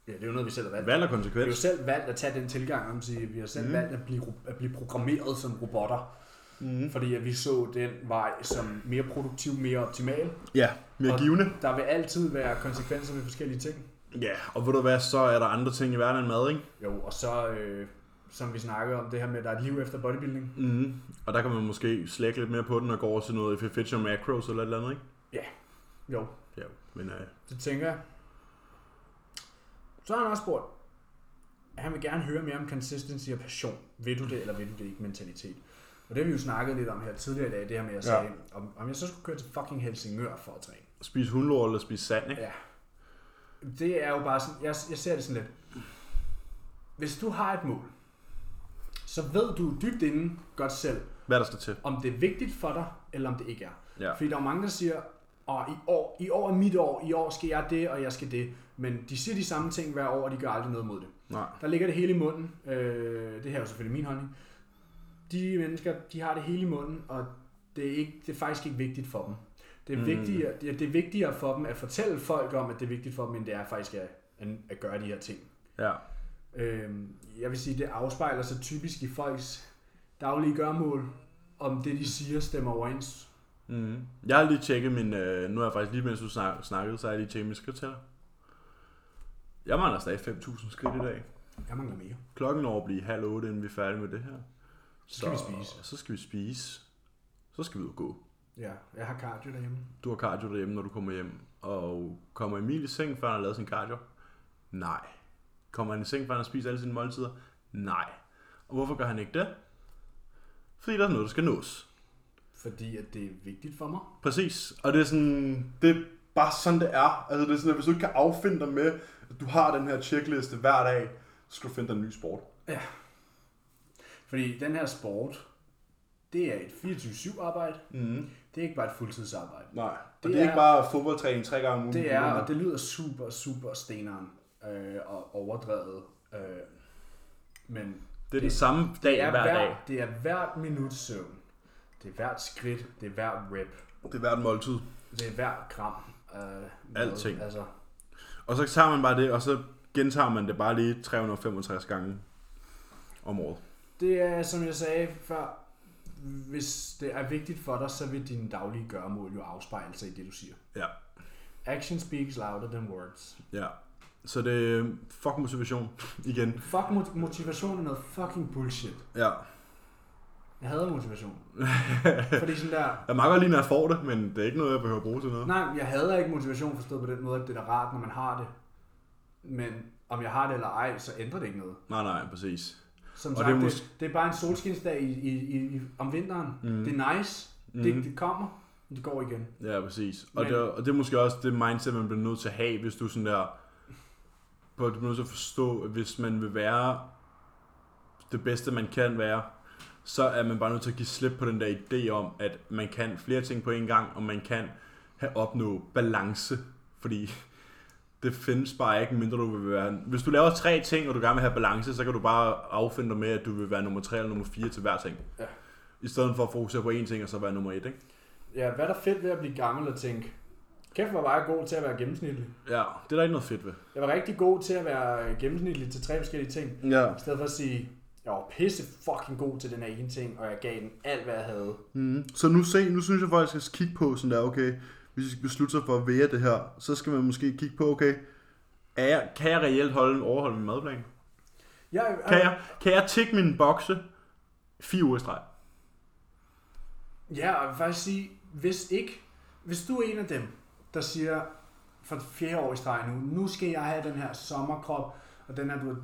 Speaker 2: Ja, det er jo noget, vi selv har valgt.
Speaker 1: Valg er
Speaker 2: Vi har jo
Speaker 1: konsekvens.
Speaker 2: selv valgt at tage den tilgang, om sige, vi har selv
Speaker 1: Mm.
Speaker 2: mm. valgt at blive, at blive programmeret som robotter,
Speaker 1: Mm.
Speaker 2: fordi at vi så den vej som mere produktiv, mere optimal.
Speaker 1: Ja, mere
Speaker 2: Og-
Speaker 1: givende.
Speaker 2: Der vil altid være konsekvenser ved forskellige ting.
Speaker 1: Ja, og ved du hvad, så er der andre ting i verden end mad, ikke?
Speaker 2: Jo, og så, øh, som vi snakkede om, det her med, at der er et liv efter bodybuilding.
Speaker 1: Mm. Og der kan man måske slække lidt mere på den og gå over til noget Fitch og Macros eller et eller andet, ikke?
Speaker 2: Jo,
Speaker 1: Ja, men øh,
Speaker 2: det tænker jeg. Så har han også spurgt, at han vil gerne høre mere om consistency og passion. Ved du det, eller ved du det ikke mentalitet? Og det har vi jo snakket lidt om her tidligere i dag, det her med, at jeg
Speaker 1: Ja.
Speaker 2: sagde, om, om jeg så skulle køre til fucking Helsingør for at træne.
Speaker 1: spise hundlort eller spise sand, ikke?
Speaker 2: Ja. Det er jo bare sådan, jeg, jeg ser det sådan lidt. Hvis du har et mål, så ved du dybt inde godt selv,
Speaker 1: Hvad der skal til.
Speaker 2: om det er vigtigt for dig, eller om det ikke er.
Speaker 1: Ja.
Speaker 2: Fordi der er jo mange, der siger, og i år, i år er mit år, i år skal jeg det, og jeg skal det. Men de siger de samme ting hver år, og de gør aldrig noget mod det.
Speaker 1: Nej.
Speaker 2: Der ligger det hele i munden. Øh, det her er jo selvfølgelig min holdning. De mennesker, de har det hele i munden, og det er, ikke, det er faktisk ikke vigtigt for dem. Det er,
Speaker 1: Mm.
Speaker 2: mm. vigtigere, det, er, det er vigtigere for dem at fortælle folk om, at det er vigtigt for dem, end det er faktisk at, at, at gøre de her ting.
Speaker 1: Ja.
Speaker 2: Øh, jeg vil sige, det afspejler sig typisk i folks daglige gørmål, om det, de siger, stemmer overens.
Speaker 1: Mm. Jeg har lige tjekket min... Øh, nu har jeg faktisk lige, mens du snak- snakkede, så har jeg lige tjekket min skridtæller. Jeg mangler stadig 5.000 skridt i dag.
Speaker 2: Jeg mangler mere.
Speaker 1: Klokken når at blive halv otte, inden vi er færdige med det her.
Speaker 2: Så skal vi spise.
Speaker 1: Så skal vi spise. Så skal vi ud og gå.
Speaker 2: Ja, jeg har cardio derhjemme.
Speaker 1: Du har cardio derhjemme, når du kommer hjem. Og kommer Emil i seng, før han har lavet sin cardio? Nej. Kommer han i seng, før han har spist alle sine måltider? Nej. Og hvorfor gør han ikke det? Fordi der er noget, der skal nås.
Speaker 2: Fordi at det er vigtigt for mig.
Speaker 1: Præcis, og det er sådan, det er bare sådan det er. Altså det er sådan, at hvis du ikke kan affinde dig med, at du har den her checkliste hver dag, så skal du finde dig en ny sport.
Speaker 2: Fordi den her sport, det er et 24-7 arbejde.
Speaker 1: Mm.
Speaker 2: Det er ikke bare et fuldtidsarbejde.
Speaker 1: Nej, og
Speaker 2: Det
Speaker 1: det, det er ikke
Speaker 2: er-
Speaker 1: bare fodboldtræning tre gange om ugen.
Speaker 2: Det er, og det lyder super, super steneren øh, og overdrevet. Øh, men
Speaker 1: det er den samme dag
Speaker 2: det er,
Speaker 1: hver dag.
Speaker 2: hver, det er hvert minut søvn. Det er hvert skridt. Det er hver rep.
Speaker 1: Det er hvert måltid.
Speaker 2: Det er hver gram. Øh,
Speaker 1: Alting.
Speaker 2: Med, altså,
Speaker 1: Og så tager man bare det, og så gentager man det bare lige 365 gange om året.
Speaker 2: det er, som jeg sagde før, hvis det er vigtigt for dig, så vil dine daglige gøremål jo afspejle sig i det, du siger.
Speaker 1: Ja,
Speaker 2: Action speaks louder than words.
Speaker 1: ja. Så det er fuck motivation igen.
Speaker 2: Fuck mot- motivation er noget fucking bullshit.
Speaker 1: Ja.
Speaker 2: Jeg hader motivation. Fordi sådan der,
Speaker 1: Jeg meget godt lige, når jeg får det, men det er ikke noget, jeg behøver at bruge til noget.
Speaker 2: nej, jeg hader ikke motivation forstået på den måde, at det er da rart, når man har det. Men om jeg har det eller ej, så ændrer det ikke noget.
Speaker 1: Nej, nej, præcis.
Speaker 2: Som
Speaker 1: Og
Speaker 2: sagt,
Speaker 1: det
Speaker 2: det,
Speaker 1: er
Speaker 2: er
Speaker 1: mås-
Speaker 2: det, det er bare en solskinsdag i, i, i, i, om vinteren.
Speaker 1: Mhm.
Speaker 2: Mm. Det er nice. Mm.
Speaker 1: Mhm.
Speaker 2: Det, det kommer. men Det går igen.
Speaker 1: Ja, præcis. Og,
Speaker 2: Men-
Speaker 1: det, og det er måske også det mindset, man bliver nødt til at have, hvis du sådan der... På du bliver nødt til at forstå, at hvis man vil være det bedste, man kan være, så er man bare nødt til at give slip på den der idé om, at man kan flere ting på én gang, og man kan have opnå balance. Fordi det findes bare ikke, mindre du vil være... Hvis du laver tre ting, og du gerne vil have balance, så kan du bare affinde dig med, at du vil være nummer tre eller nummer fire til hver ting.
Speaker 2: Ja.
Speaker 1: I stedet for at fokusere på én ting, og så være nummer et, ikke?
Speaker 2: Ja, hvad er der fedt ved at blive gammel og tænke, kæft hvor var jeg god til at være gennemsnitlig.
Speaker 1: Ja, det er der ikke noget fedt ved.
Speaker 2: Jeg var rigtig god til at være gennemsnitlig til tre forskellige ting.
Speaker 1: Ja.
Speaker 2: I stedet for at sige, jeg var pisse fucking god til den her ene ting, og jeg gav den alt, hvad jeg havde.
Speaker 1: Mm. Så nu, se, nu synes jeg faktisk, at jeg skal kigge på sådan der, okay, hvis vi skal beslutte sig for at være det her, så skal man måske kigge på, okay, er jeg, kan jeg reelt holde, overholde min madplan?
Speaker 2: Jeg,
Speaker 1: Kan jeg, kan jeg tække min bokse fire uger i streg?
Speaker 2: Ja, og jeg vil faktisk sige, hvis ikke, hvis du er en af dem, der siger for fjerde år i streg nu, nu skal jeg have den her sommerkrop, og den her, du,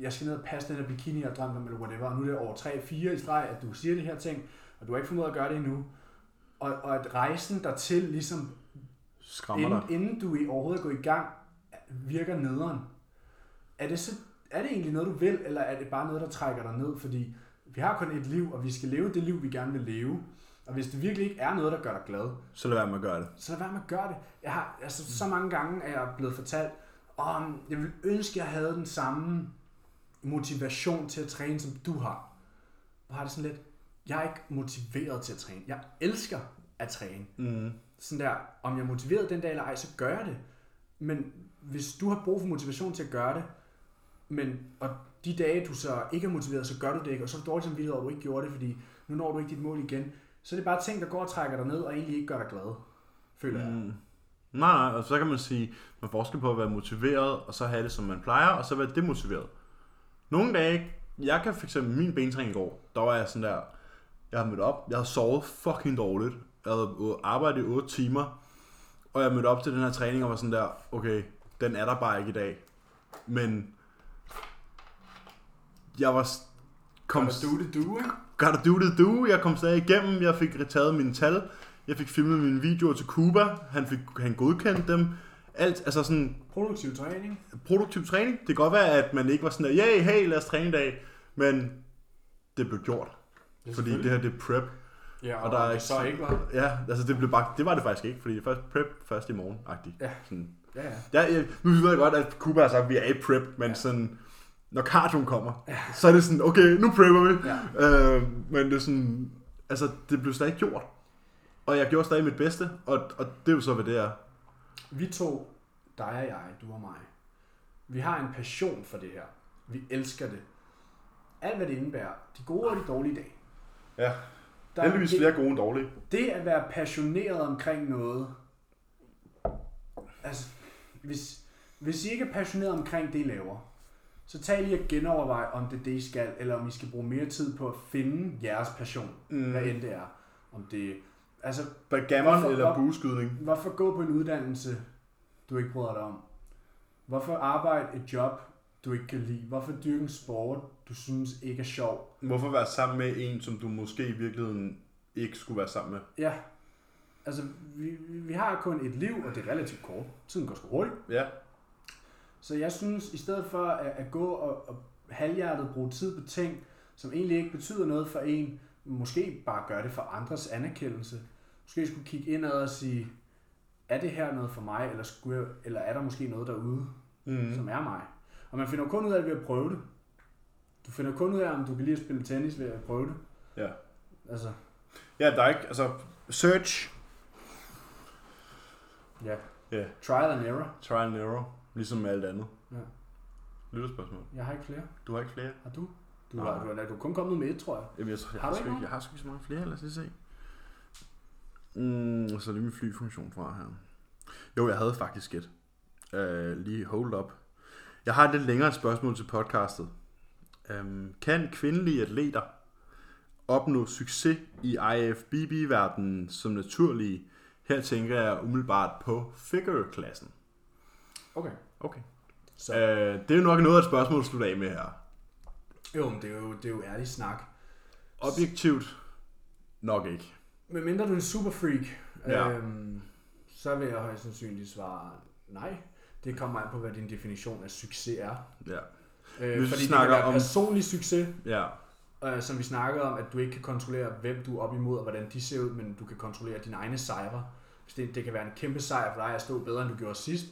Speaker 2: jeg skal ned og passe den her bikini, jeg drømte om, eller whatever, og nu er det over 3-4 i streg, at du siger de her ting, og du har ikke formået at gøre det endnu, og, og at rejsen dertil, ligesom
Speaker 1: Skræmmer
Speaker 2: inden,
Speaker 1: dig.
Speaker 2: inden du i overhovedet går i gang, virker nederen. Er det så, er det egentlig noget, du vil, eller er det bare noget, der trækker dig ned? Fordi vi har kun et liv, og vi skal leve det liv, vi gerne vil leve. Og hvis det virkelig ikke er noget, der gør dig glad,
Speaker 1: Så lad være med at gøre det.
Speaker 2: så lad være med at gøre det. Jeg har, altså, så mange gange er jeg blevet fortalt, om jeg ville ønske, jeg havde den samme motivation til at træne, som du har. Og har det sådan lidt, jeg er ikke motiveret til at træne. Jeg elsker at træne.
Speaker 1: Mm.
Speaker 2: Sådan der, om jeg er motiveret den dag eller ej, så gør jeg det. Men hvis du har brug for motivation til at gøre det, men, og de dage, du så ikke er motiveret, så gør du det ikke, og så er du dårlig samvittighed over, at du ikke gjorde det, fordi nu når du ikke dit mål igen, så er det bare ting, der går og trækker dig ned, og egentlig ikke gør dig glad, føler jeg.
Speaker 1: Mm. Nej, nej, og så kan man sige, man forskel på at være motiveret, og så have det, som man plejer, og så være demotiveret. Nogle dage, jeg kan fx min bentræning i går, der var jeg sådan der, jeg havde mødt op, jeg havde sovet fucking dårligt, jeg havde u- arbejdet i 8 timer, og jeg mødte op til den her træning og var sådan der, okay, den er der bare ikke i dag, men jeg var s- kom,
Speaker 2: det, du, ikke?
Speaker 1: Got to do det do. Jeg kom stadig igennem. Jeg fik taget mine tal. Jeg fik filmet mine videoer til Cuba. Han, fik, han godkendte dem. Alt, altså sådan
Speaker 2: Produktiv træning.
Speaker 1: produktiv træning. Det kan godt være, at man ikke var sådan der, yeah, hey, lad os træne i dag. Men det blev gjort. Fordi det her, det er prep.
Speaker 2: Ja,
Speaker 1: og der er ikke- så
Speaker 2: ikke var.
Speaker 1: Ja, altså det blev bare, det var det faktisk ikke, fordi det er først prep først i morgen, agtigt.
Speaker 2: Ja.
Speaker 1: Sådan.
Speaker 2: Ja, ja.
Speaker 1: Ja, ja, nu ved jeg godt, at Cuba har sagt, at vi er i prep, men ja. sådan, når cardioen kommer, ja. så er det sådan, okay, nu prepper vi.
Speaker 2: ja.
Speaker 1: Øh, men det er sådan, altså det blev stadig gjort. Og jeg gjorde stadig mit bedste, og, og det er jo så, hvad det er.
Speaker 2: Vi to, dig og jeg, du og mig, vi har en passion for det her. Vi elsker det. Alt hvad det indebærer, de gode og de dårlige dage.
Speaker 1: Ja,
Speaker 2: Der,
Speaker 1: heldigvis
Speaker 2: det,
Speaker 1: flere gode end dårlige.
Speaker 2: det at være passioneret omkring noget, altså, hvis, hvis I ikke er passioneret omkring det, I laver, så tag lige og genovervej, om det er det, I skal, eller om I skal bruge mere tid på at finde jeres passion, mm.
Speaker 1: Mm.
Speaker 2: hvad end det er. Om det, altså, Hvorfor-
Speaker 1: Backgammon eller bueskydning.
Speaker 2: Hvorfor gå på en uddannelse, du ikke bryder dig om? Hvorfor arbejde et job, du ikke kan lide? Hvorfor dyrke en sport, du synes ikke er sjov?
Speaker 1: Hvorfor være sammen med en, som du måske i virkeligheden ikke skulle være sammen med?
Speaker 2: Ja, altså vi, vi vi har kun et liv, og det er relativt kort. Tiden går sgu hurtigt.
Speaker 1: Ja.
Speaker 2: Så jeg synes, i stedet for at, at gå og, og halvhjertet bruge tid på ting, som egentlig ikke betyder noget for en, måske bare gøre det for andres anerkendelse. Måske skulle kigge indad og sige, er det her noget for mig, eller, skulle jeg, eller er der måske noget derude, mm. som er mig. Og man finder jo kun ud af det ved at prøve det. Du finder kun ud af, om du kan lide at spille tennis ved at prøve det.
Speaker 1: Ja.
Speaker 2: Altså,
Speaker 1: Ja, der er ikke, altså, search.
Speaker 2: ja.
Speaker 1: Ja.
Speaker 2: Trial and error.
Speaker 1: Try and error, ligesom med alt andet.
Speaker 2: Ja.
Speaker 1: Lytterspørgsmål.
Speaker 2: Jeg har ikke flere.
Speaker 1: Du har ikke flere?
Speaker 2: Har du? Du
Speaker 1: Nej.
Speaker 2: har, du, har, du er kun kommet med et, tror jeg.
Speaker 1: Jamen, jeg, tror, jeg
Speaker 2: Har
Speaker 1: har,
Speaker 2: du
Speaker 1: sgu
Speaker 2: ikke
Speaker 1: ikke, jeg har sgu ikke så mange flere, lad os lige se. Mm, så er det min flyfunktion fra her. Jo, jeg havde faktisk et. Uh, lige hold up. Jeg har et lidt længere spørgsmål til podcastet. Um, kan kvindelige atleter opnå succes i IFBB-verdenen som naturlige? Her tænker jeg umiddelbart på figure-klassen.
Speaker 2: Okay.
Speaker 1: Okay.
Speaker 2: Så.
Speaker 1: Uh, det er jo nok noget af et spørgsmål at slutte af med her.
Speaker 2: Jo, men det er jo, det er jo ærlig snak.
Speaker 1: Objektivt nok ikke.
Speaker 2: Men mindre du er en super freak,
Speaker 1: Ja.
Speaker 2: øhm, så vil jeg højst sandsynligt svare nej. Det kommer an på, hvad din definition af succes er.
Speaker 1: Ja.
Speaker 2: Øh,
Speaker 1: Hvis vi
Speaker 2: fordi det kan
Speaker 1: snakker
Speaker 2: være om...
Speaker 1: om-
Speaker 2: personlig succes,
Speaker 1: Ja.
Speaker 2: øh, som vi snakkede om, at du ikke kan kontrollere, hvem du er op imod, og hvordan de ser ud, men du kan kontrollere dine egne sejre. Hvis det, det kan være en kæmpe sejr for dig at stå bedre, end du gjorde sidst,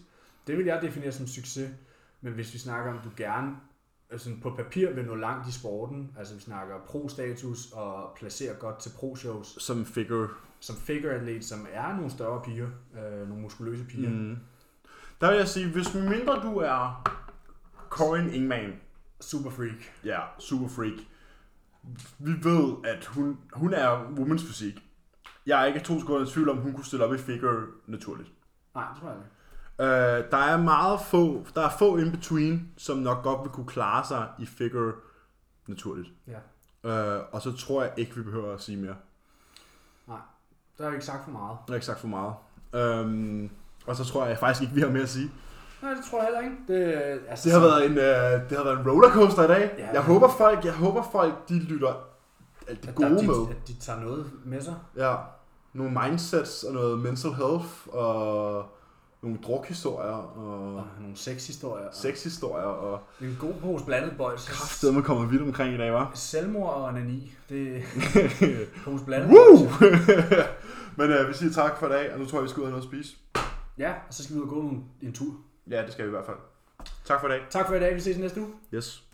Speaker 2: det vil jeg definere som succes. Men hvis vi snakker om, du gerne altså på papir vil nå langt i sporten, altså vi snakker pro-status og placere godt til pro-shows,
Speaker 1: Som figure
Speaker 2: som figure atlet, som er nogle større piger, øh, nogle muskuløse piger. Mm.
Speaker 1: Mm. Der vil jeg sige, hvis mindre du er Corin Ingman,
Speaker 2: Super freak.
Speaker 1: ja, super freak, vi ved, at hun, hun er women's fysik. Jeg er ikke to sekunder i tvivl om, hun kunne stille op i figure naturligt.
Speaker 2: Nej, det tror jeg ikke.
Speaker 1: Øh, der er meget få, der er få in-between, som nok godt vil kunne klare sig i figure naturligt.
Speaker 2: Ja.
Speaker 1: Øh, og så tror jeg ikke, vi behøver at sige mere.
Speaker 2: Der er jo ikke sagt for meget.
Speaker 1: Jeg har ikke sagt for meget. Øhm, og så tror jeg faktisk ikke, vi har mere at sige.
Speaker 2: Nej, det tror jeg heller ikke. Det, øh, altså,
Speaker 1: Det
Speaker 2: så-
Speaker 1: har været en, øh, det har været en rollercoaster i dag.
Speaker 2: Ja.
Speaker 1: Ja. Jeg håber folk, jeg håber folk, de lytter alt det
Speaker 2: at
Speaker 1: gode
Speaker 2: der, de,
Speaker 1: med.
Speaker 2: At de tager noget med sig.
Speaker 1: Ja. Nogle mindsets og noget mental health og nogle drukhistorier og
Speaker 6: Og nogle sexhistorier. og-
Speaker 1: sexhistorier og
Speaker 2: Det er en god pose blandet boys.
Speaker 1: sted man kommer vidt omkring i dag, var.
Speaker 2: Selvmord og anani. Det er en pose blandet
Speaker 1: Woo!
Speaker 2: boys.
Speaker 1: Men øh, vi siger tak for i dag, og nu tror jeg, vi skal ud og have noget at spise.
Speaker 6: Ja, og så skal vi ud og gå nogle, en tur.
Speaker 1: Ja, det skal vi i hvert fald. Tak for i dag.
Speaker 2: Tak for i dag. Vi ses i næste uge.
Speaker 1: Yes.